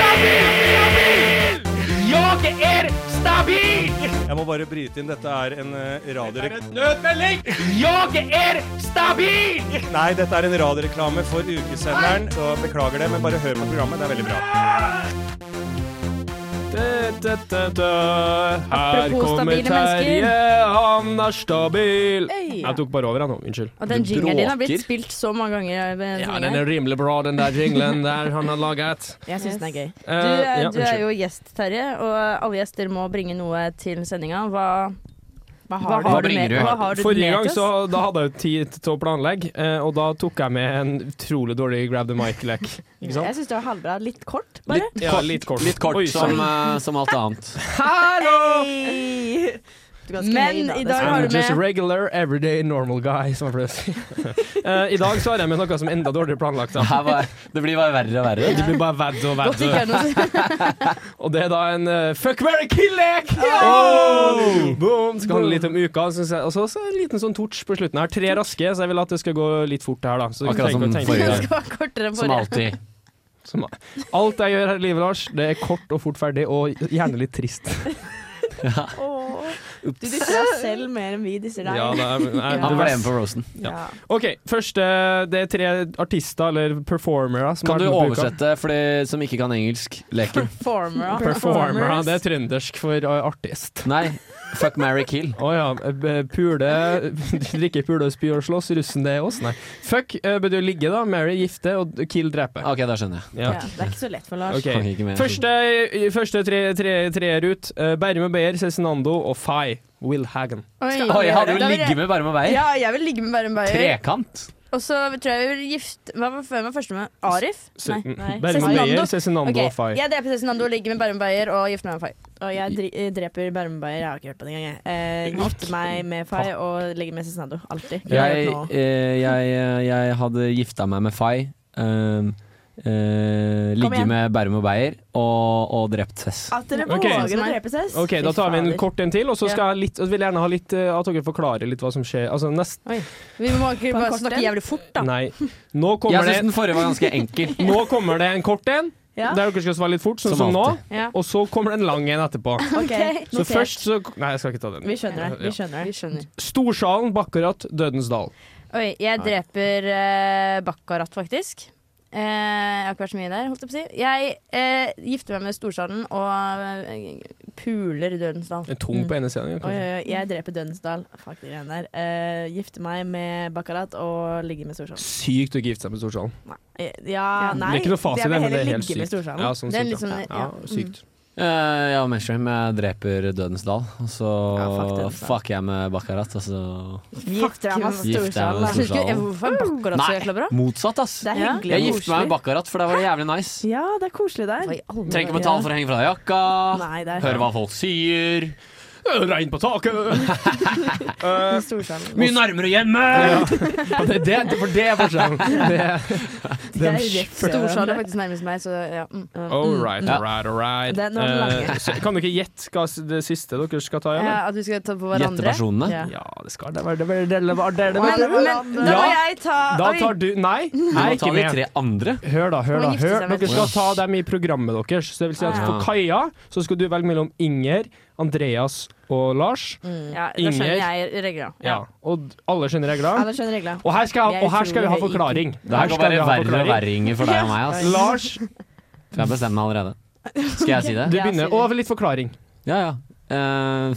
Speaker 15: Jeg er stabil!
Speaker 11: Jeg må bare bryte inn. Dette er en eh, radioreklame
Speaker 15: Nødmelding! Jeg er stabil!
Speaker 11: Nei, dette er en radioreklame for ukesenderen, så beklager det, men bare hør på programmet. Det er veldig bra.
Speaker 10: Her
Speaker 4: Apropos
Speaker 10: kommer
Speaker 4: stabile
Speaker 10: Terje,
Speaker 4: mennesker.
Speaker 10: han er stabil.
Speaker 4: Øy.
Speaker 10: Jeg tok bare over, jeg nå. Unnskyld.
Speaker 4: Og den jinglen din har blitt spilt så mange ganger. ved
Speaker 10: Ja,
Speaker 4: sendingen
Speaker 10: den
Speaker 4: her.
Speaker 10: er rimelig bra, den der jinglen der han har laget.
Speaker 7: Jeg syns den er gøy.
Speaker 10: Eh,
Speaker 4: Du er,
Speaker 10: ja,
Speaker 4: du er
Speaker 10: unnskyld.
Speaker 4: jo gjest, Terje, og alle gjester må bringe noe til sendinga. Hva,
Speaker 10: Hva har du med-
Speaker 4: Hva har du
Speaker 10: Forrige
Speaker 4: med
Speaker 10: gang
Speaker 4: til oss?
Speaker 10: så, da hadde jeg jo tid til å planlegge, eh, og da tok jeg med en utrolig dårlig grab the mic-lek. Ikke sant?
Speaker 7: Jeg syns det var halvbra. Litt kort, bare.
Speaker 10: Litt, ja, litt kort.
Speaker 6: Litt kort
Speaker 10: Oi,
Speaker 6: som,
Speaker 10: sann.
Speaker 6: eh, som alt annet.
Speaker 10: Hallo!
Speaker 4: Men i dag har
Speaker 10: I'm
Speaker 4: du
Speaker 10: just a
Speaker 4: med
Speaker 10: regular, everyday, normal guy, som jeg pleier å si. Eh, I dag så har jeg med noe som er enda dårligere planlagt. Da.
Speaker 6: Her var, det blir bare verre og verre.
Speaker 10: Det blir bare verre og
Speaker 6: Godt ikke
Speaker 10: verre. og det er da en eh, fuck, marry, kill-lek!
Speaker 6: Oh!
Speaker 10: Boom! Skal handle litt om uka. så synes jeg- Og så så en liten sånn touch på slutten her. Tre raske, så jeg vil at det skal gå litt fort her, da. Så du
Speaker 6: Akkurat
Speaker 10: trenger ikke
Speaker 6: som
Speaker 10: å tenke-
Speaker 6: forrige gang.
Speaker 4: Det var kortere enn
Speaker 6: Som
Speaker 4: forrige.
Speaker 6: alltid.
Speaker 10: Som, alt jeg gjør her i livet, Lars, det er kort og fort ferdig, og gjerne litt trist.
Speaker 7: Du disser deg selv mer enn vi disser deg.
Speaker 10: Ja, det er, jeg,
Speaker 7: Ja.
Speaker 6: Han ble med på Rosen.
Speaker 7: Ja.
Speaker 10: OK, første Det er tre artister, eller performere, som
Speaker 6: Kan
Speaker 10: har
Speaker 6: du
Speaker 10: vært med på uka.
Speaker 6: oversette for de som ikke kan engelsk, leken?
Speaker 7: Performer.
Speaker 10: Performer, ja, det er trøndersk for uh, artist.
Speaker 6: Nei. Fuck, marry, kill.
Speaker 10: Å ja. eh, Pule Drikke, pule, spy og slåss. Russen, det er oss. Nei. Fuck eh, betyr ligge, da. Marry gifte, og kill drepe.
Speaker 6: OK, da skjønner jeg.
Speaker 10: Ja.
Speaker 7: Ja, det er ikke så lett for Lars.
Speaker 10: Ok.
Speaker 6: Kan ikke mer.
Speaker 10: Første, første tre, tre, treer ut. Uh, Bærum og Beyer, Cezinando og Fay. Will Hagen.
Speaker 4: Oi,
Speaker 6: Oi, jeg hadde jo
Speaker 4: da vil
Speaker 6: ligget
Speaker 4: jeg-
Speaker 6: med Bærum og Beyer.
Speaker 4: Ja, jeg vil ligge med Bærum Beyer.
Speaker 6: Trekant.
Speaker 4: Og så tror jeg jeg vil gifte Hva var hvem var første med? Arif?
Speaker 10: Se- Bærum og
Speaker 4: Cezinando.
Speaker 10: Beyer, Cezinando
Speaker 4: Ok,
Speaker 10: og Fay.
Speaker 4: Jeg dreper Cezinando, ligger med Bærum Beyer og gifter meg med Fay.
Speaker 7: Og jeg dri- eh, dreper Bærumbeyer, jeg har ikke hørt på den engang. jeg. Eh, Gifter meg med Fay og legger med Cezinando. Alltid. Kunne
Speaker 6: Jeg,
Speaker 7: jeg gjort nå.
Speaker 6: eh, jeg, eh, jeg hadde gifta meg med Fay. ehm, eh, ligge
Speaker 7: igjen.
Speaker 6: med Bærum og Beyer og, og drept Cess.
Speaker 7: At dere
Speaker 10: Ok.
Speaker 7: våger å drepe Cess.
Speaker 10: Ok, Da tar vi
Speaker 7: Fy
Speaker 10: en
Speaker 7: fader.
Speaker 10: kort en til, og så
Speaker 7: Ja.
Speaker 10: skal jeg litt, og vil jeg gjerne ha litt, eh, at dere forklarer litt hva som skjer. Altså, nest,
Speaker 4: Vi må ikke
Speaker 7: På en
Speaker 4: bare
Speaker 7: kort
Speaker 4: snakke
Speaker 7: en?
Speaker 4: jævlig fort, da.
Speaker 10: nei. Nå kommer
Speaker 6: Jeg synes
Speaker 10: det-
Speaker 6: den forrige var ganske enkel.
Speaker 10: Nå kommer det en kort en,
Speaker 7: Ja.
Speaker 10: der dere skal svare litt fort, sånn som,
Speaker 6: Som
Speaker 10: nå.
Speaker 6: alltid.
Speaker 4: Ja.
Speaker 10: Og så kommer det en lang en etterpå.
Speaker 7: Ok,
Speaker 10: Så
Speaker 7: notert.
Speaker 10: først så Nei, jeg skal ikke ta den.
Speaker 7: Vi skjønner det.
Speaker 10: Ja.
Speaker 7: Vi skjønner det.
Speaker 10: Storsalen, Bakkarat, Dødens dal.
Speaker 4: Oi, jeg dreper uh, Bakkarat, faktisk. Eh, jeg har ikke vært så mye der, holdt jeg på å si. Jeg eh, gifter meg med Storsalen og eh, puler Dødensdal. Mm.
Speaker 10: En tung på ene siden.
Speaker 7: Oi,
Speaker 10: kanskje.
Speaker 7: oi, oi. Jeg dreper Dønsdal. Fuck de greiene der. Eh, gifter meg med Baccarat og ligger med Storsalen.
Speaker 10: Sykt å ikke gifte seg med Storsalen.
Speaker 7: Eh, Ja, nei.
Speaker 10: det er ikke noe fasit,
Speaker 7: jeg vil
Speaker 10: men det
Speaker 7: heller
Speaker 10: er helt
Speaker 7: ligge med
Speaker 10: sykt.
Speaker 7: Storsalen.
Speaker 10: Ja, sånn
Speaker 7: Det er
Speaker 10: sykt,
Speaker 7: litt
Speaker 10: ja.
Speaker 7: sånn-
Speaker 10: Ja,
Speaker 4: Mm.
Speaker 10: sykt.
Speaker 6: Eh, ja, mainstream. Jeg dreper Dødens Dal, og så
Speaker 7: fuck Dødens Dal.
Speaker 6: fucker jeg med Bakkarat, og så
Speaker 7: Gifter deg med
Speaker 6: Gifter jeg med
Speaker 7: Storsalen. da.
Speaker 6: Storsalen. Synes ikke-
Speaker 4: Hvorfor er Bakkarat så jækla bra?
Speaker 6: motsatt, ass.
Speaker 7: Det er hyggelig
Speaker 6: Jeg
Speaker 7: og
Speaker 6: gifter meg
Speaker 7: koselig.
Speaker 6: med Bakkarat, for da var det jævlig nice.
Speaker 7: Ja, det er koselig der.
Speaker 6: Trenger ikke betale for å henge fra deg jakka,
Speaker 7: Nei, det er
Speaker 6: høre hva folk sier.
Speaker 10: Regn på taket! Eh,
Speaker 6: Mye nærmere hjemme!
Speaker 10: Ja, det, det, for det er forskjellen. Det, det er
Speaker 4: Storsalen er faktisk nærmest meg, så ja. Mm.
Speaker 10: All right,
Speaker 4: Ja.
Speaker 10: all right, all right.
Speaker 4: Det er noen lange.
Speaker 10: Eh, så kan du ikke gjette hva s- det siste dere skal ta?
Speaker 4: Ja,
Speaker 10: Janne?
Speaker 4: at vi skal ta på hverandre.
Speaker 10: Gjetteversjonene?
Speaker 4: Ja.
Speaker 10: Ja, det skal det være. Det var, det var, det var,
Speaker 4: Men,
Speaker 10: det var.
Speaker 4: men da må
Speaker 10: Ja.
Speaker 4: jeg ta
Speaker 10: Da
Speaker 4: Oi.
Speaker 10: tar du Nei, jeg
Speaker 6: må
Speaker 10: er
Speaker 6: ta
Speaker 10: ikke
Speaker 6: de
Speaker 10: med.
Speaker 6: tre andre.
Speaker 10: Hør da, hør da,
Speaker 6: Man gifter
Speaker 10: hør.
Speaker 6: seg med
Speaker 10: Dere skal
Speaker 6: to.
Speaker 10: ta dem i programmet deres. Så det vil si at
Speaker 6: Ah.
Speaker 10: for Kaja så skal du velge mellom Inger, Andreas og Lars.
Speaker 6: Mm.
Speaker 4: Mm. Ja, da skjønner jeg reglene.
Speaker 10: Ja. Og alle skjønner
Speaker 7: Alle
Speaker 10: reglene.
Speaker 7: skjønner reglene.
Speaker 10: Og her skal,
Speaker 7: Jeg
Speaker 10: og her skal vi ha
Speaker 7: tror jeg
Speaker 10: forklaring.
Speaker 6: Det her kan
Speaker 10: skal vi
Speaker 6: være
Speaker 10: ha
Speaker 6: verre og
Speaker 10: forklaring.
Speaker 6: verre, Inger, for deg og meg. Ass.
Speaker 10: Ja. Lars,
Speaker 6: For jeg bestemmer meg allerede. Skal jeg si det?
Speaker 10: du begynner. Og litt forklaring.
Speaker 6: Ja, ja. Eh,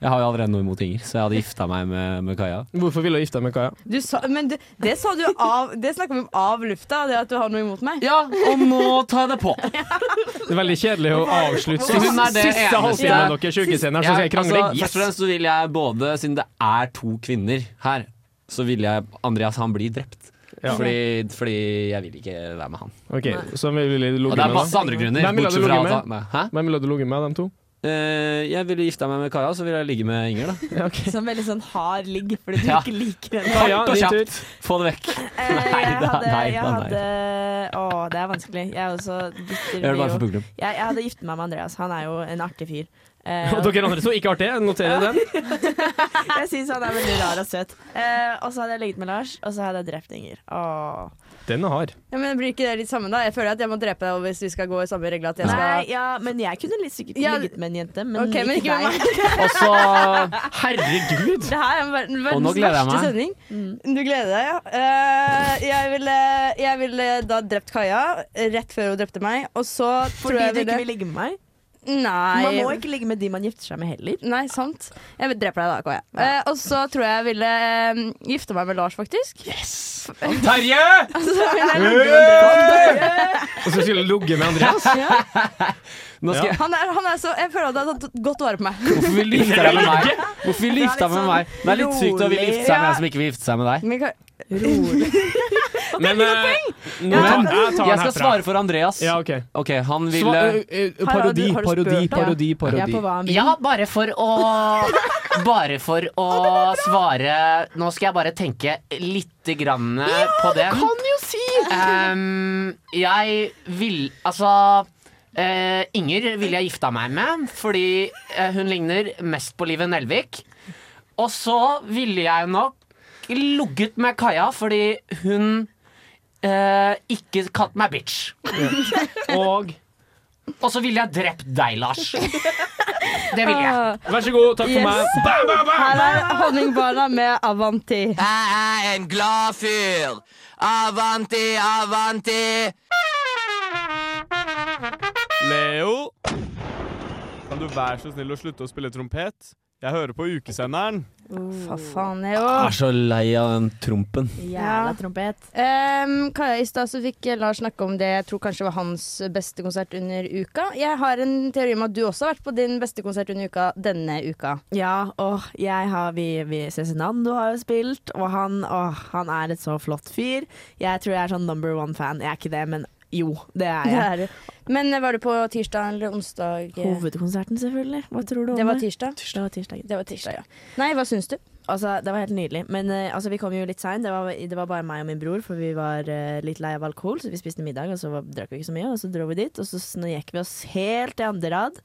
Speaker 6: jeg har jo allerede noe imot Inger, så jeg hadde gifta meg med, med Kaja.
Speaker 10: Hvorfor ville du gifte deg med Kaja?
Speaker 4: Du sa, men det, det sa du av Det snakka vi om av lufta, det at du har noe imot meg.
Speaker 6: Ja, og nå tar jeg det på.
Speaker 10: Det er veldig kjedelig å avslutte
Speaker 6: Så hun er det
Speaker 10: siste
Speaker 6: eneste-
Speaker 10: halvtimen deres ukesenderen, så skal jeg krangle.
Speaker 6: Altså, Først og fremst så vil jeg både, siden det er to kvinner her, så vil jeg Andreas han blir drept.
Speaker 10: Ja.
Speaker 6: Fordi, fordi jeg vil ikke være med han.
Speaker 10: Ok, så vi ville ligge
Speaker 6: Og det er
Speaker 10: med
Speaker 6: masse
Speaker 10: da.
Speaker 6: andre grunner,
Speaker 10: Hvem ville du
Speaker 6: bortsett fra
Speaker 10: ligge
Speaker 6: at-
Speaker 10: med? Hvem ville du ligge med, dem to?
Speaker 6: Eh, jeg ville gifta meg med Kaja, så ville jeg ligge med Inger, da.
Speaker 7: Som veldig sånn hard ligg, fordi du
Speaker 6: Ja.
Speaker 7: ikke liker den.
Speaker 10: Kaja,
Speaker 6: Kort og
Speaker 10: din
Speaker 6: kjapt.
Speaker 10: tur.
Speaker 6: Få det vekk.
Speaker 7: Eh, jeg hadde, jeg
Speaker 6: da, nei da, nei
Speaker 7: hadde Å, det er vanskelig. Jeg er også bitter.
Speaker 6: Jeg gjør det bare
Speaker 7: blir
Speaker 6: for
Speaker 7: jo-
Speaker 6: publikum.
Speaker 7: Jeg, jeg hadde giftet meg med Andreas. Han er jo en artig fyr. Eh,
Speaker 10: Og dere andre to, ikke artig, noterer den.
Speaker 7: jeg syns han er veldig rar og søt. Eh, og så hadde jeg ligget med Lars, og så hadde jeg drept Inger. Åh.
Speaker 10: Den er hard.
Speaker 4: Ja, men Blir ikke det litt sammen, da? Jeg føler at jeg må drepe deg hvis vi skal gå i samme regler. At jeg skal
Speaker 7: Nei, ja, men jeg kunne litt sikkert
Speaker 4: Ja,
Speaker 7: ligget med en jente, men
Speaker 4: ok, men
Speaker 7: ikke
Speaker 4: ikke med
Speaker 7: deg.
Speaker 6: Og så
Speaker 10: Herregud!
Speaker 4: Det her er verdens,
Speaker 6: Og nå
Speaker 4: verdens
Speaker 6: gleder jeg
Speaker 4: verste
Speaker 6: meg.
Speaker 4: sending.
Speaker 7: Mm.
Speaker 4: Du gleder deg, ja. Eh, jeg ville jeg ville da drept Kaja rett før hun drepte meg, og så tror
Speaker 7: Fordi du
Speaker 4: jeg ville-
Speaker 7: ikke vil ligge med meg?
Speaker 4: Nei.
Speaker 7: Man må ikke ligge med de man gifter seg med heller.
Speaker 4: Nei, sant. Jeg dreper deg da, Kaja. Eh, og så tror jeg jeg ville eh, gifte meg med Lars, faktisk. Yes!
Speaker 10: Terje! Og så skulle du ligge med Andreas.
Speaker 6: Nå skal jeg
Speaker 4: Han er, han er så, jeg føler at han har tatt godt vare på meg.
Speaker 6: Hvorfor vil du gifte deg med meg? Hvorfor vil du gifte deg med meg? Det er litt sykt å ville gifte seg med en som ikke vil gifte seg med deg.
Speaker 4: Men Ka-
Speaker 10: Men eh, nå
Speaker 6: Men
Speaker 10: tar- jeg tar den
Speaker 6: jeg skal
Speaker 10: herfra.
Speaker 6: svare for Andreas.
Speaker 10: Ja, ok.
Speaker 6: Ok, han ville
Speaker 10: Sva- ø, ø, Parodi,
Speaker 6: Har du- har du
Speaker 10: parodi,
Speaker 6: spurt, da?
Speaker 10: parodi. parodi.
Speaker 1: Ja, bare for å Bare for å svare Nå skal jeg bare tenke litt grann eh, på det.
Speaker 15: jo si!
Speaker 1: Ehm, jeg vil Altså eh, Inger vil jeg gifta meg med, fordi eh, hun ligner mest på Live Nelvik. Og så ville jeg nok ligget med Kaja, fordi hun eh, ikke kalte meg bitch.
Speaker 10: Og
Speaker 1: Og så ville jeg drept deg, Lars. Det ville jeg.
Speaker 10: Eh, Vær så god, takk for meg. Bam, bam, bam!
Speaker 4: Ah. Her er Honningbarna med Avanti.
Speaker 22: Jeg er en glad fyr. Avanti, avanti.
Speaker 16: Leo, kan du være så snill å slutte å spille trompet? Jeg hører på ukesenderen.
Speaker 4: Fa faen, jeg
Speaker 6: Jeg
Speaker 4: òg.
Speaker 6: er så lei av den trompen.
Speaker 4: Jævla
Speaker 7: trompet.
Speaker 4: Ehm, Kaja, i stad så fikk Lars snakke om det jeg tror kanskje var hans beste konsert under uka. Jeg har en teori om at du også har vært på din beste konsert under uka denne uka.
Speaker 7: Ja, og jeg har vi, vi Cezinando har jo spilt, og han, åh, han er et så flott fyr. Jeg tror jeg er sånn number one-fan. Jeg er ikke det, men jo, det er jeg.
Speaker 4: Det er du. Men var du på tirsdag eller onsdag?
Speaker 7: Hovedkonserten, selvfølgelig. Hva tror du om
Speaker 4: Det var tirsdag.
Speaker 7: Det var tirsdag.
Speaker 4: Det var tirsdag, ja. Nei, hva syns du?
Speaker 7: Altså, det var helt nydelig. Men eh, altså, vi kom jo litt seint. Det, var- det var bare meg og min bror, for vi var eh, litt lei av alkohol. Så vi spiste middag, og så var, drakk vi ikke så mye. Og så dro vi dit, og så snek vi oss helt til andre rad.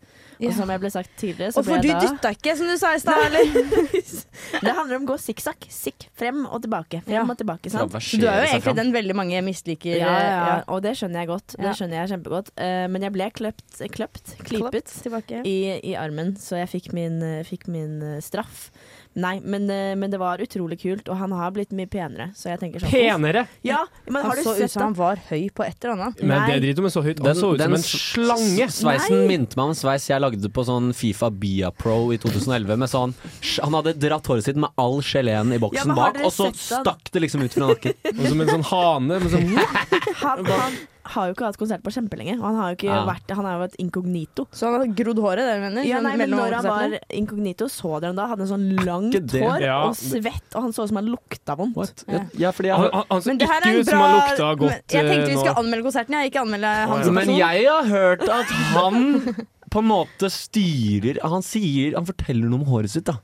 Speaker 4: Ja.
Speaker 7: Og som jeg ble sagt tidligere, så
Speaker 4: Og for
Speaker 7: ble
Speaker 4: du
Speaker 7: jeg da
Speaker 4: dytta ikke, som du sa i stad, eller?
Speaker 7: Det handler om å gå sikksakk. Sikk frem og tilbake. Frem og tilbake, sant?
Speaker 4: Så du er jo egentlig den veldig mange misliker.
Speaker 7: ja, ja, ja,
Speaker 4: eh,
Speaker 7: og det skjønner jeg godt.
Speaker 4: Ja.
Speaker 7: Det skjønner jeg kjempegodt. Eh, men jeg ble kløpt, kløpt klipet i, i armen, så jeg fikk min, eh, fikk min eh, straff. Nei, men, eh, men det var utrolig kult, og han har blitt mye penere. Så jeg tenker sånn
Speaker 10: Penere?
Speaker 7: Ja, men
Speaker 4: Han
Speaker 7: har du
Speaker 4: så ut
Speaker 7: sett
Speaker 4: som
Speaker 7: ham?
Speaker 4: han Altså, var høy på et eller annet.
Speaker 10: Men det driter om jeg så høyt. Han så ut som en slange.
Speaker 6: Sveisen
Speaker 10: Nei.
Speaker 6: minte meg om en sveis jeg lagde på sånn Fifa Bia Pro i 2011. Med sånn, han hadde dratt håret sitt med all geleen i
Speaker 7: Ja,
Speaker 6: boksen
Speaker 7: men har
Speaker 6: bak,
Speaker 7: dere
Speaker 6: og så
Speaker 7: sett han?
Speaker 6: stakk det liksom ut fra nakken.
Speaker 10: Og som en sånn hane. Men sånn,
Speaker 7: Han, han har jo ikke hatt konsert på kjempelenge, og han har jo ikke
Speaker 10: Ja.
Speaker 7: vært han har jo vært inkognito.
Speaker 4: Så han har grodd håret, det mener
Speaker 7: Ja,
Speaker 4: Sånn
Speaker 7: nei, men
Speaker 4: mellom
Speaker 7: når han var
Speaker 4: konsertene?
Speaker 7: inkognito, så dere han da? Hadde en sånn langt
Speaker 10: det.
Speaker 7: hår
Speaker 10: Ja,
Speaker 7: og
Speaker 10: det-
Speaker 7: svett, og han så ut som han lukta vondt. Ja.
Speaker 10: han, han, han så
Speaker 4: Men det her er
Speaker 10: ikke
Speaker 4: en
Speaker 10: ut som han
Speaker 4: bra-
Speaker 10: lukta godt
Speaker 4: Men Jeg tenkte
Speaker 10: eh,
Speaker 4: vi
Speaker 10: nå.
Speaker 4: skulle anmelde konserten, jeg. Ikke anmelde han som sånn-
Speaker 6: Men
Speaker 4: person.
Speaker 6: jeg har hørt at han på en måte styrer Han sier Han forteller noe om håret sitt, da.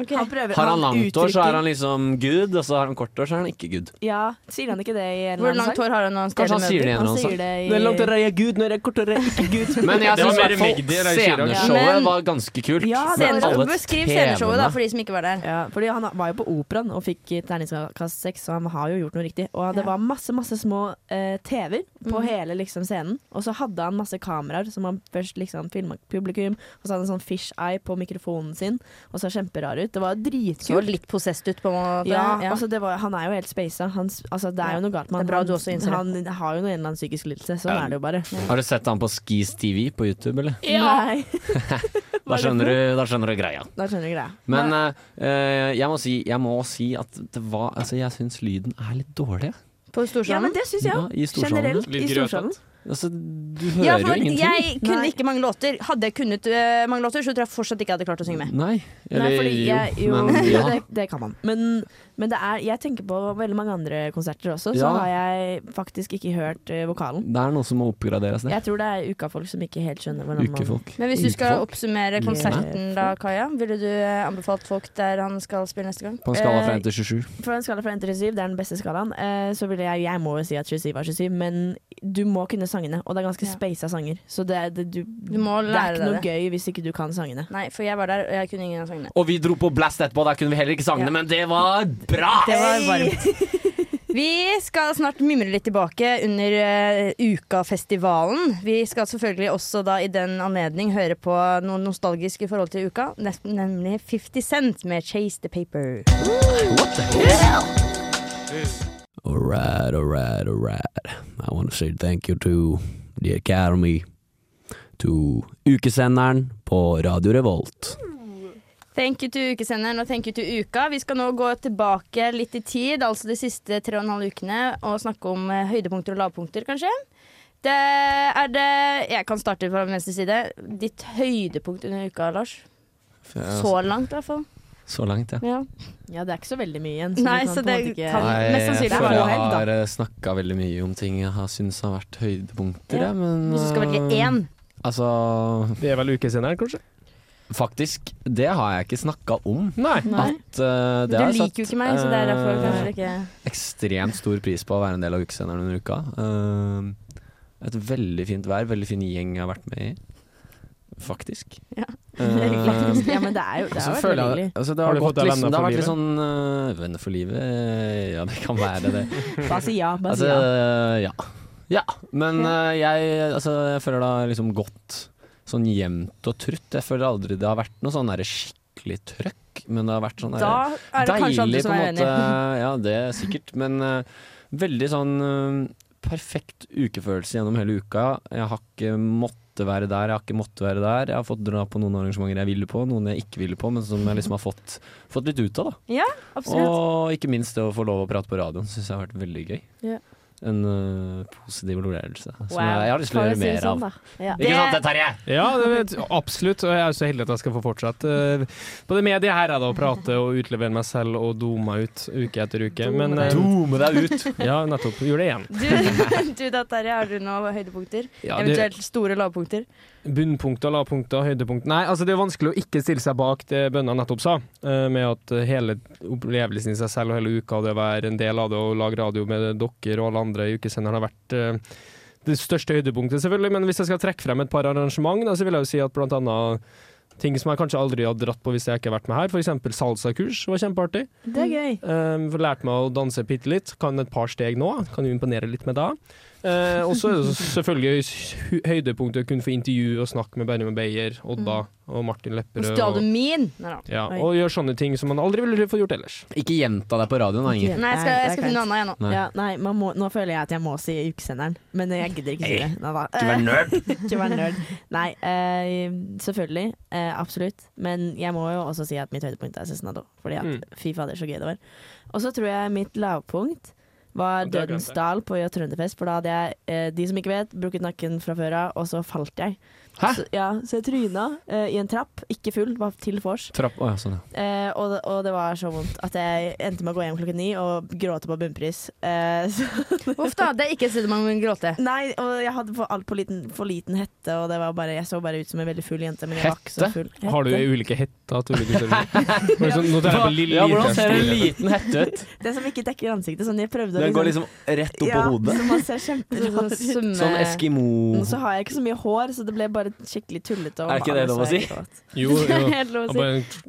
Speaker 7: Han prøver,
Speaker 6: Har han langt hår, så
Speaker 7: uttrykker-
Speaker 6: er han liksom good, og så har han kort hår, så er han ikke good.
Speaker 7: Ja, sier han ikke det i en
Speaker 4: Hvor langt hår har han når han
Speaker 6: Kanskje han sier det i en eller annen sang. Det er langt hår, jeg er good, når jeg er kort hår, jeg er ikke good. Men jeg
Speaker 4: Det var mer
Speaker 6: syns i hvert fall
Speaker 4: Magdi eller Chirag.
Speaker 6: sceneshowet
Speaker 4: Men-
Speaker 6: var ganske kult.
Speaker 4: Ja,
Speaker 6: med
Speaker 4: sceneshowet.
Speaker 6: alle
Speaker 4: Beskriv
Speaker 6: temaene.
Speaker 4: sceneshowet, da, for de som ikke var der.
Speaker 7: Ja, fordi han var jo på operaen og fikk terningskast seks, så han har jo gjort noe riktig. Og det var masse, masse små eh, TV-er på
Speaker 4: Mhm.
Speaker 7: hele liksom, scenen. Og så hadde han masse kameraer som han først liksom filma publikum, og så hadde han sånn fish eye på mikrofonen sin, og så kjemperar ut. Det var dritkult.
Speaker 4: Så litt possessed ut, på en måte.
Speaker 7: Ja, altså det var, han er jo helt spasa. Han s- Altså det er jo noe galt med
Speaker 4: Det er bra
Speaker 7: han.
Speaker 4: du også innser det.
Speaker 7: han har jo noe en eller annen psykisk lidelse. Sånn
Speaker 6: Ja.
Speaker 7: er det jo bare.
Speaker 6: Har du sett han på Skis TV på YouTube, eller?
Speaker 7: Nei,
Speaker 6: Da skjønner du, da skjønner du greia.
Speaker 7: da skjønner du greia.
Speaker 6: Men eh, eh, jeg, må si, jeg må si at det var Altså, jeg syns lyden er litt dårlig.
Speaker 4: På Storsalen?
Speaker 7: Ja, men det syns jeg
Speaker 6: Ja,
Speaker 7: òg.
Speaker 6: I storsalen.
Speaker 7: Generelt i storsalen.
Speaker 6: Altså, du hører
Speaker 4: Ja,
Speaker 6: jo
Speaker 4: for
Speaker 6: ingenting.
Speaker 4: jeg kunne ikke mange låter. Hadde jeg kunnet eh, mange låter, så tror jeg fortsatt ikke jeg hadde klart å synge med.
Speaker 6: Nei. Eller
Speaker 7: Nei, fordi jeg, jo,
Speaker 6: men ja.
Speaker 7: det, det kan man. Men, men det er, jeg tenker på veldig mange andre konserter også, så
Speaker 6: Ja.
Speaker 7: har jeg faktisk ikke hørt eh, vokalen.
Speaker 6: Det er noe som må oppgraderes der.
Speaker 7: Jeg tror det er ukafolk som ikke helt skjønner hvordan man
Speaker 6: altså. Ukefolk.
Speaker 4: Men hvis du skal
Speaker 6: Ukefolk.
Speaker 4: oppsummere konserten da, Kaja, ville du eh, anbefalt folk der han skal spille neste gang?
Speaker 6: På en skala fra
Speaker 7: Eh,
Speaker 6: 1 til 27.
Speaker 7: For en skala fra 1 til 27, det er den beste skalaen, eh, så vil jeg Jeg må jo si at 27 var 27, men du må kunne sangene, og det er ganske speisa sanger. Så det, er- det, du,
Speaker 4: må
Speaker 7: det
Speaker 4: lære
Speaker 7: er
Speaker 4: deg
Speaker 7: ikke noe
Speaker 4: det.
Speaker 7: gøy hvis ikke du kan sangene.
Speaker 4: Nei, for jeg var der, og jeg kunne ingen av sangene.
Speaker 6: Og vi dro på Blast etterpå, der kunne vi heller ikke sangene,
Speaker 4: Ja.
Speaker 6: men det var bra!
Speaker 4: Det var varmt. Vi skal snart mimre litt tilbake under eh, ukafestivalen. Vi skal selvfølgelig også da i den anledning høre på noe nostalgisk i forhold til uka, nes- nemlig 50 Cent med 'Chase the Paper'.
Speaker 3: Alright, alright, alright. I want to say thank you to The Academy. To ukesenderen på Radio Revolt.
Speaker 4: Thank you to ukesenderen og thank you to uka. Vi skal nå gå tilbake litt i tid, altså de siste tre og en halv ukene, og snakke om eh, høydepunkter og lavpunkter, kanskje. Det er det Jeg kan starte fra venstre side. Ditt høydepunkt under uka, Lars? Så langt, i hvert fall.
Speaker 6: Så langt, altså- ja.
Speaker 4: Ja.
Speaker 7: Ja, det er ikke så veldig mye igjen.
Speaker 4: Nei, så det kan- Nei, mest sannsynlig
Speaker 6: jeg
Speaker 4: er det
Speaker 6: føler
Speaker 4: noe
Speaker 6: jeg
Speaker 4: helt, da.
Speaker 6: har snakka veldig mye om ting jeg har syntes har vært høydepunkter,
Speaker 4: Ja.
Speaker 6: jeg, men
Speaker 4: Hvis du skal velge
Speaker 6: eh,
Speaker 4: én.
Speaker 6: Altså
Speaker 10: Det er vel ukeseneren, kanskje?
Speaker 6: Faktisk, det har jeg ikke snakka om.
Speaker 10: Nei.
Speaker 4: Nei.
Speaker 6: At,
Speaker 4: Du
Speaker 6: eh, det har jeg
Speaker 4: liker
Speaker 6: satt,
Speaker 4: jo ikke meg, så det er derfor
Speaker 6: eh,
Speaker 4: kanskje ikke-
Speaker 6: Ekstremt stor pris på å være en del av ukesenderen under uka. Eh, et veldig fint vær, veldig fin gjeng jeg har vært med i. Faktisk.
Speaker 4: Ja.
Speaker 6: Eh,
Speaker 7: Faktisk, ja, men det er jo- det
Speaker 6: og så
Speaker 7: har vært
Speaker 6: føler
Speaker 7: veldig
Speaker 6: jeg-
Speaker 7: hyggelig.
Speaker 6: altså,
Speaker 7: Har
Speaker 6: det har,
Speaker 7: du fått
Speaker 6: gått
Speaker 7: deg
Speaker 6: liksom,
Speaker 7: venner
Speaker 6: det har
Speaker 7: for
Speaker 6: vært litt sånn eh, Venner for livet eh, Ja, det kan være det.
Speaker 7: Bare si ja, bare si ja.
Speaker 6: altså, ja. Ja, men eh, jeg, altså, jeg føler det har liksom gått sånn jevnt og trutt. Jeg føler aldri det har vært noe sånn der skikkelig trøkk, men det har vært sånn der
Speaker 4: Da er det kanskje andre
Speaker 6: deilig
Speaker 4: som
Speaker 6: på en
Speaker 4: er
Speaker 6: måte.
Speaker 4: uenig.
Speaker 6: Eh, Ja, det er sikkert, men eh, veldig sånn eh, perfekt ukefølelse gjennom hele uka. Jeg har ikke måttet være der, jeg har ikke måttet være der. Jeg har fått dra på noen arrangementer jeg ville på, noen jeg ikke ville på, men som jeg liksom har fått, fått litt ut av, da.
Speaker 4: Ja, absolutt.
Speaker 6: Og ikke minst det å få lov å prate på radioen syns jeg har vært veldig gøy.
Speaker 4: Ja.
Speaker 6: en eh, positiv opplevelse. Som
Speaker 2: Wow.
Speaker 6: jeg, jeg har lyst til å
Speaker 2: Får
Speaker 6: gjøre
Speaker 2: vi si
Speaker 6: mer
Speaker 2: det sånn,
Speaker 6: av.
Speaker 2: da? Ja.
Speaker 6: Ikke sant, det, Terje?
Speaker 10: Ja, det vet, absolutt. Og jeg er så heldig at jeg skal få fortsette eh, på det mediet her, jeg da, å prate og utlevere meg selv og doe meg ut uke etter uke. Men, eh,
Speaker 6: Dome deg ut.
Speaker 10: Ja, nettopp. Gjør det igjen.
Speaker 4: Du, du da, Terje, har du noen høydepunkter?
Speaker 10: Ja, det-
Speaker 4: Eventuelt store lavpunkter?
Speaker 10: Bunnpunkter, lavpunkter, høydepunkt Nei, altså det er vanskelig å ikke stille seg bak det bønna nettopp sa, eh, med at hele opplevelsen i seg selv og hele uka og det å være en del av det og lage radio med dere og alle andre i ukesenderen har vært eh, det største høydepunktet, selvfølgelig. Men hvis jeg skal trekke frem et par arrangement, da, så vil jeg jo si at blant annet ting som jeg kanskje aldri hadde dratt på hvis jeg ikke hadde vært med her, f.eks. salsakurs var kjempeartig.
Speaker 7: Det er gøy.
Speaker 10: Um, får lært meg å danse bitte litt. Kan et par steg nå. Kan jo imponere litt med da. Eh, og så er det selvfølgelig hø- høydepunktet å kunne få intervjue og snakke med Benjamin Beyer, Odda og Martin Lepperød.
Speaker 4: Stjal du
Speaker 10: og-
Speaker 4: min? Nei da.
Speaker 10: Ja,
Speaker 4: Oi.
Speaker 10: og gjøre sånne ting som man aldri ville fått gjort ellers.
Speaker 6: Ikke gjenta deg på radioen, da, Inger.
Speaker 4: Nei, jeg skal, jeg skal finne noe annet igjen nå.
Speaker 6: Nei.
Speaker 2: Ja, nei, man må, nå føler jeg at jeg må si ukesenderen, men jeg gidder ikke si det.
Speaker 6: Hey,
Speaker 2: Nei da.
Speaker 6: ikke vær nerd.
Speaker 2: Ikke vær nerd. Nei, eh, selvfølgelig. eh, absolutt. Men jeg må jo også si at mitt høydepunkt er Cezinado. Fordi at
Speaker 7: Mm.
Speaker 2: fy fader, så gøy det var. Og så tror jeg mitt lavpunkt var
Speaker 7: Og det har jeg
Speaker 2: Dødens
Speaker 7: glemt, jeg.
Speaker 2: dal på Trønderfest. For da hadde jeg, eh, de som ikke vet, brukket nakken fra før av, og så falt jeg.
Speaker 6: Hæ?
Speaker 2: Så, ja, så jeg tryna eh, i en trapp. Ikke full, bare til vors.
Speaker 6: Trapp, å, ja, sånn, ja.
Speaker 2: Eh, og, det- og det var så vondt at jeg endte med å gå hjem klokken ni og gråte på bunnpris. Eh, så-
Speaker 4: Uff da, det er ikke et sted man kan gråte.
Speaker 2: Nei, og jeg hadde for, alt på liten, for liten hette, og det var bare, jeg så bare ut som en veldig full jente. Men jeg var ikke så full.
Speaker 10: Har du
Speaker 2: Hette.
Speaker 10: ulike hetter til ulike størrelser? Bare sånn, nå tar jeg på lille-
Speaker 6: Ja, hvordan
Speaker 10: liten
Speaker 6: ser en
Speaker 10: størrelse.
Speaker 6: liten hette ut?
Speaker 2: Det som ikke dekker ansiktet. Sånn jeg prøvde å
Speaker 6: Den går liksom rett opp på
Speaker 2: ja,
Speaker 6: hodet.
Speaker 2: Så man ser kjemperar ut.
Speaker 6: Sånn Eskimo
Speaker 2: Så har jeg ikke så mye hår, så det ble bare skikkelig tullete. og
Speaker 6: Er ikke det
Speaker 2: vanlig,
Speaker 6: lov å
Speaker 2: så
Speaker 6: si?
Speaker 2: jeg gråt.
Speaker 10: Jo,
Speaker 2: Det er
Speaker 10: jo.
Speaker 2: helt lov å
Speaker 10: Ja,
Speaker 2: si.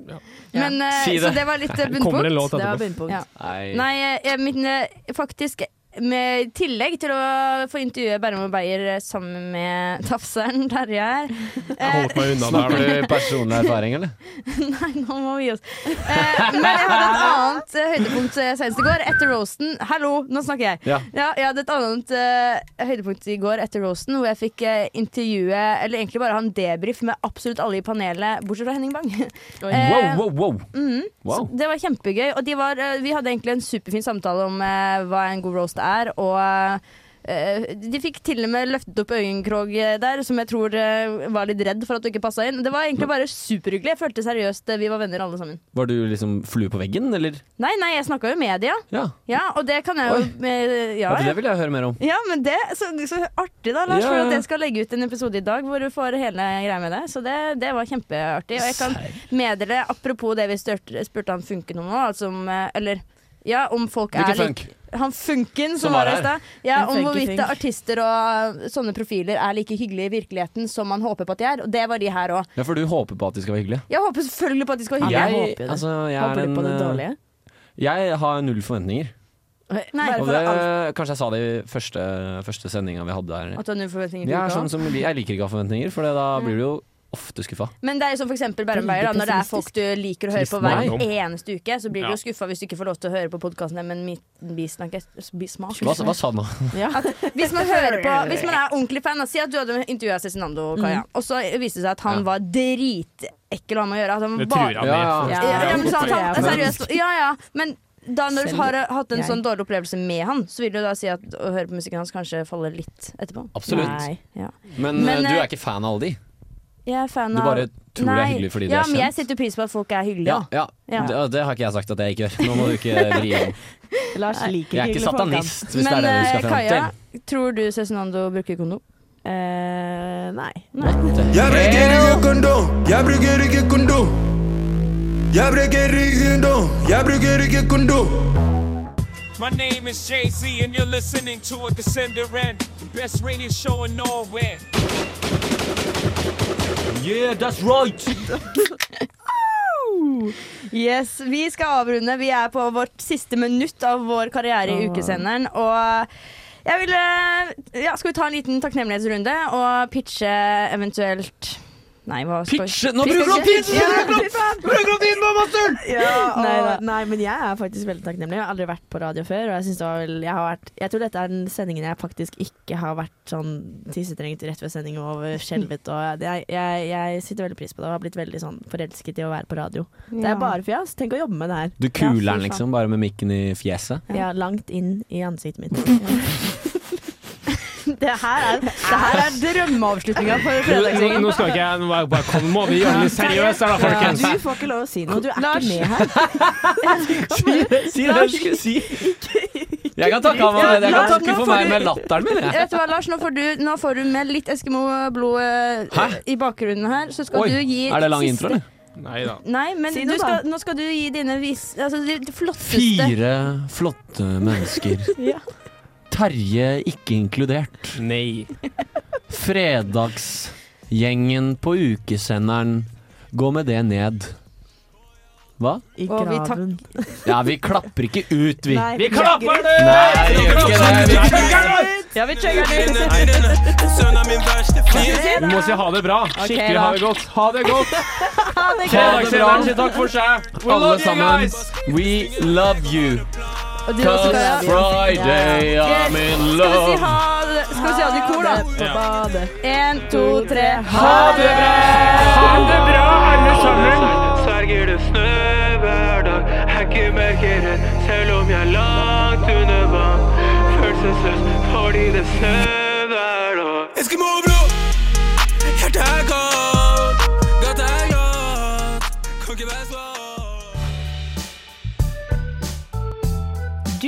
Speaker 10: bare-
Speaker 4: Men, eh,
Speaker 10: Si
Speaker 4: Så
Speaker 10: det.
Speaker 4: det var litt eh,
Speaker 10: Kommer det
Speaker 4: bunnpunkt.
Speaker 10: en låt etterpå?
Speaker 4: Ja.
Speaker 6: Nei.
Speaker 4: Nei, jeg, min, eh, faktisk med, I tillegg til å få intervjue Bærum og Beyer eh, sammen med tafseren Terje her eh,
Speaker 6: Holdt meg unna Snakker du personlig erfaring, eller?
Speaker 4: Nei, nå må vi gi oss. Eh, men jeg hadde et annet eh, høydepunkt eh, senest i går, etter roasten. Hallo, nå snakker jeg.
Speaker 6: Ja.
Speaker 4: jeg hadde et annet eh, høydepunkt i går etter roasten, hvor jeg fikk eh, intervjue, eller egentlig bare ha en debrief med absolutt alle i panelet, bortsett fra Henning Bang. Eh,
Speaker 6: Wow, wow, wow.
Speaker 4: Mhm.
Speaker 6: Wow.
Speaker 4: Så det var kjempegøy. Og de var, eh, vi hadde egentlig en superfin samtale om eh, hva en god roast er, og eh, de fikk til og med løftet opp øyenkrog eh, der, som jeg tror eh, var litt redd for at du ikke passa inn. Det var egentlig bare superhyggelig. Jeg følte seriøst eh, vi var venner alle sammen.
Speaker 6: Var du liksom flue på veggen, eller?
Speaker 4: Nei, nei, jeg snakka jo med de, ja.
Speaker 6: Ja.
Speaker 4: og det kan jeg jo eh, ja,
Speaker 6: Ja, for
Speaker 4: ja.
Speaker 6: Det vil jeg høre mer om.
Speaker 4: ja, men det så, så artig, da, Lars.
Speaker 6: Ja,
Speaker 4: For
Speaker 6: ja.
Speaker 4: at jeg skal legge ut en episode i dag hvor du får hele greia med det. Så det, det var kjempeartig. Og jeg kan meddele, apropos det vi størte, spurte han funken om nå, altså om eh, Eller ja, om folk
Speaker 6: Hvilken
Speaker 4: er lik-
Speaker 6: funk?
Speaker 4: Han funken som,
Speaker 6: Som var
Speaker 4: var her i
Speaker 6: her.
Speaker 4: stad. Ja,
Speaker 6: En
Speaker 4: om
Speaker 6: funky
Speaker 4: hvorvidt
Speaker 6: funk.
Speaker 4: artister og eh, sånne profiler er like hyggelige i virkeligheten som man håper på at de er. Og det var de her òg.
Speaker 6: Ja, for du håper på at de skal være hyggelige?
Speaker 4: Jeg håper selvfølgelig på at de skal være
Speaker 6: Jeg,
Speaker 4: hyggelige.
Speaker 6: altså, jeg er en, eh, Jeg har null forventninger.
Speaker 4: Nei,
Speaker 6: Og det, kanskje jeg sa det i første, første sendinga vi hadde her.
Speaker 4: At du har null forventninger til
Speaker 6: Jeg, er
Speaker 4: uka?
Speaker 6: sånn som, jeg liker ikke å ha forventninger, for da blir du jo ofte skuffa.
Speaker 4: Men det er jo som for eksempel Bærum
Speaker 6: Veldig
Speaker 4: Beyer, da, når det er folk
Speaker 6: pessimistisk.
Speaker 4: du liker å høre på
Speaker 6: Trist
Speaker 4: hver
Speaker 6: barndom.
Speaker 4: eneste uke, så blir du
Speaker 6: Ja.
Speaker 4: jo skuffa hvis du ikke får lov til å høre på podkasten deres, men min bismak Bismak?
Speaker 6: Hva, hva sa du nå?
Speaker 4: Ja. At hvis man hører på Hvis man er ordentlig fan, da, si at du hadde intervjua Cezinando og Kaja,
Speaker 6: Mm.
Speaker 4: og så viste det seg at han var dritekkel å ha med å gjøre. At han
Speaker 6: Det
Speaker 4: bare-
Speaker 6: tror jeg han er,
Speaker 4: Ja,
Speaker 6: faktisk.
Speaker 4: ja. ja, men så at han,
Speaker 6: Ja, ja.
Speaker 4: seriøst, ja, ja. Men da når du
Speaker 6: Selv
Speaker 4: har hatt en
Speaker 6: jeg.
Speaker 4: sånn dårlig opplevelse med han, så vil du da si at å høre på musikken hans kanskje faller litt etterpå.
Speaker 6: Absolutt.
Speaker 4: Nei, ja.
Speaker 6: Men,
Speaker 4: Men,
Speaker 6: eh, du
Speaker 4: eh,
Speaker 6: er ikke fan av alle de?
Speaker 4: Jeg er fan
Speaker 6: Du
Speaker 4: av
Speaker 6: bare tror det er hyggelig fordi de
Speaker 4: ja,
Speaker 6: er
Speaker 4: men
Speaker 6: kjent.
Speaker 4: Jeg setter pris på at folk er hyggelige.
Speaker 6: Ja,
Speaker 4: da.
Speaker 6: ja.
Speaker 4: Ja.
Speaker 6: Det, det har ikke jeg sagt at jeg ikke gjør. Nå må du ikke vri om.
Speaker 2: Lars liker
Speaker 6: Jeg er ikke
Speaker 2: hyggelige folk, han.
Speaker 6: satanist, hvis det er det du
Speaker 4: eh,
Speaker 6: skal fram til.
Speaker 4: Kaja, tror du Cezinando bruker kondom?
Speaker 2: Eh,
Speaker 4: Eh.
Speaker 2: nei.
Speaker 9: Jeg
Speaker 7: Eh.
Speaker 9: bruker ikke kondom, jeg bruker ikke kondom. Jeg bruker ikke kondom, jeg bruker ikke kondom.
Speaker 23: My name is Jay Z, and you're listening to a Descender N, the best radio show in Norway.
Speaker 6: Yeah, that's right!
Speaker 4: Yes, Vi skal avrunde. Vi er på vårt siste minutt av vår karriere i
Speaker 7: Åh.
Speaker 4: Ukesenderen. Og jeg vil eh, ja, Skal vi ta en liten takknemlighetsrunde og pitche eventuelt Nei, hva skal
Speaker 6: Pitche?
Speaker 7: Nå
Speaker 4: Vi
Speaker 7: bruker
Speaker 4: skal
Speaker 7: han
Speaker 4: ikke-
Speaker 7: tiden!
Speaker 4: Ja, er
Speaker 7: Nå bruker
Speaker 4: fy faen!
Speaker 7: bruker han tiden på masteren! Ja, og, nei,
Speaker 4: Neida.
Speaker 2: men jeg er faktisk veldig takknemlig. Jeg har aldri vært på radio før. Og jeg, synes det var vel, jeg, har vært, jeg tror dette er den sendingen jeg faktisk ikke har vært sånn tissetrengt rett ved sending og skjelvet. Og jeg, jeg, jeg sitter veldig pris på det og har blitt veldig sånn forelsket i å være på radio. Det
Speaker 7: Ja.
Speaker 2: er bare fjas. Tenk å jobbe med det her.
Speaker 6: Du
Speaker 4: sånn.
Speaker 6: liksom
Speaker 2: Ja, fy
Speaker 6: kuler'n
Speaker 2: faen.
Speaker 6: liksom, bare med mikken i fjeset?
Speaker 2: Ja, langt inn i ansiktet mitt. Det her er, det her er drømmeavslutninga for
Speaker 10: Nå,
Speaker 2: fredagskvelden.
Speaker 10: nå skal ikke jeg nå bare- bare komme, må vi gjøre det litt seriøst her da, folkens?
Speaker 2: Du får ikke lov å si noe. Du er
Speaker 10: Lars.
Speaker 2: ikke med her.
Speaker 6: Si det du skulle si. Jeg kan takke,
Speaker 4: Ja,
Speaker 6: han, jeg kan
Speaker 4: Lars,
Speaker 6: takke
Speaker 4: nå
Speaker 6: for
Speaker 4: får
Speaker 6: meg
Speaker 4: du-
Speaker 6: med latteren min. jeg.
Speaker 4: Vet du hva, Lars, nå får du, nå får du med litt Eskimo-blod eh,
Speaker 6: Hæ?
Speaker 4: i bakgrunnen her. Så skal
Speaker 6: Oi,
Speaker 4: du gi
Speaker 6: er det lang
Speaker 4: siste-
Speaker 6: intro, eller?
Speaker 10: Nei da.
Speaker 4: Nei, men
Speaker 2: Si
Speaker 4: du
Speaker 2: noe, da.
Speaker 4: skal, nå skal du gi dine vis... Altså, de flotteste
Speaker 6: Fire flotte mennesker.
Speaker 4: Ja.
Speaker 6: Terje ikke inkludert.
Speaker 10: Nei.
Speaker 6: Fredagsgjengen på ukesenderen. Gå med det ned. Hva?
Speaker 2: I
Speaker 4: Og vi
Speaker 2: graven.
Speaker 6: Ja, vi klapper ikke ut, vi.
Speaker 2: Nei,
Speaker 15: Vi klapper
Speaker 2: det!
Speaker 6: Nei, vi gjør ikke det. Vi
Speaker 2: Ja, vi chugger den ut.
Speaker 10: Vi må si ha det bra. Skikkelig ha det godt. Ha det godt.
Speaker 2: Ha det
Speaker 10: Fredagssenderen sier takk for seg. We
Speaker 6: Alle
Speaker 10: love you
Speaker 6: sammen,
Speaker 10: guys.
Speaker 6: we love you.
Speaker 4: Og du også,
Speaker 6: Cause
Speaker 4: Kaja.
Speaker 6: Friday I'm in
Speaker 4: Skal vi si
Speaker 6: love.
Speaker 4: ha det, skal vi si ha det i kor, da?
Speaker 6: Ja.
Speaker 4: En, to, tre.
Speaker 15: Ha det bra! Ha det bra, alle sammen! Sverger det snø hver dag. Jeg ikke merker det, selv om jeg er langt under vann. Følelsesløs fordi det snør hver dag.
Speaker 23: Eskimo-blod, hjertet er kaldt, gata er glatt. Kan ikke være svak.
Speaker 12: Du